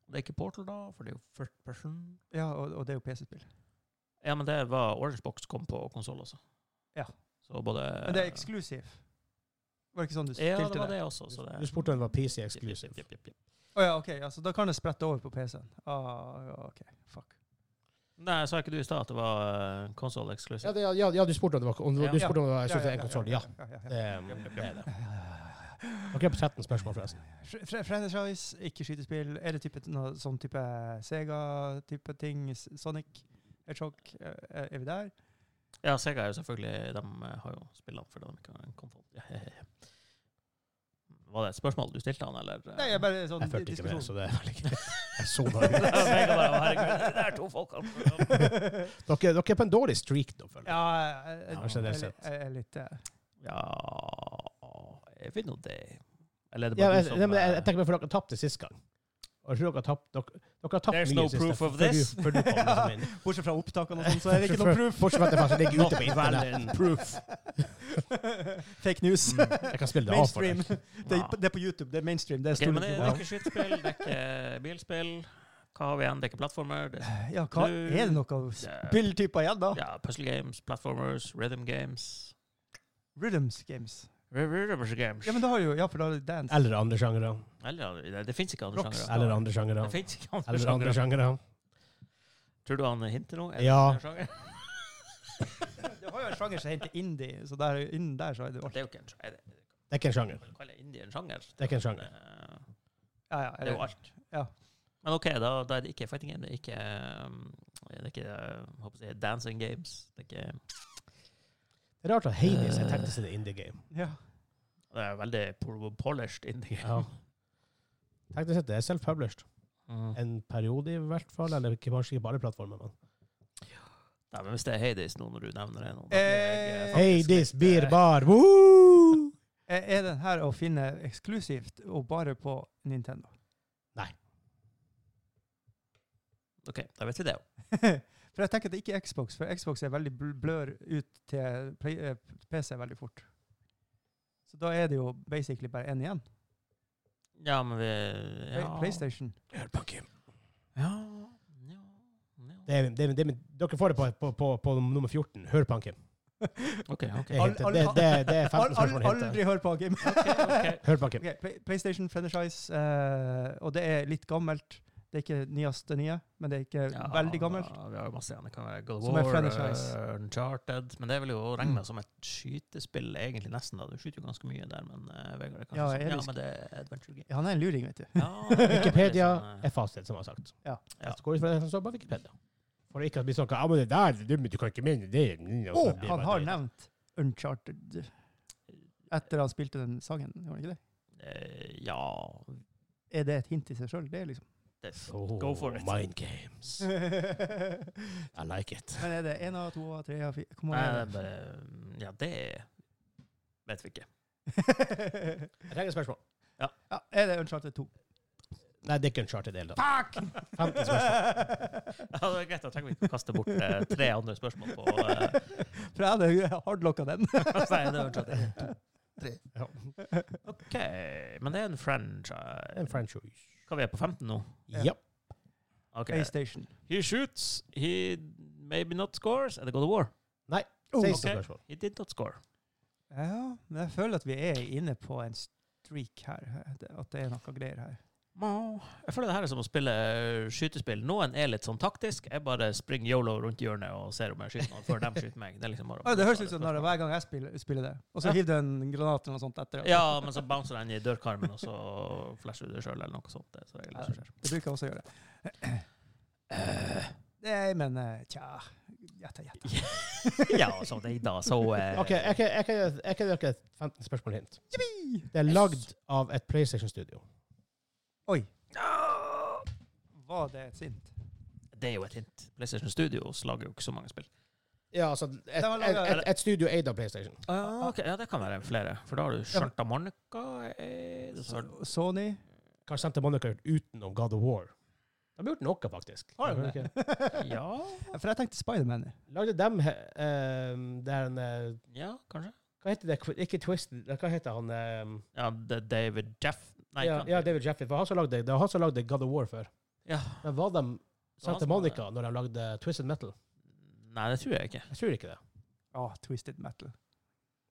S3: Det er ikke Portal, da, for det er jo first person.
S2: ja, og, og det er jo PC-spill.
S3: Ja, men det var Orange Box kom på konsoll også.
S2: Ja.
S3: Så både
S2: Men det
S1: Eh.
S2: er eksklusiv. Var det ikke sånn du
S3: Ja,
S2: stilte
S3: det var det også. Så det
S1: Du spurte om det var PC exclusive.
S3: Jepp, jepp, jepp.
S2: Å ja, ok, ja, så da kan det sprette over på PC-en. Ah, ja, ok, fuck.
S3: Nei, sa ikke du i stad at det var konsoll exclusive?
S1: Ja, det, ja, ja, du spurte om det var, om, du
S3: Ja.
S1: spurte om det var i så fall
S2: ja,
S1: en konsoll. Ja,
S2: ja, ja,
S1: det,
S2: ja.
S1: det er det. Dere er på 13 spørsmål, forresten.
S2: Fra- fra- Franchise, ikke skytespill. Er det type, noe sånn type Sega-type ting? S- Sonic? Hedgehog? Er, er vi der?
S3: Ja, Sega er jo selvfølgelig De eh, har jo spillene fordi de ikke har en konsoll. Ja, ja, ja. Var det et spørsmål du stilte han, eller? eh?
S2: Nei, jeg bare sånn
S1: Jeg fulgte ikke med, så
S2: diskusjon.
S1: det er vel ikke Jeg så bare ut.
S3: Sega bare, «Å, herregud, det der er to folk altså.
S1: Dere, dere er på en dårlig streak nå, føler jeg.
S2: Ja, jeg, jeg,
S1: Ja, generelt
S2: jeg,
S1: sett.
S2: jeg er litt... eh,
S3: Ja Jeg vet nå det. Eller er det
S1: Ja,
S3: bare
S1: jeg,
S3: du som
S1: nei, men jeg, jeg
S3: eh,
S1: tenker meg for dere tapte sist gang. Og jeg tror dere har tapt dere, dere har tapt
S3: There's
S1: mye
S3: no
S1: sist,
S3: proof
S1: før
S3: of
S1: du-
S3: this.
S1: Før du kom liksom inn.
S2: Bortsett fra opptakene og sånn, så er det ikke noe
S1: Bortsett-
S2: proof.
S1: Bortsett fra at det faktisk ligger ute på
S3: Not valid.
S1: internett. Proof.
S2: Fake news.
S1: Jeg kan spille det av for
S2: Mainstream.
S1: deg.
S2: Det, er- det er på YouTube. Det er mainstream. Det er
S3: Ok,
S2: store
S3: men det, det
S2: ja.
S3: er ikke skytespill, det er ikke bilspill. Hva har vi igjen? Det er ikke plattformer. Det
S2: ja, hva er det noe av
S3: er
S2: spilltyper igjen, da?
S3: ja, puzzle games, platformers, rhythm games.
S2: Rhythms games.
S3: Rhythm games.
S2: Ja, men da har jo Ja, for da er det dance.
S1: Eller andre sjangere.
S3: Eller, det, det fins ikke andre
S2: Rocks.
S3: sjangere.
S1: Eller andre sjangere.
S3: Det finnes ikke andre
S1: Eller andre
S3: sjangere.
S1: sjangere.
S3: Tror du han hinter noe? Er det
S1: Ja.
S3: en sjanger?
S2: Det har jo en sjanger som heter indie, så der, innen der så er det jo alt.
S3: Det er jo ikke en sjanger.
S1: Det er ikke en sjanger.
S3: Man kaller indie en sjanger.
S1: Det er ikke en sjanger.
S3: Eh,
S2: Ja, ja,
S3: Det er jo
S2: eller-
S3: alt.
S2: Ja.
S3: Men OK, da, da er det ikke fighting game, det er ikke, um, det er ikke uh, håper jeg, dancing games. Det er, ikke,
S1: Det er rart at Hades er tenkt til det indie game.
S2: ja.
S3: det er veldig po- polished indie game.
S1: Ja. Teknisk sett, det er self-published.
S3: Mm.
S1: En periode i hvert fall, eller ikke- kanskje ikke på alle plattformer, men.
S3: Nei, men hvis det er Hades nå når du nevner det nå da blir
S2: Eh,
S3: jeg, eh, faktisk
S1: Hades
S3: litt,
S1: beer
S3: eh,
S1: bar, woohoo!
S2: Er er den her å finne eksklusivt og bare på Nintendo?
S3: OK, da vet vi det.
S2: for jeg tenker at det ikke er Xbox, for Xbox er veldig bl- blør ut til play, eh, PC veldig fort. Så da er det jo basically bare én igjen.
S3: Ja, men vi
S2: Play,
S3: ja.
S2: PlayStation.
S3: Ja, ja, ja.
S1: Det er, det er, det er, dere får det på, på, på, på nummer 14. Hør på han, Kim.
S3: OK, OK.
S1: Det er, hintet.
S2: Alle-
S1: det, det, det er 15
S2: Al- al-
S1: spørsmål hintet.
S2: aldri hør på Kim!
S3: ok.
S1: Hør på han, Kim.
S2: Ok, Play- PlayStation franchise, eh, og det er litt gammelt. Det er ikke nyeste nye, men det er ikke
S3: Ja,
S2: veldig gammelt.
S3: Ja, vi har jo masse igjen. Det kan være God of
S2: Som er
S3: War,
S2: franchise.
S3: eh, Uncharted Men det vil jo regne
S2: Mm.
S3: som et skytespill, egentlig, nesten. da Du skyter jo ganske mye der, men eh, Vegard er kanskje
S2: Ja,
S3: sånn, ja,
S2: Eris.
S3: men det er adventure game.
S2: Ja, Han er en luring, vet du.
S3: Ja, det er
S1: Wikipedia
S3: sånn, eh,
S1: er fasit, som jeg har sagt.
S2: Ja.
S3: Ja.
S1: Jeg går ut fra det som står på Wikipedia. For ikke at vi snakker ja, men det der, du, men du kan ikke mene det. mm, og
S2: Og
S1: så blir
S2: han
S1: det
S2: har
S1: bare-
S2: nevnt Uncharted etter han spilte den sangen. Gjorde han ikke det?
S3: eh, ja
S2: Er det et hint i seg sjøl, det, liksom?
S3: det,
S1: Oh,
S3: Go for it.
S1: Mind games.
S2: men
S1: I like it.
S2: er det én av to av tre av fire? Hvor
S3: Nei,
S2: mange er det?
S3: det er Eh, bare Ja, det vet vi ikke.
S1: Jeg trenger et spørsmål.
S2: ja, er det Uncharted 2?
S1: Nei, det er ikke en charter del, da.
S2: Fuck!
S1: 15 spørsmål.
S3: Ja, det er greit, da trenger vi ikke kaste bort eh, tre andre spørsmål på eh,
S2: For jeg hadde hardlocka den.
S3: Nei, det var Uncharted.
S1: Ja.
S3: OK, men det er en franchise.
S1: En franchise.
S3: Hva vi er på 15 nå?
S2: Ja.
S1: Ja.
S3: Ok.
S2: PlayStation.
S3: He shoots, he maybe not scores. Er det God of War?
S2: Oh,
S1: Siste
S3: ok.
S1: spørsmål.
S3: He did not score.
S2: Ja, men jeg føler at vi er inne på en streak her. At det er noe greier her.
S3: Jeg føler det her er som å spille eh, skytespill. Noen er litt sånn taktisk. Jeg bare springer yolo rundt hjørnet og ser om jeg skyter noen før de skyter meg. Det, er liksom bare,
S2: Ah, det høres ut som når det- hver gang jeg spiller, spiller det. Og så
S3: Ja.
S2: hiver du en granat eller noe sånt etter.
S3: Ja, men så bouncer den i dørkarmen, og så flasher du det sjøl, eller noe sånt. Det er så
S2: Ja,
S3: regel det
S2: det
S3: som skjer.
S2: bruker jeg også å gjøre. Nei, men eh, tja Gjett, gjett.
S3: Ja, så det er da, så eh,
S1: OK, jeg kan- jeg kan- jeg kan dere et 15 spørsmål-hint. Det er lagd av et PlayStation-studio.
S2: Oi. Var det et sint?
S3: Det er jo et hint. PlayStation Studios lager jo ikke så mange spill.
S1: Ja, altså et,
S2: De har laget-
S1: et, et, et studio eid av PlayStation.
S3: Ah, ok, Ja, det kan være flere. For da har du Sharta Monica eh, det er-
S2: Sony?
S1: Kanskje Santa Monica har gjort utenom God of War. De har gjort noe, faktisk.
S2: Har de
S1: Har de ikke?
S3: Ja,
S2: For jeg tenkte Spiderman.
S1: Lagde dem uh, der en eh,
S3: ja kanskje.
S1: Hva heter det? Qu- Ikke Twist eh, Hva heter han? ehm,
S3: Ja, det er David Jeff Nei,
S1: ja,
S3: ikke
S1: ja,
S3: han.
S1: David Jeffrey. For han som lagde, det var han som lagde God of War før.
S3: Ja.
S1: Men var de
S3: var han
S1: Santa
S3: som var
S1: Monica når de lagde Twisted Metal?
S3: Nei, det tror jeg ikke.
S1: Jeg tror ikke det.
S2: Ja, Twisted Metal.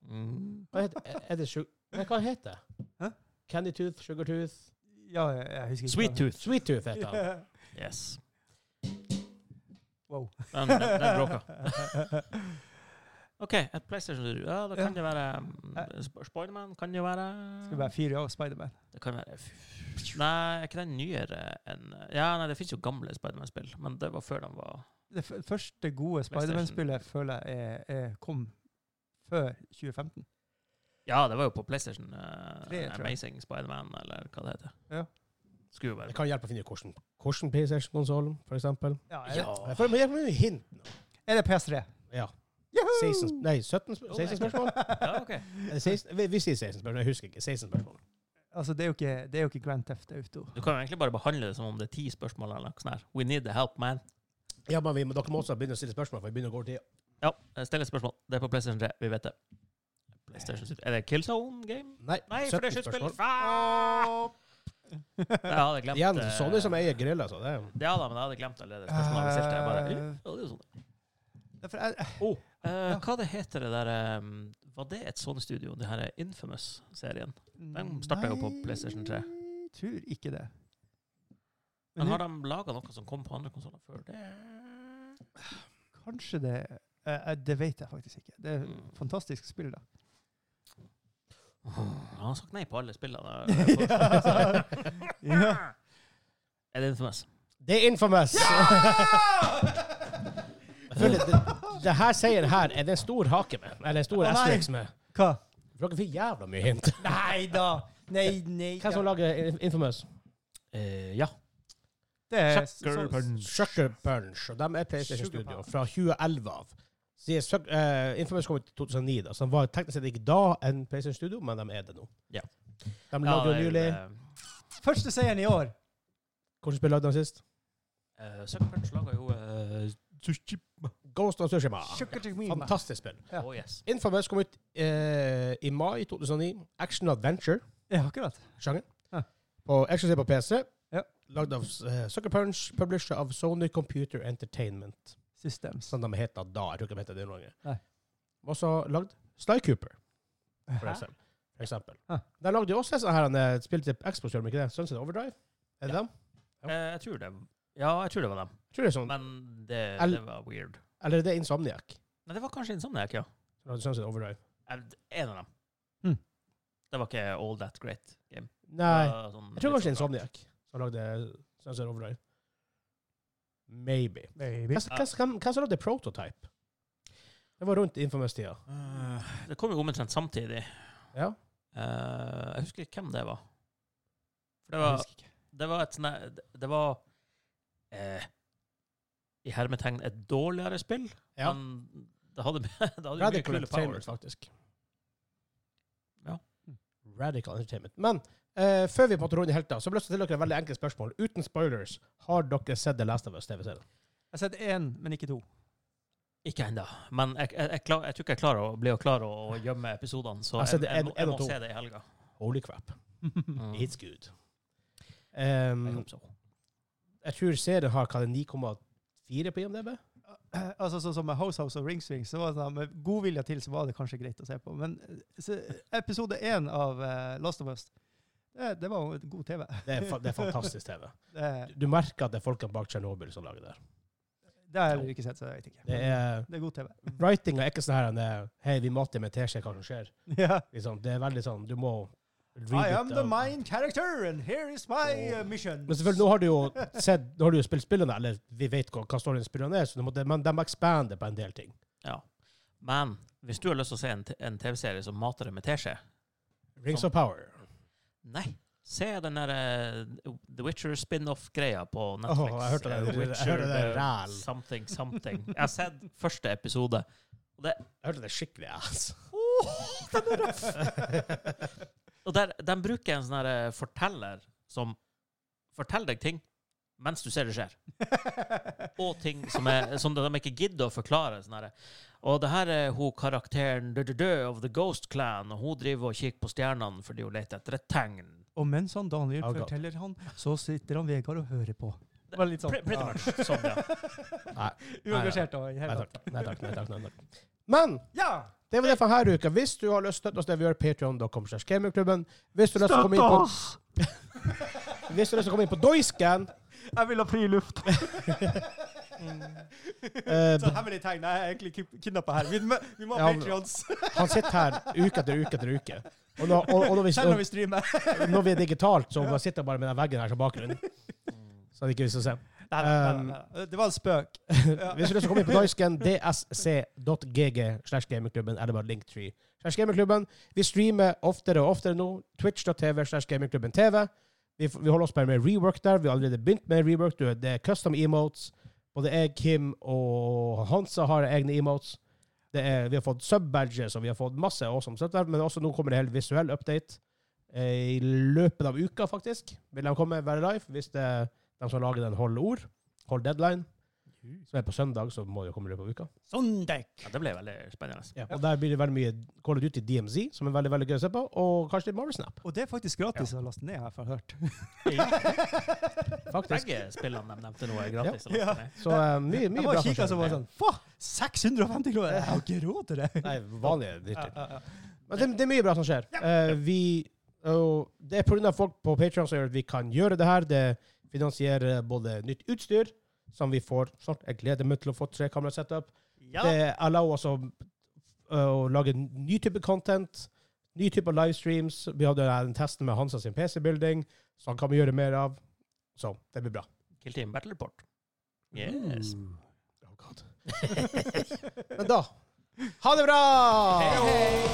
S3: Mm.
S1: Hva heter, er- er det sju... Nei, hva heter det?
S2: Hæ?
S1: Candy Tooth? Sugar Tooth?
S2: Ja, jeg, jeg husker ikke.
S3: Sweet Tooth.
S1: Sweet Tooth heter han.
S3: Yes.
S2: Wow.
S3: Den, den, den bråka. OK, et PlayStation Ja, da kan det være mm, Sp- Spiderman kan jo være
S2: Skal være fire år Spiderman.
S3: Det kan være f- Nei, er ikke den nyere enn Ja, nei, det fins jo gamle Spiderman-spill, men det var før de var
S2: Det f første gode Spiderman-spillet føler jeg er, er, kom før 2015.
S3: Ja, det var jo på PlayStation. eh,
S2: Tre, tror jeg.
S3: Amazing Spiderman, eller hva det heter.
S2: Ja.
S3: Skulle jo
S1: Det
S3: være
S1: kan hjelpe å finne ut hvordan, hvordan PlayStation-konsollen, for eksempel.
S2: Ja, er,
S3: Ja.
S1: Jeg føler- Men jeg får noen hint nå.
S2: er det PS3?
S1: Ja.
S2: Yahoo!
S1: 16, sp- nei, 17 sp- 16 spørsmål?
S3: Ja, OK.
S1: Er det 16? Vi, vi sier 16 spørsmål, jeg husker ikke. 16 spørsmål.
S2: Altså, det er jo ikke, det er jo ikke Grand Theft Auto.
S3: Du kan jo egentlig bare behandle det som om det er ti spørsmål eller noe sånt. her. We need the help, man.
S1: Ja, men vi, men dere må også begynne å stille spørsmål, for vi begynner å gå til
S3: Ja, eh, still et spørsmål. Det er på PlayStation 3. Vi vet det. PlayStation 7. Er det Killzone Game?
S1: Nei,
S3: Nei, for det er
S1: 17 spørsmål.
S3: sluttspill. Ah! Jeg hadde glemt
S1: Igjen,
S3: eh,
S1: Sony som eier griller, så det er
S3: Ja da, men jeg hadde glemt allerede spørsmålet. vi stilte. Jeg bare, ja, det er jo sånn.
S2: Derfor jeg,
S3: Eh, hva det heter det der ehm, Var det et sånt studio, det her Infamous-serien? Den startet jo på
S2: Nei,
S3: PlayStation 3.
S2: Tror ikke det.
S3: Men
S2: Men
S3: har
S2: det,
S3: de laga noe som kom på andre konsoller før det?
S2: kanskje det eh, eh, Det vet jeg faktisk ikke. Det er
S3: Mm.
S2: fantastisk spill, da.
S3: Han har sagt nei på alle spillene.
S2: Ja. Ja.
S3: Er det Infamous?
S1: Det er infamous! Jeg føler det, det her seieren her er det en stor hake med. Eller en stor
S2: Å, nei.
S1: S-rex med.
S2: Hva?
S1: For dere får jævla mye hint.
S2: Nei da! Nei, nei
S1: Hvem som lager In- infamous?
S3: Øh, ja.
S2: Det er
S3: Sucker
S2: så-
S3: Punch.
S1: Sucker Punch. Og de er PlayStation
S2: Sugar
S1: Studio
S2: Punch.
S1: fra 2011 av. Sier Suck- eh, infamous kom ut i 2009, da, så de var teknisk sett ikke da en PlayStation Studio, men de er det nå.
S3: Ja.
S1: De lagde jo nylig
S2: Første seieren i år.
S1: Hvilket spill lagde de sist?
S3: Sucker Punch laga jo eh, Sushi-
S1: Ghost of Tsushima.
S2: Sugar to me, man.
S1: Fantastisk spill.
S2: Ja.
S3: Oh, yes.
S1: Infamous kom ut eh, i mai 2009. Action Adventure.
S2: Ja, akkurat.
S1: sjanger.
S2: Ja.
S1: På eksklusiv på PC.
S2: Ja.
S1: Lagd av eh, Sucker Punch, publisher av Sony Computer Entertainment.
S2: Systems.
S1: Som de heter da. Jeg tror ikke de heter det nå
S2: Nei.
S1: lenger. Og så lagd Sly Cooper, for
S2: Hæ?
S1: eksempel. For eksempel.
S2: Ja.
S1: De lagde jo også sånn her han eh, spilte til Xbox, gjør de ikke det? Sunset Overdrive? Er det dem? Ja.
S3: Eh, jeg tror det Ja, jeg tror det var dem.
S1: Tror det er sånn.
S3: Men det,
S1: El-
S3: det var weird.
S1: Eller er det Insomniac?
S3: Nei, det var kanskje Insomniac, ja.
S1: som lagde Sunset Overdrive.
S3: Eh, En av dem.
S2: Mm.
S3: Det var ikke All That Great Game.
S1: Hmm. Nei,
S3: Det var sånn
S1: jeg tror
S3: litt
S1: kanskje
S3: sånn rart.
S1: Insomniac som lagde Sunset Overdrive. Maybe.
S2: Baby.
S1: Hvem hvem- hvem som lagde Prototype? Det var rundt Infamous-tida.
S3: Eh, Det kom jo omtrent samtidig.
S1: Ja.
S3: Eh, jeg husker ikke hvem det var. For det
S2: Jeg
S3: var,
S2: husker ikke.
S3: det var et sånn Det var eh, i hermetegn et dårligere spill,
S1: Ja.
S3: men det hadde, det hadde jo mye
S1: Radical
S3: kule
S1: Entertainment,
S3: powers.
S1: faktisk.
S3: Ja.
S1: Radical Entertainment. Men eh, før vi på en måte runder helt av, så har jeg lyst til å stille dere et veldig enkelt spørsmål. Uten spoilers, har dere sett The Last of Us TV-serien?
S2: Jeg har sett én, men ikke to.
S3: Ikke ennå, men jeg, jeg, jeg, klar, jeg tror ikke jeg klarer å bli klar å å gjemme episodene, så
S1: Altså,
S3: jeg,
S1: det er
S3: jeg, må,
S1: en
S3: jeg
S1: og
S3: må
S1: to.
S3: se det i helga.
S1: Holy crap.
S3: Mm.
S1: It's good.
S3: Jeg
S1: Um,
S3: håper så.
S1: jeg tror serien har hva det er, 9,4 på IMDb.
S2: Eh, Altså Sånn som med House House og Ring Swing, så var det sånn, med god vilje til så var det kanskje greit å se på. Men eh, så, episode én av eh, Last of Us, det, det var jo god TV.
S1: Det er, fa det er fantastisk TV.
S2: Det,
S1: Du merker at det er folkene bak Tsjernobyl som lager det. her.
S2: det har jeg heller ikke sett, så jeg vet ikke.
S1: Det er,
S2: det er god TV.
S1: writinga er ikke sånn her en, eh, Hei, vi måtte med teskje hva som skjer.
S2: Ja.
S1: Liksom, det er veldig sånn Du må
S2: I
S1: read
S2: am
S1: it,
S2: the
S1: um,
S2: main character, and here is my
S1: Og-
S2: uh, mission.
S1: Men selvfølgelig, nå har du jo sett, nå har du jo spilt spillene, eller vi vet hva, hva storyen i spillene er, så du måtte, men de expander på en del ting.
S3: Ja. Men hvis du har lyst til å se en, t- en TV-serie som mater deg med teskje
S1: Rings of Power.
S3: Nei. Se den der eh, The Witcher spin-off-greia på
S1: Åh,
S3: Netflix.
S1: jeg hørte det. Jeg
S3: Eh,
S1: hørte det.
S3: Witcher, eh,
S1: Ræl.
S3: Something, something. Jeg har sett første episode.
S1: Jeg hørte det skikkelig ass.
S3: den er røff! Og der, de bruker en sånn her eh, forteller som forteller deg ting mens du ser det skjer. Og ting som, er, som de ikke gidder å forklare. Sånn her. og det her er hun karakteren død, død, død, of The Ghost Clan, og hun driver og kikker på stjernene fordi hun leter etter et tegn.
S2: Og mens han Daniel
S1: Oh, God.
S2: forteller han, så sitter han Vegard og hører på. Det var litt sånn.
S3: Pre- Pretty much. Sånn, ja.
S1: Nei.
S2: Uengasjert og i
S1: Nei
S2: hele tatt.
S1: takk. Nei takk. Nei, takk. Nei, takk. Men
S2: Ja!
S1: det var det for denne uka. Hvis du har lyst til å støtte oss, det vi gjør, patreon.com slash gamingklubben. Hvis du har lyst til å komme inn på Hvis du har lyst til å komme inn på Doiscan
S2: Jeg vil ha fri luft! Mm.
S1: eh,
S2: Så hemmelig tegn. Nei, Jeg er egentlig kidnappa her. Vi, må- vi må ha
S1: Ja, men-
S2: Patreons
S1: Han sitter her uke etter uke etter uke. Og når, og, og når, vi,
S2: selv når vi streamer.
S1: og når vi er digitalt, så han sitter han bare med den veggen her som bakgrunn. Så han ikke vil se.
S2: Nei, nei, nei, nei, nei. Eh, Det var en spøk.
S1: Hvis du har lyst til å komme inn på Doisken, dsc.gg slash gamingklubben, eller bare linktree slash gamingklubben. Vi streamer oftere og oftere nå. Twitch.tv slash gamingklubben TV. Vi, f- vi holder oss bare med rework der. Vi har allerede begynt med rework. Du, Det er custom emotes. Både jeg, Kim og Hansa har egne emotes. Det er, vi har fått sub-badges, og vi har fått masse awesome stuff der, men også nå kommer det helt visuell update. eh, eh, i løpet av uka, faktisk. Vil de komme være live hvis det, de som lager den, holder ord. Holder deadline. Som er på søndag, så må det jo komme i løpet av uka.
S2: Søndag!
S3: Ja, det ble veldig spennende.
S1: Og der blir det veldig mye Call of Duty DMZ, som er veldig veldig gøy å se på, og kanskje litt Marvel Snap.
S2: Og det er faktisk gratis å laste ned, har jeg hørt.
S1: Faktisk.
S3: Begge spillene de nevnte nå, er gratis. å
S2: Ja.
S3: laste ned.
S1: Så eh, mye,
S2: Jeg
S1: mye
S2: bare
S1: bra.
S2: kikket så
S1: forskjellig.
S2: var det sånn Få! 650 kroner! Jeg har ikke råd til det!
S1: Nei, vanlige
S2: Ja,
S1: dytter.
S2: ja, ja.
S1: Men det, det er mye bra som skjer. Eh, vi, og det er pga. folk på Patreon som gjør at vi kan gjøre det her. Det finansierer både nytt utstyr, som vi får snart. Jeg gleder meg til å få trekamerasetup.
S3: Ja.
S1: Det allow oss å, å lage en ny type content, ny type livestreams. Vi hadde den testen med Hansa sin PC-building, så han kan vi gjøre mer av. Så det blir bra.
S3: Kill Team Battle Report. Yes.
S1: Mm. Men da Ha det bra!
S3: Hei!